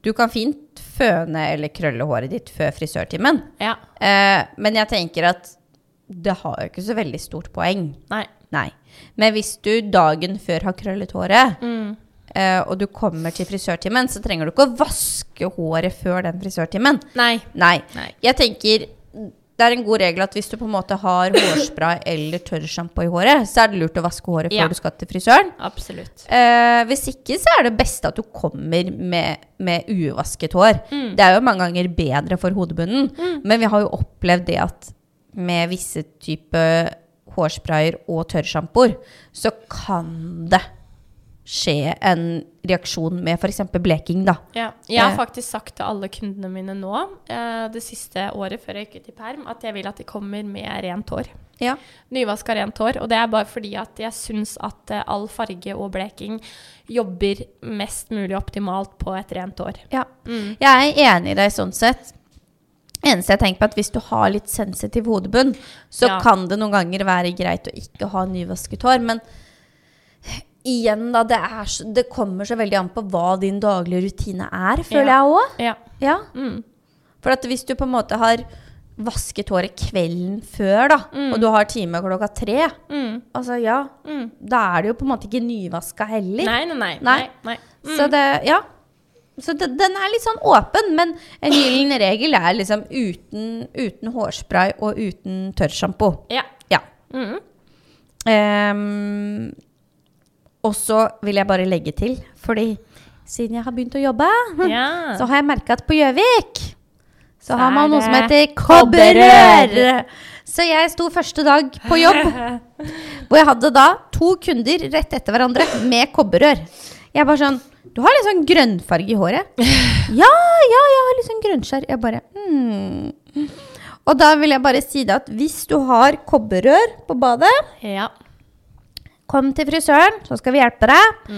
[SPEAKER 2] du kan fint føne eller krølle håret ditt før frisørtimen,
[SPEAKER 3] Ja.
[SPEAKER 2] eh, men jeg tenker at det har jo ikke så veldig stort poeng.
[SPEAKER 3] Nei.
[SPEAKER 2] Nei. Men hvis du dagen før har krøllet håret,
[SPEAKER 3] Mm.
[SPEAKER 2] eh, og du kommer til frisørtimen, så trenger du ikke å vaske håret før den frisørtimen.
[SPEAKER 3] Nei.
[SPEAKER 2] Nei.
[SPEAKER 3] Nei.
[SPEAKER 2] Jeg tenker det er en god regel at hvis du på en måte har hårspray eller tørrsjampo i håret, så er det lurt å vaske håret før
[SPEAKER 3] Ja.
[SPEAKER 2] du skal til frisøren.
[SPEAKER 3] Absolutt.
[SPEAKER 2] Eh, hvis ikke, så er det beste at du kommer med, med uvasket hår.
[SPEAKER 3] Mm.
[SPEAKER 2] Det er jo mange ganger bedre for hodebunnen, men vi har jo opplevd det at med visse typer hårsprayer og tørrsjampoer, så kan det skje en reaksjon med f.eks. bleking, da.
[SPEAKER 3] Ja. Jeg har
[SPEAKER 2] Eh.
[SPEAKER 3] faktisk sagt til alle kundene mine nå, eh, det siste året før jeg gikk ut i perm, at jeg vil at de kommer med rent hår.
[SPEAKER 2] Ja.
[SPEAKER 3] Nyvaska rent hår. Og det er bare fordi at jeg syns at eh, all farge og bleking jobber mest mulig optimalt på et rent hår. Mm.
[SPEAKER 2] Jeg er enig i deg sånn sett. Eneste jeg tenker på er at Hvis du har litt sensitiv hodebunn, så
[SPEAKER 3] Ja.
[SPEAKER 2] kan det noen ganger være greit å ikke ha nyvasket hår. Men igjen, da. Det, er, så- det kommer så veldig an på hva din daglige rutine er, føler
[SPEAKER 3] Ja.
[SPEAKER 2] jeg òg.
[SPEAKER 3] Ja.
[SPEAKER 2] Ja.
[SPEAKER 3] Mm.
[SPEAKER 2] For at hvis du på en måte har vasket håret kvelden før, da, og du har time klokka tre,
[SPEAKER 3] Mm.
[SPEAKER 2] altså ja,
[SPEAKER 3] Mm.
[SPEAKER 2] da er det jo på en måte ikke nyvaska heller.
[SPEAKER 3] Nei, Mm. nei, nei. nei.
[SPEAKER 2] Nei.
[SPEAKER 3] nei.
[SPEAKER 2] Så det, ja. Så det, den er litt sånn åpen, men en gyllen regel er liksom uten, uten hårspray og uten tørrsjampo.
[SPEAKER 3] Ja.
[SPEAKER 2] Ja. (laughs)
[SPEAKER 3] Mm.
[SPEAKER 2] Ehm, og så vil jeg bare legge til, fordi siden jeg har begynt å jobbe,
[SPEAKER 3] ja.
[SPEAKER 2] så har jeg merka at på Gjøvik så
[SPEAKER 3] Så
[SPEAKER 2] har
[SPEAKER 3] er
[SPEAKER 2] man noe som
[SPEAKER 3] det
[SPEAKER 2] heter
[SPEAKER 3] kobberrør.
[SPEAKER 2] kobberrør. Så jeg sto første dag på jobb,
[SPEAKER 3] (laughs)
[SPEAKER 2] hvor jeg hadde da to kunder rett etter hverandre med kobberrør. Jeg bare sånn Du har litt sånn grønnfarge i
[SPEAKER 3] (laughs)
[SPEAKER 2] håret. Ja, ja, jeg har litt sånn grønnskjær. Jeg bare hmm. Og da vil jeg bare si det at hvis du har kobberrør på badet,
[SPEAKER 3] ja.
[SPEAKER 2] kom til frisøren, så skal vi hjelpe deg.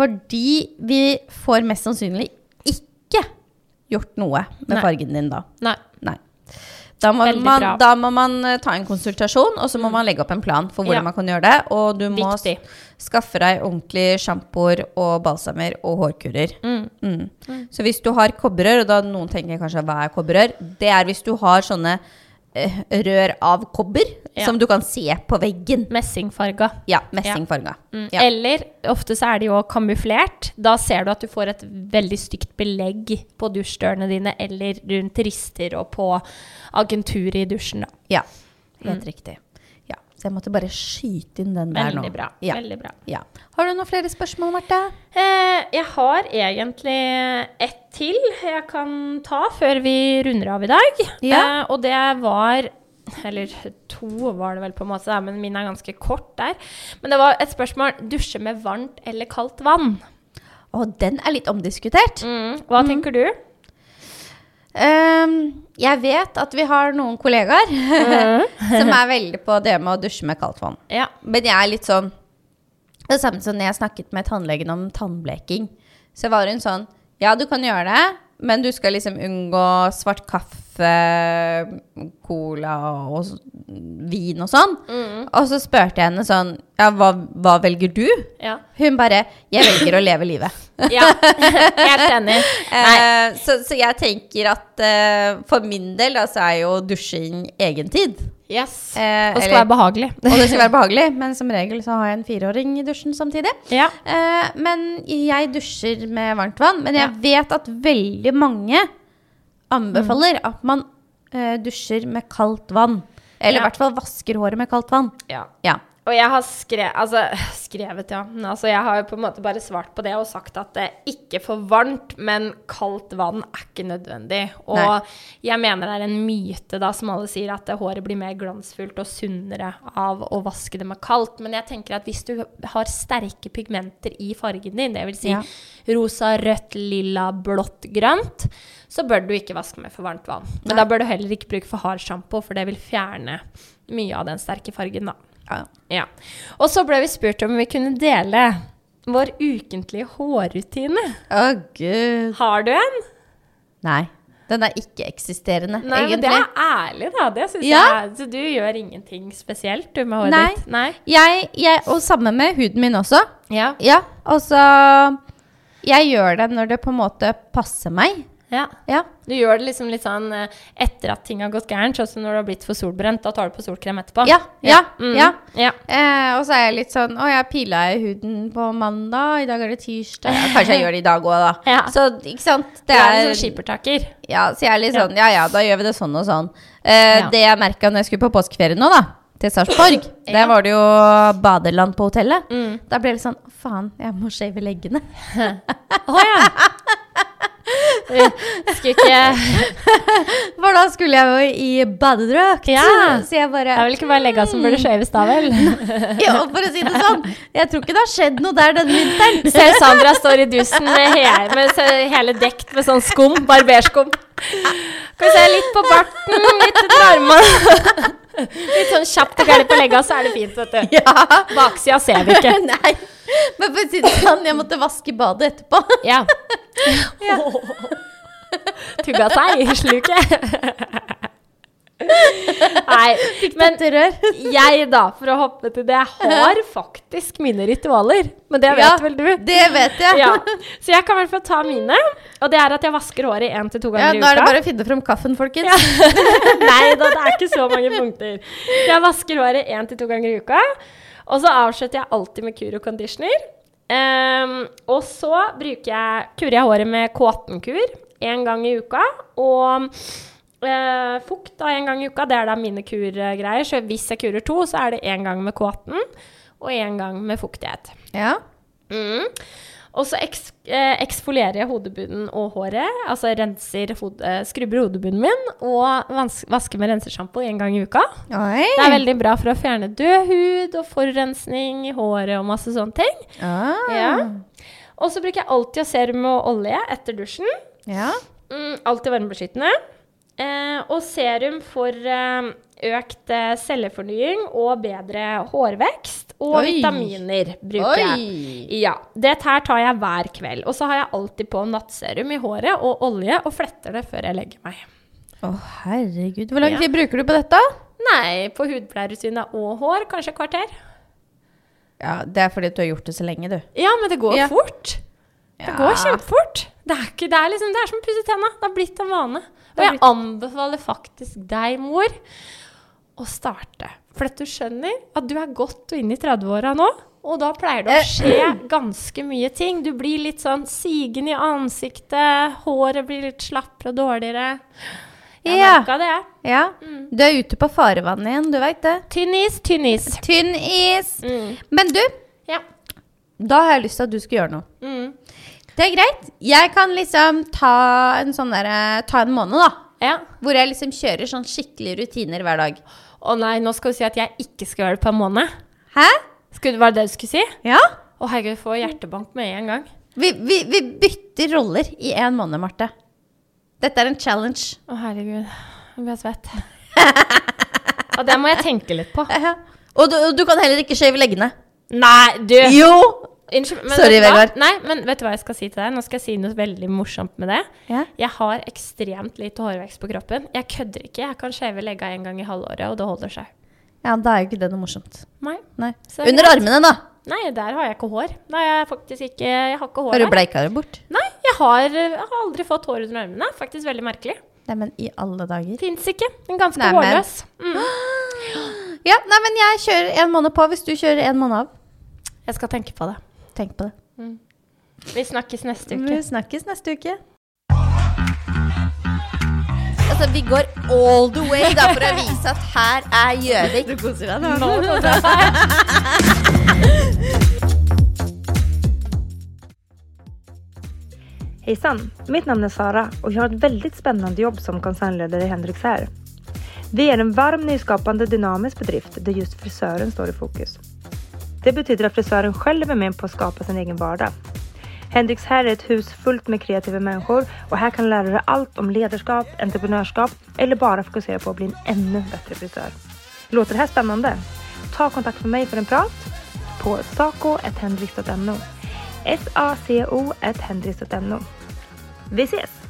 [SPEAKER 2] Fordi vi får mest sannsynlig ikke gjort noe med
[SPEAKER 3] Nei.
[SPEAKER 2] fargen din da.
[SPEAKER 3] Nei.
[SPEAKER 2] Nei. Da må,
[SPEAKER 3] Veldig
[SPEAKER 2] man,
[SPEAKER 3] bra. Mm.
[SPEAKER 2] da må man eh, ta en konsultasjon, og så må man legge opp en plan for hvordan
[SPEAKER 3] Ja.
[SPEAKER 2] man kan gjøre det. Og du må
[SPEAKER 3] Viktig.
[SPEAKER 2] s- skaffe deg ordentlig sjampoer og balsamer og hårkurer.
[SPEAKER 3] Mm.
[SPEAKER 2] Mm. Så hvis du har kobberrør, og da noen tenker kanskje hva er kobberrør? Det er hvis du har sånne eh, rør av kobber
[SPEAKER 3] Ja.
[SPEAKER 2] som du kan se på veggen.
[SPEAKER 3] Messingfarga.
[SPEAKER 2] Ja, messingfarga.
[SPEAKER 3] Mm.
[SPEAKER 2] Ja.
[SPEAKER 3] Eller ofte så er de jo kamuflert. Da ser du at du får et veldig stygt belegg på dusjdørene dine eller rundt rister og på agenturet i dusjen. Da.
[SPEAKER 2] Ja,
[SPEAKER 3] Mm.
[SPEAKER 2] helt riktig. Ja. Så jeg måtte bare skyte inn den der nå.
[SPEAKER 3] Veldig bra.
[SPEAKER 2] Ja.
[SPEAKER 3] Veldig bra.
[SPEAKER 2] Ja. Har du noen flere spørsmål, Marte?
[SPEAKER 3] Eh, jeg har egentlig ett til jeg kan ta før vi runder av i dag.
[SPEAKER 2] Ja.
[SPEAKER 3] Eh, og det var Eller to var det vel, på en måte, da, men min er ganske kort der. Men det var et spørsmål dusje med varmt eller kaldt vann.
[SPEAKER 2] Å, den er litt omdiskutert.
[SPEAKER 3] Mm. Hva
[SPEAKER 2] Mm.
[SPEAKER 3] tenker du?
[SPEAKER 2] Ehm, jeg vet at vi har noen kollegaer
[SPEAKER 3] Mm.
[SPEAKER 2] (laughs) som er veldig på det med å dusje med kaldt vann.
[SPEAKER 3] Ja.
[SPEAKER 2] Men jeg er litt sånn Det samme som når jeg snakket med tannlegen om tannbleking. Så var hun sånn Ja, du kan gjøre det, men du skal liksom unngå svart kaffe, cola og s- vin og sånn.
[SPEAKER 3] Mm.
[SPEAKER 2] Og så spurte jeg henne sånn Ja, hva, hva velger du?
[SPEAKER 3] ja.
[SPEAKER 2] Hun bare Jeg velger å leve livet.
[SPEAKER 3] Ja, helt enig. (laughs) Nei.
[SPEAKER 2] Eh, så, så jeg tenker at eh, for min del da, så er jo dusjing egen tid.
[SPEAKER 3] Yes.
[SPEAKER 2] Eh,
[SPEAKER 3] Og skal
[SPEAKER 2] eller-
[SPEAKER 3] være behagelig.
[SPEAKER 2] og det skal være behagelig, men som regel så har jeg en fireåring i dusjen samtidig.
[SPEAKER 3] Ja.
[SPEAKER 2] Eh, men jeg dusjer med varmt vann. Men jeg vet at veldig mange
[SPEAKER 3] Mm.
[SPEAKER 2] anbefaler at man eh, dusjer med kaldt vann. Eller i
[SPEAKER 3] Ja.
[SPEAKER 2] hvert fall vasker håret med kaldt vann.
[SPEAKER 3] ja.
[SPEAKER 2] Ja.
[SPEAKER 3] Og jeg har skrevet, altså, skrevet ja. Men Altså, jeg har jo på en måte bare svart på det og sagt at det er ikke for varmt, men kaldt vann er ikke nødvendig. Og
[SPEAKER 2] Nei.
[SPEAKER 3] jeg mener det er en myte da, som alle sier, at det håret blir mer glansfullt og sunnere av å vaske det med kaldt. Men jeg tenker at hvis du har sterke pigmenter i fargen din, det vil si
[SPEAKER 2] Ja.
[SPEAKER 3] rosa, rødt, lilla, blått, grønt, så bør du ikke vaske med for varmt vann. Men da bør du heller ikke bruke for hard sjampo, for det vil fjerne mye av den sterke fargen, da. Ja. Og så ble vi spurt om vi kunne dele vår ukentlige hårrutine.
[SPEAKER 2] Å, gud.
[SPEAKER 3] Har du en?
[SPEAKER 2] Nei. Den er ikke-eksisterende,
[SPEAKER 3] Nei, men det
[SPEAKER 2] egentlig.
[SPEAKER 3] er ærlig, da. Det synes
[SPEAKER 2] Ja.
[SPEAKER 3] jeg. Så du gjør ingenting spesielt du, med håret
[SPEAKER 2] Nei.
[SPEAKER 3] ditt? Nei.
[SPEAKER 2] Jeg, jeg, og samme med huden min også.
[SPEAKER 3] Ja.
[SPEAKER 2] Ja, altså Jeg gjør det når det på en måte passer meg.
[SPEAKER 3] ja.
[SPEAKER 2] Ja.
[SPEAKER 3] Du gjør det liksom litt sånn eh, etter at ting har gått gærent, sånn som når du har blitt for solbrent. Da tar du på solkrem etterpå.
[SPEAKER 2] Ja, ja,
[SPEAKER 3] Mm.
[SPEAKER 2] ja.
[SPEAKER 3] ja.
[SPEAKER 2] Eh, og så er jeg litt sånn Å, jeg pila i huden på mandag, i dag er det tirsdag Ja, Kanskje (laughs) jeg gjør det i dag òg, da.
[SPEAKER 3] Ja.
[SPEAKER 2] Så ikke sant?
[SPEAKER 3] Du
[SPEAKER 2] Det
[SPEAKER 3] er en
[SPEAKER 2] er,
[SPEAKER 3] sånn skippertaker.
[SPEAKER 2] ja, så jeg er litt sånn Ja ja, da gjør vi det sånn og sånn. Eh,
[SPEAKER 3] Ja.
[SPEAKER 2] Det jeg merka når jeg skulle på påskeferie nå, da, til (clears throat) Sarpsborg, der var det jo badeland på hotellet. Da ble jeg litt sånn Faen, jeg må shave (laughs) leggene.
[SPEAKER 3] Å ja. Skulle ikke
[SPEAKER 2] (laughs) For da skulle jeg jo i badedrakt.
[SPEAKER 3] Ja.
[SPEAKER 2] Så jeg bare
[SPEAKER 3] Det er vel ikke bare legga som burde skjøves, da vel?
[SPEAKER 2] (laughs) Ja, for å si det sånn. Jeg tror ikke det har skjedd noe der denne (laughs) vinteren.
[SPEAKER 3] Ser Sandra står i dusen med, he med se- hele dekt med sånn skum, barberskum. Skal vi se, litt på barten, litt under armene. Litt sånn kjapt og gærent på legga, så er det fint, vet du.
[SPEAKER 2] Ja.
[SPEAKER 3] Baksida ser vi ikke.
[SPEAKER 2] (laughs) Nei. Men for å si det sånn, jeg måtte vaske badet etterpå.
[SPEAKER 3] (laughs)
[SPEAKER 2] (laughs)
[SPEAKER 3] Ja. Tugga seg i sluket. (laughs) Nei, men
[SPEAKER 2] Etter rør.
[SPEAKER 3] (laughs) jeg da, for å hoppe til det, har faktisk mine ritualer. Men det vet
[SPEAKER 2] Ja,
[SPEAKER 3] vel du?
[SPEAKER 2] Det vet jeg.
[SPEAKER 3] ja. (laughs) Så jeg kan i hvert fall ta mine. Og det er at jeg vasker håret én til to
[SPEAKER 2] Ja,
[SPEAKER 3] ganger
[SPEAKER 2] da er
[SPEAKER 3] i
[SPEAKER 2] det
[SPEAKER 3] uka.
[SPEAKER 2] bare å finne fram kaffen, folkens.
[SPEAKER 3] (laughs) Nei da, det er ikke så mange punkter. Jeg vasker håret én til to ganger i uka. Og så avslutter jeg alltid med kur og conditioner. Ehm, og så bruker jeg, kurer jeg håret med kåtenkur én gang i uka. Og eh, fukt da én gang i uka. Det er da mine kurgreier. Så hvis jeg kurer to, så er det én gang med kåten og én gang med fuktighet.
[SPEAKER 2] Ja.
[SPEAKER 3] Mm. Og så eks eh, eksfolierer jeg hodebunnen og håret. Altså renser hod eh, skrubber hodebunnen min og vans- vasker med rensesjampo én gang i uka.
[SPEAKER 2] Oi.
[SPEAKER 3] Det er veldig bra for å fjerne død hud og forurensning i håret og masse sånne ting.
[SPEAKER 2] Ah.
[SPEAKER 3] Ja. Og så bruker jeg alltid å serum og olje etter dusjen.
[SPEAKER 2] Ja.
[SPEAKER 3] Mm, alltid varmebeskyttende. Eh, og serum for eh, økt eh, cellefornying og bedre hårvekst. Og
[SPEAKER 2] Oi.
[SPEAKER 3] vitaminer bruker jeg.
[SPEAKER 2] Oi.
[SPEAKER 3] Ja. Dette her tar jeg hver kveld. Og så har jeg alltid på nattserum i håret og olje og fletter det før jeg legger meg.
[SPEAKER 2] Å, herregud. Hvor lang tid bruker du på dette?
[SPEAKER 3] Nei, på hudpleierrutine og hår, kanskje et kvarter.
[SPEAKER 2] Ja, Det er fordi du har gjort det så lenge, du.
[SPEAKER 3] Ja, men det går
[SPEAKER 2] Ja.
[SPEAKER 3] fort. Det går kjempefort. Det er, ikke, det er, liksom, det er som å pusse tenna. Det har blitt en vane. Og jeg anbefaler faktisk deg, mor, å starte. For at du skjønner at du er godt og inne i 30-åra nå. Og da pleier det å skje ganske mye ting. Du blir litt sånn sigen i ansiktet. Håret blir litt slappere og dårligere. Jeg
[SPEAKER 2] Ja.
[SPEAKER 3] merka det.
[SPEAKER 2] Ja.
[SPEAKER 3] Mm.
[SPEAKER 2] Du er ute på farevannet igjen, du veit det.
[SPEAKER 3] Tynn is, tynn is.
[SPEAKER 2] Tynn is.
[SPEAKER 3] Mm.
[SPEAKER 2] Men du,
[SPEAKER 3] Ja.
[SPEAKER 2] da har jeg lyst til at du skal gjøre noe.
[SPEAKER 3] Mm.
[SPEAKER 2] Det er greit. Jeg kan liksom ta en sånn derre Ta en måned, da.
[SPEAKER 3] ja.
[SPEAKER 2] Hvor jeg liksom kjører sånn skikkelige rutiner hver dag.
[SPEAKER 3] Å nei, nå skal du si at jeg ikke skal gjøre det på en måned.
[SPEAKER 2] Hæ?
[SPEAKER 3] Skulle, var det det du skulle si?
[SPEAKER 2] Ja?
[SPEAKER 3] Å herregud, jeg får hjertebank med en gang.
[SPEAKER 2] Vi, vi, vi bytter roller i en måned, Marte. Dette er en challenge.
[SPEAKER 3] Å herregud, jeg blir svett. (laughs) Og det må jeg tenke litt på.
[SPEAKER 2] Og du, og du kan heller ikke skjeve leggene.
[SPEAKER 3] Nei, du!
[SPEAKER 2] Jo!
[SPEAKER 3] Unnskyld. men
[SPEAKER 2] Sorry,
[SPEAKER 3] vet du hva?
[SPEAKER 2] Vegard.
[SPEAKER 3] Nei, men vet du hva jeg skal si til deg? Nå skal jeg si noe veldig morsomt med det.
[SPEAKER 2] Ja.
[SPEAKER 3] Jeg har ekstremt lite hårvekst på kroppen. Jeg kødder ikke. Jeg kan skjeve legga en gang i halvåret, og det holder seg.
[SPEAKER 2] Ja, da er jo ikke det noe morsomt.
[SPEAKER 3] Nei.
[SPEAKER 2] Nei.
[SPEAKER 3] Så er det
[SPEAKER 2] Under
[SPEAKER 3] greit.
[SPEAKER 2] armene, da.
[SPEAKER 3] Nei, der har jeg ikke hår. Nei, jeg er faktisk ikke Jeg har ikke hår
[SPEAKER 2] Har du
[SPEAKER 3] der.
[SPEAKER 2] bleika det bort?
[SPEAKER 3] Nei, jeg har, jeg har aldri fått hår under armene. Faktisk veldig merkelig.
[SPEAKER 2] Nei, men i alle dager.
[SPEAKER 3] Fins ikke. Den er ganske
[SPEAKER 2] Nei, men-
[SPEAKER 3] hårløs. Mm.
[SPEAKER 2] Ja, nei, men jeg kjører en måned på hvis du kjører en måned av.
[SPEAKER 3] Jeg skal tenke på det.
[SPEAKER 2] Tenk på det.
[SPEAKER 3] Vi snakkes neste uke.
[SPEAKER 2] Vi snakkes neste uke. Altså, vi går all the way da, for å vise at her er Gjøvik. Du koser deg nå.
[SPEAKER 5] Hej sann! Mitt namn är Sara och jag har ett väldigt spännande jobb som koncernledare i Hendrix här. Vi är en varm, nyskapande, dynamisk bedrift där just frisören står i fokus. Det betyder att frisören själv är med på att skapa sin egen vardag. Hendrix här är ett hus fullt med kreativa människor och här kan du lära dig allt om ledarskap, entreprenörskap eller bara fokusera på att bli en ännu bättre frisör. Låter det här spännande? Ta kontakt med mig för en prat på saco.hendrix.no. S-A-C-O Vi ses!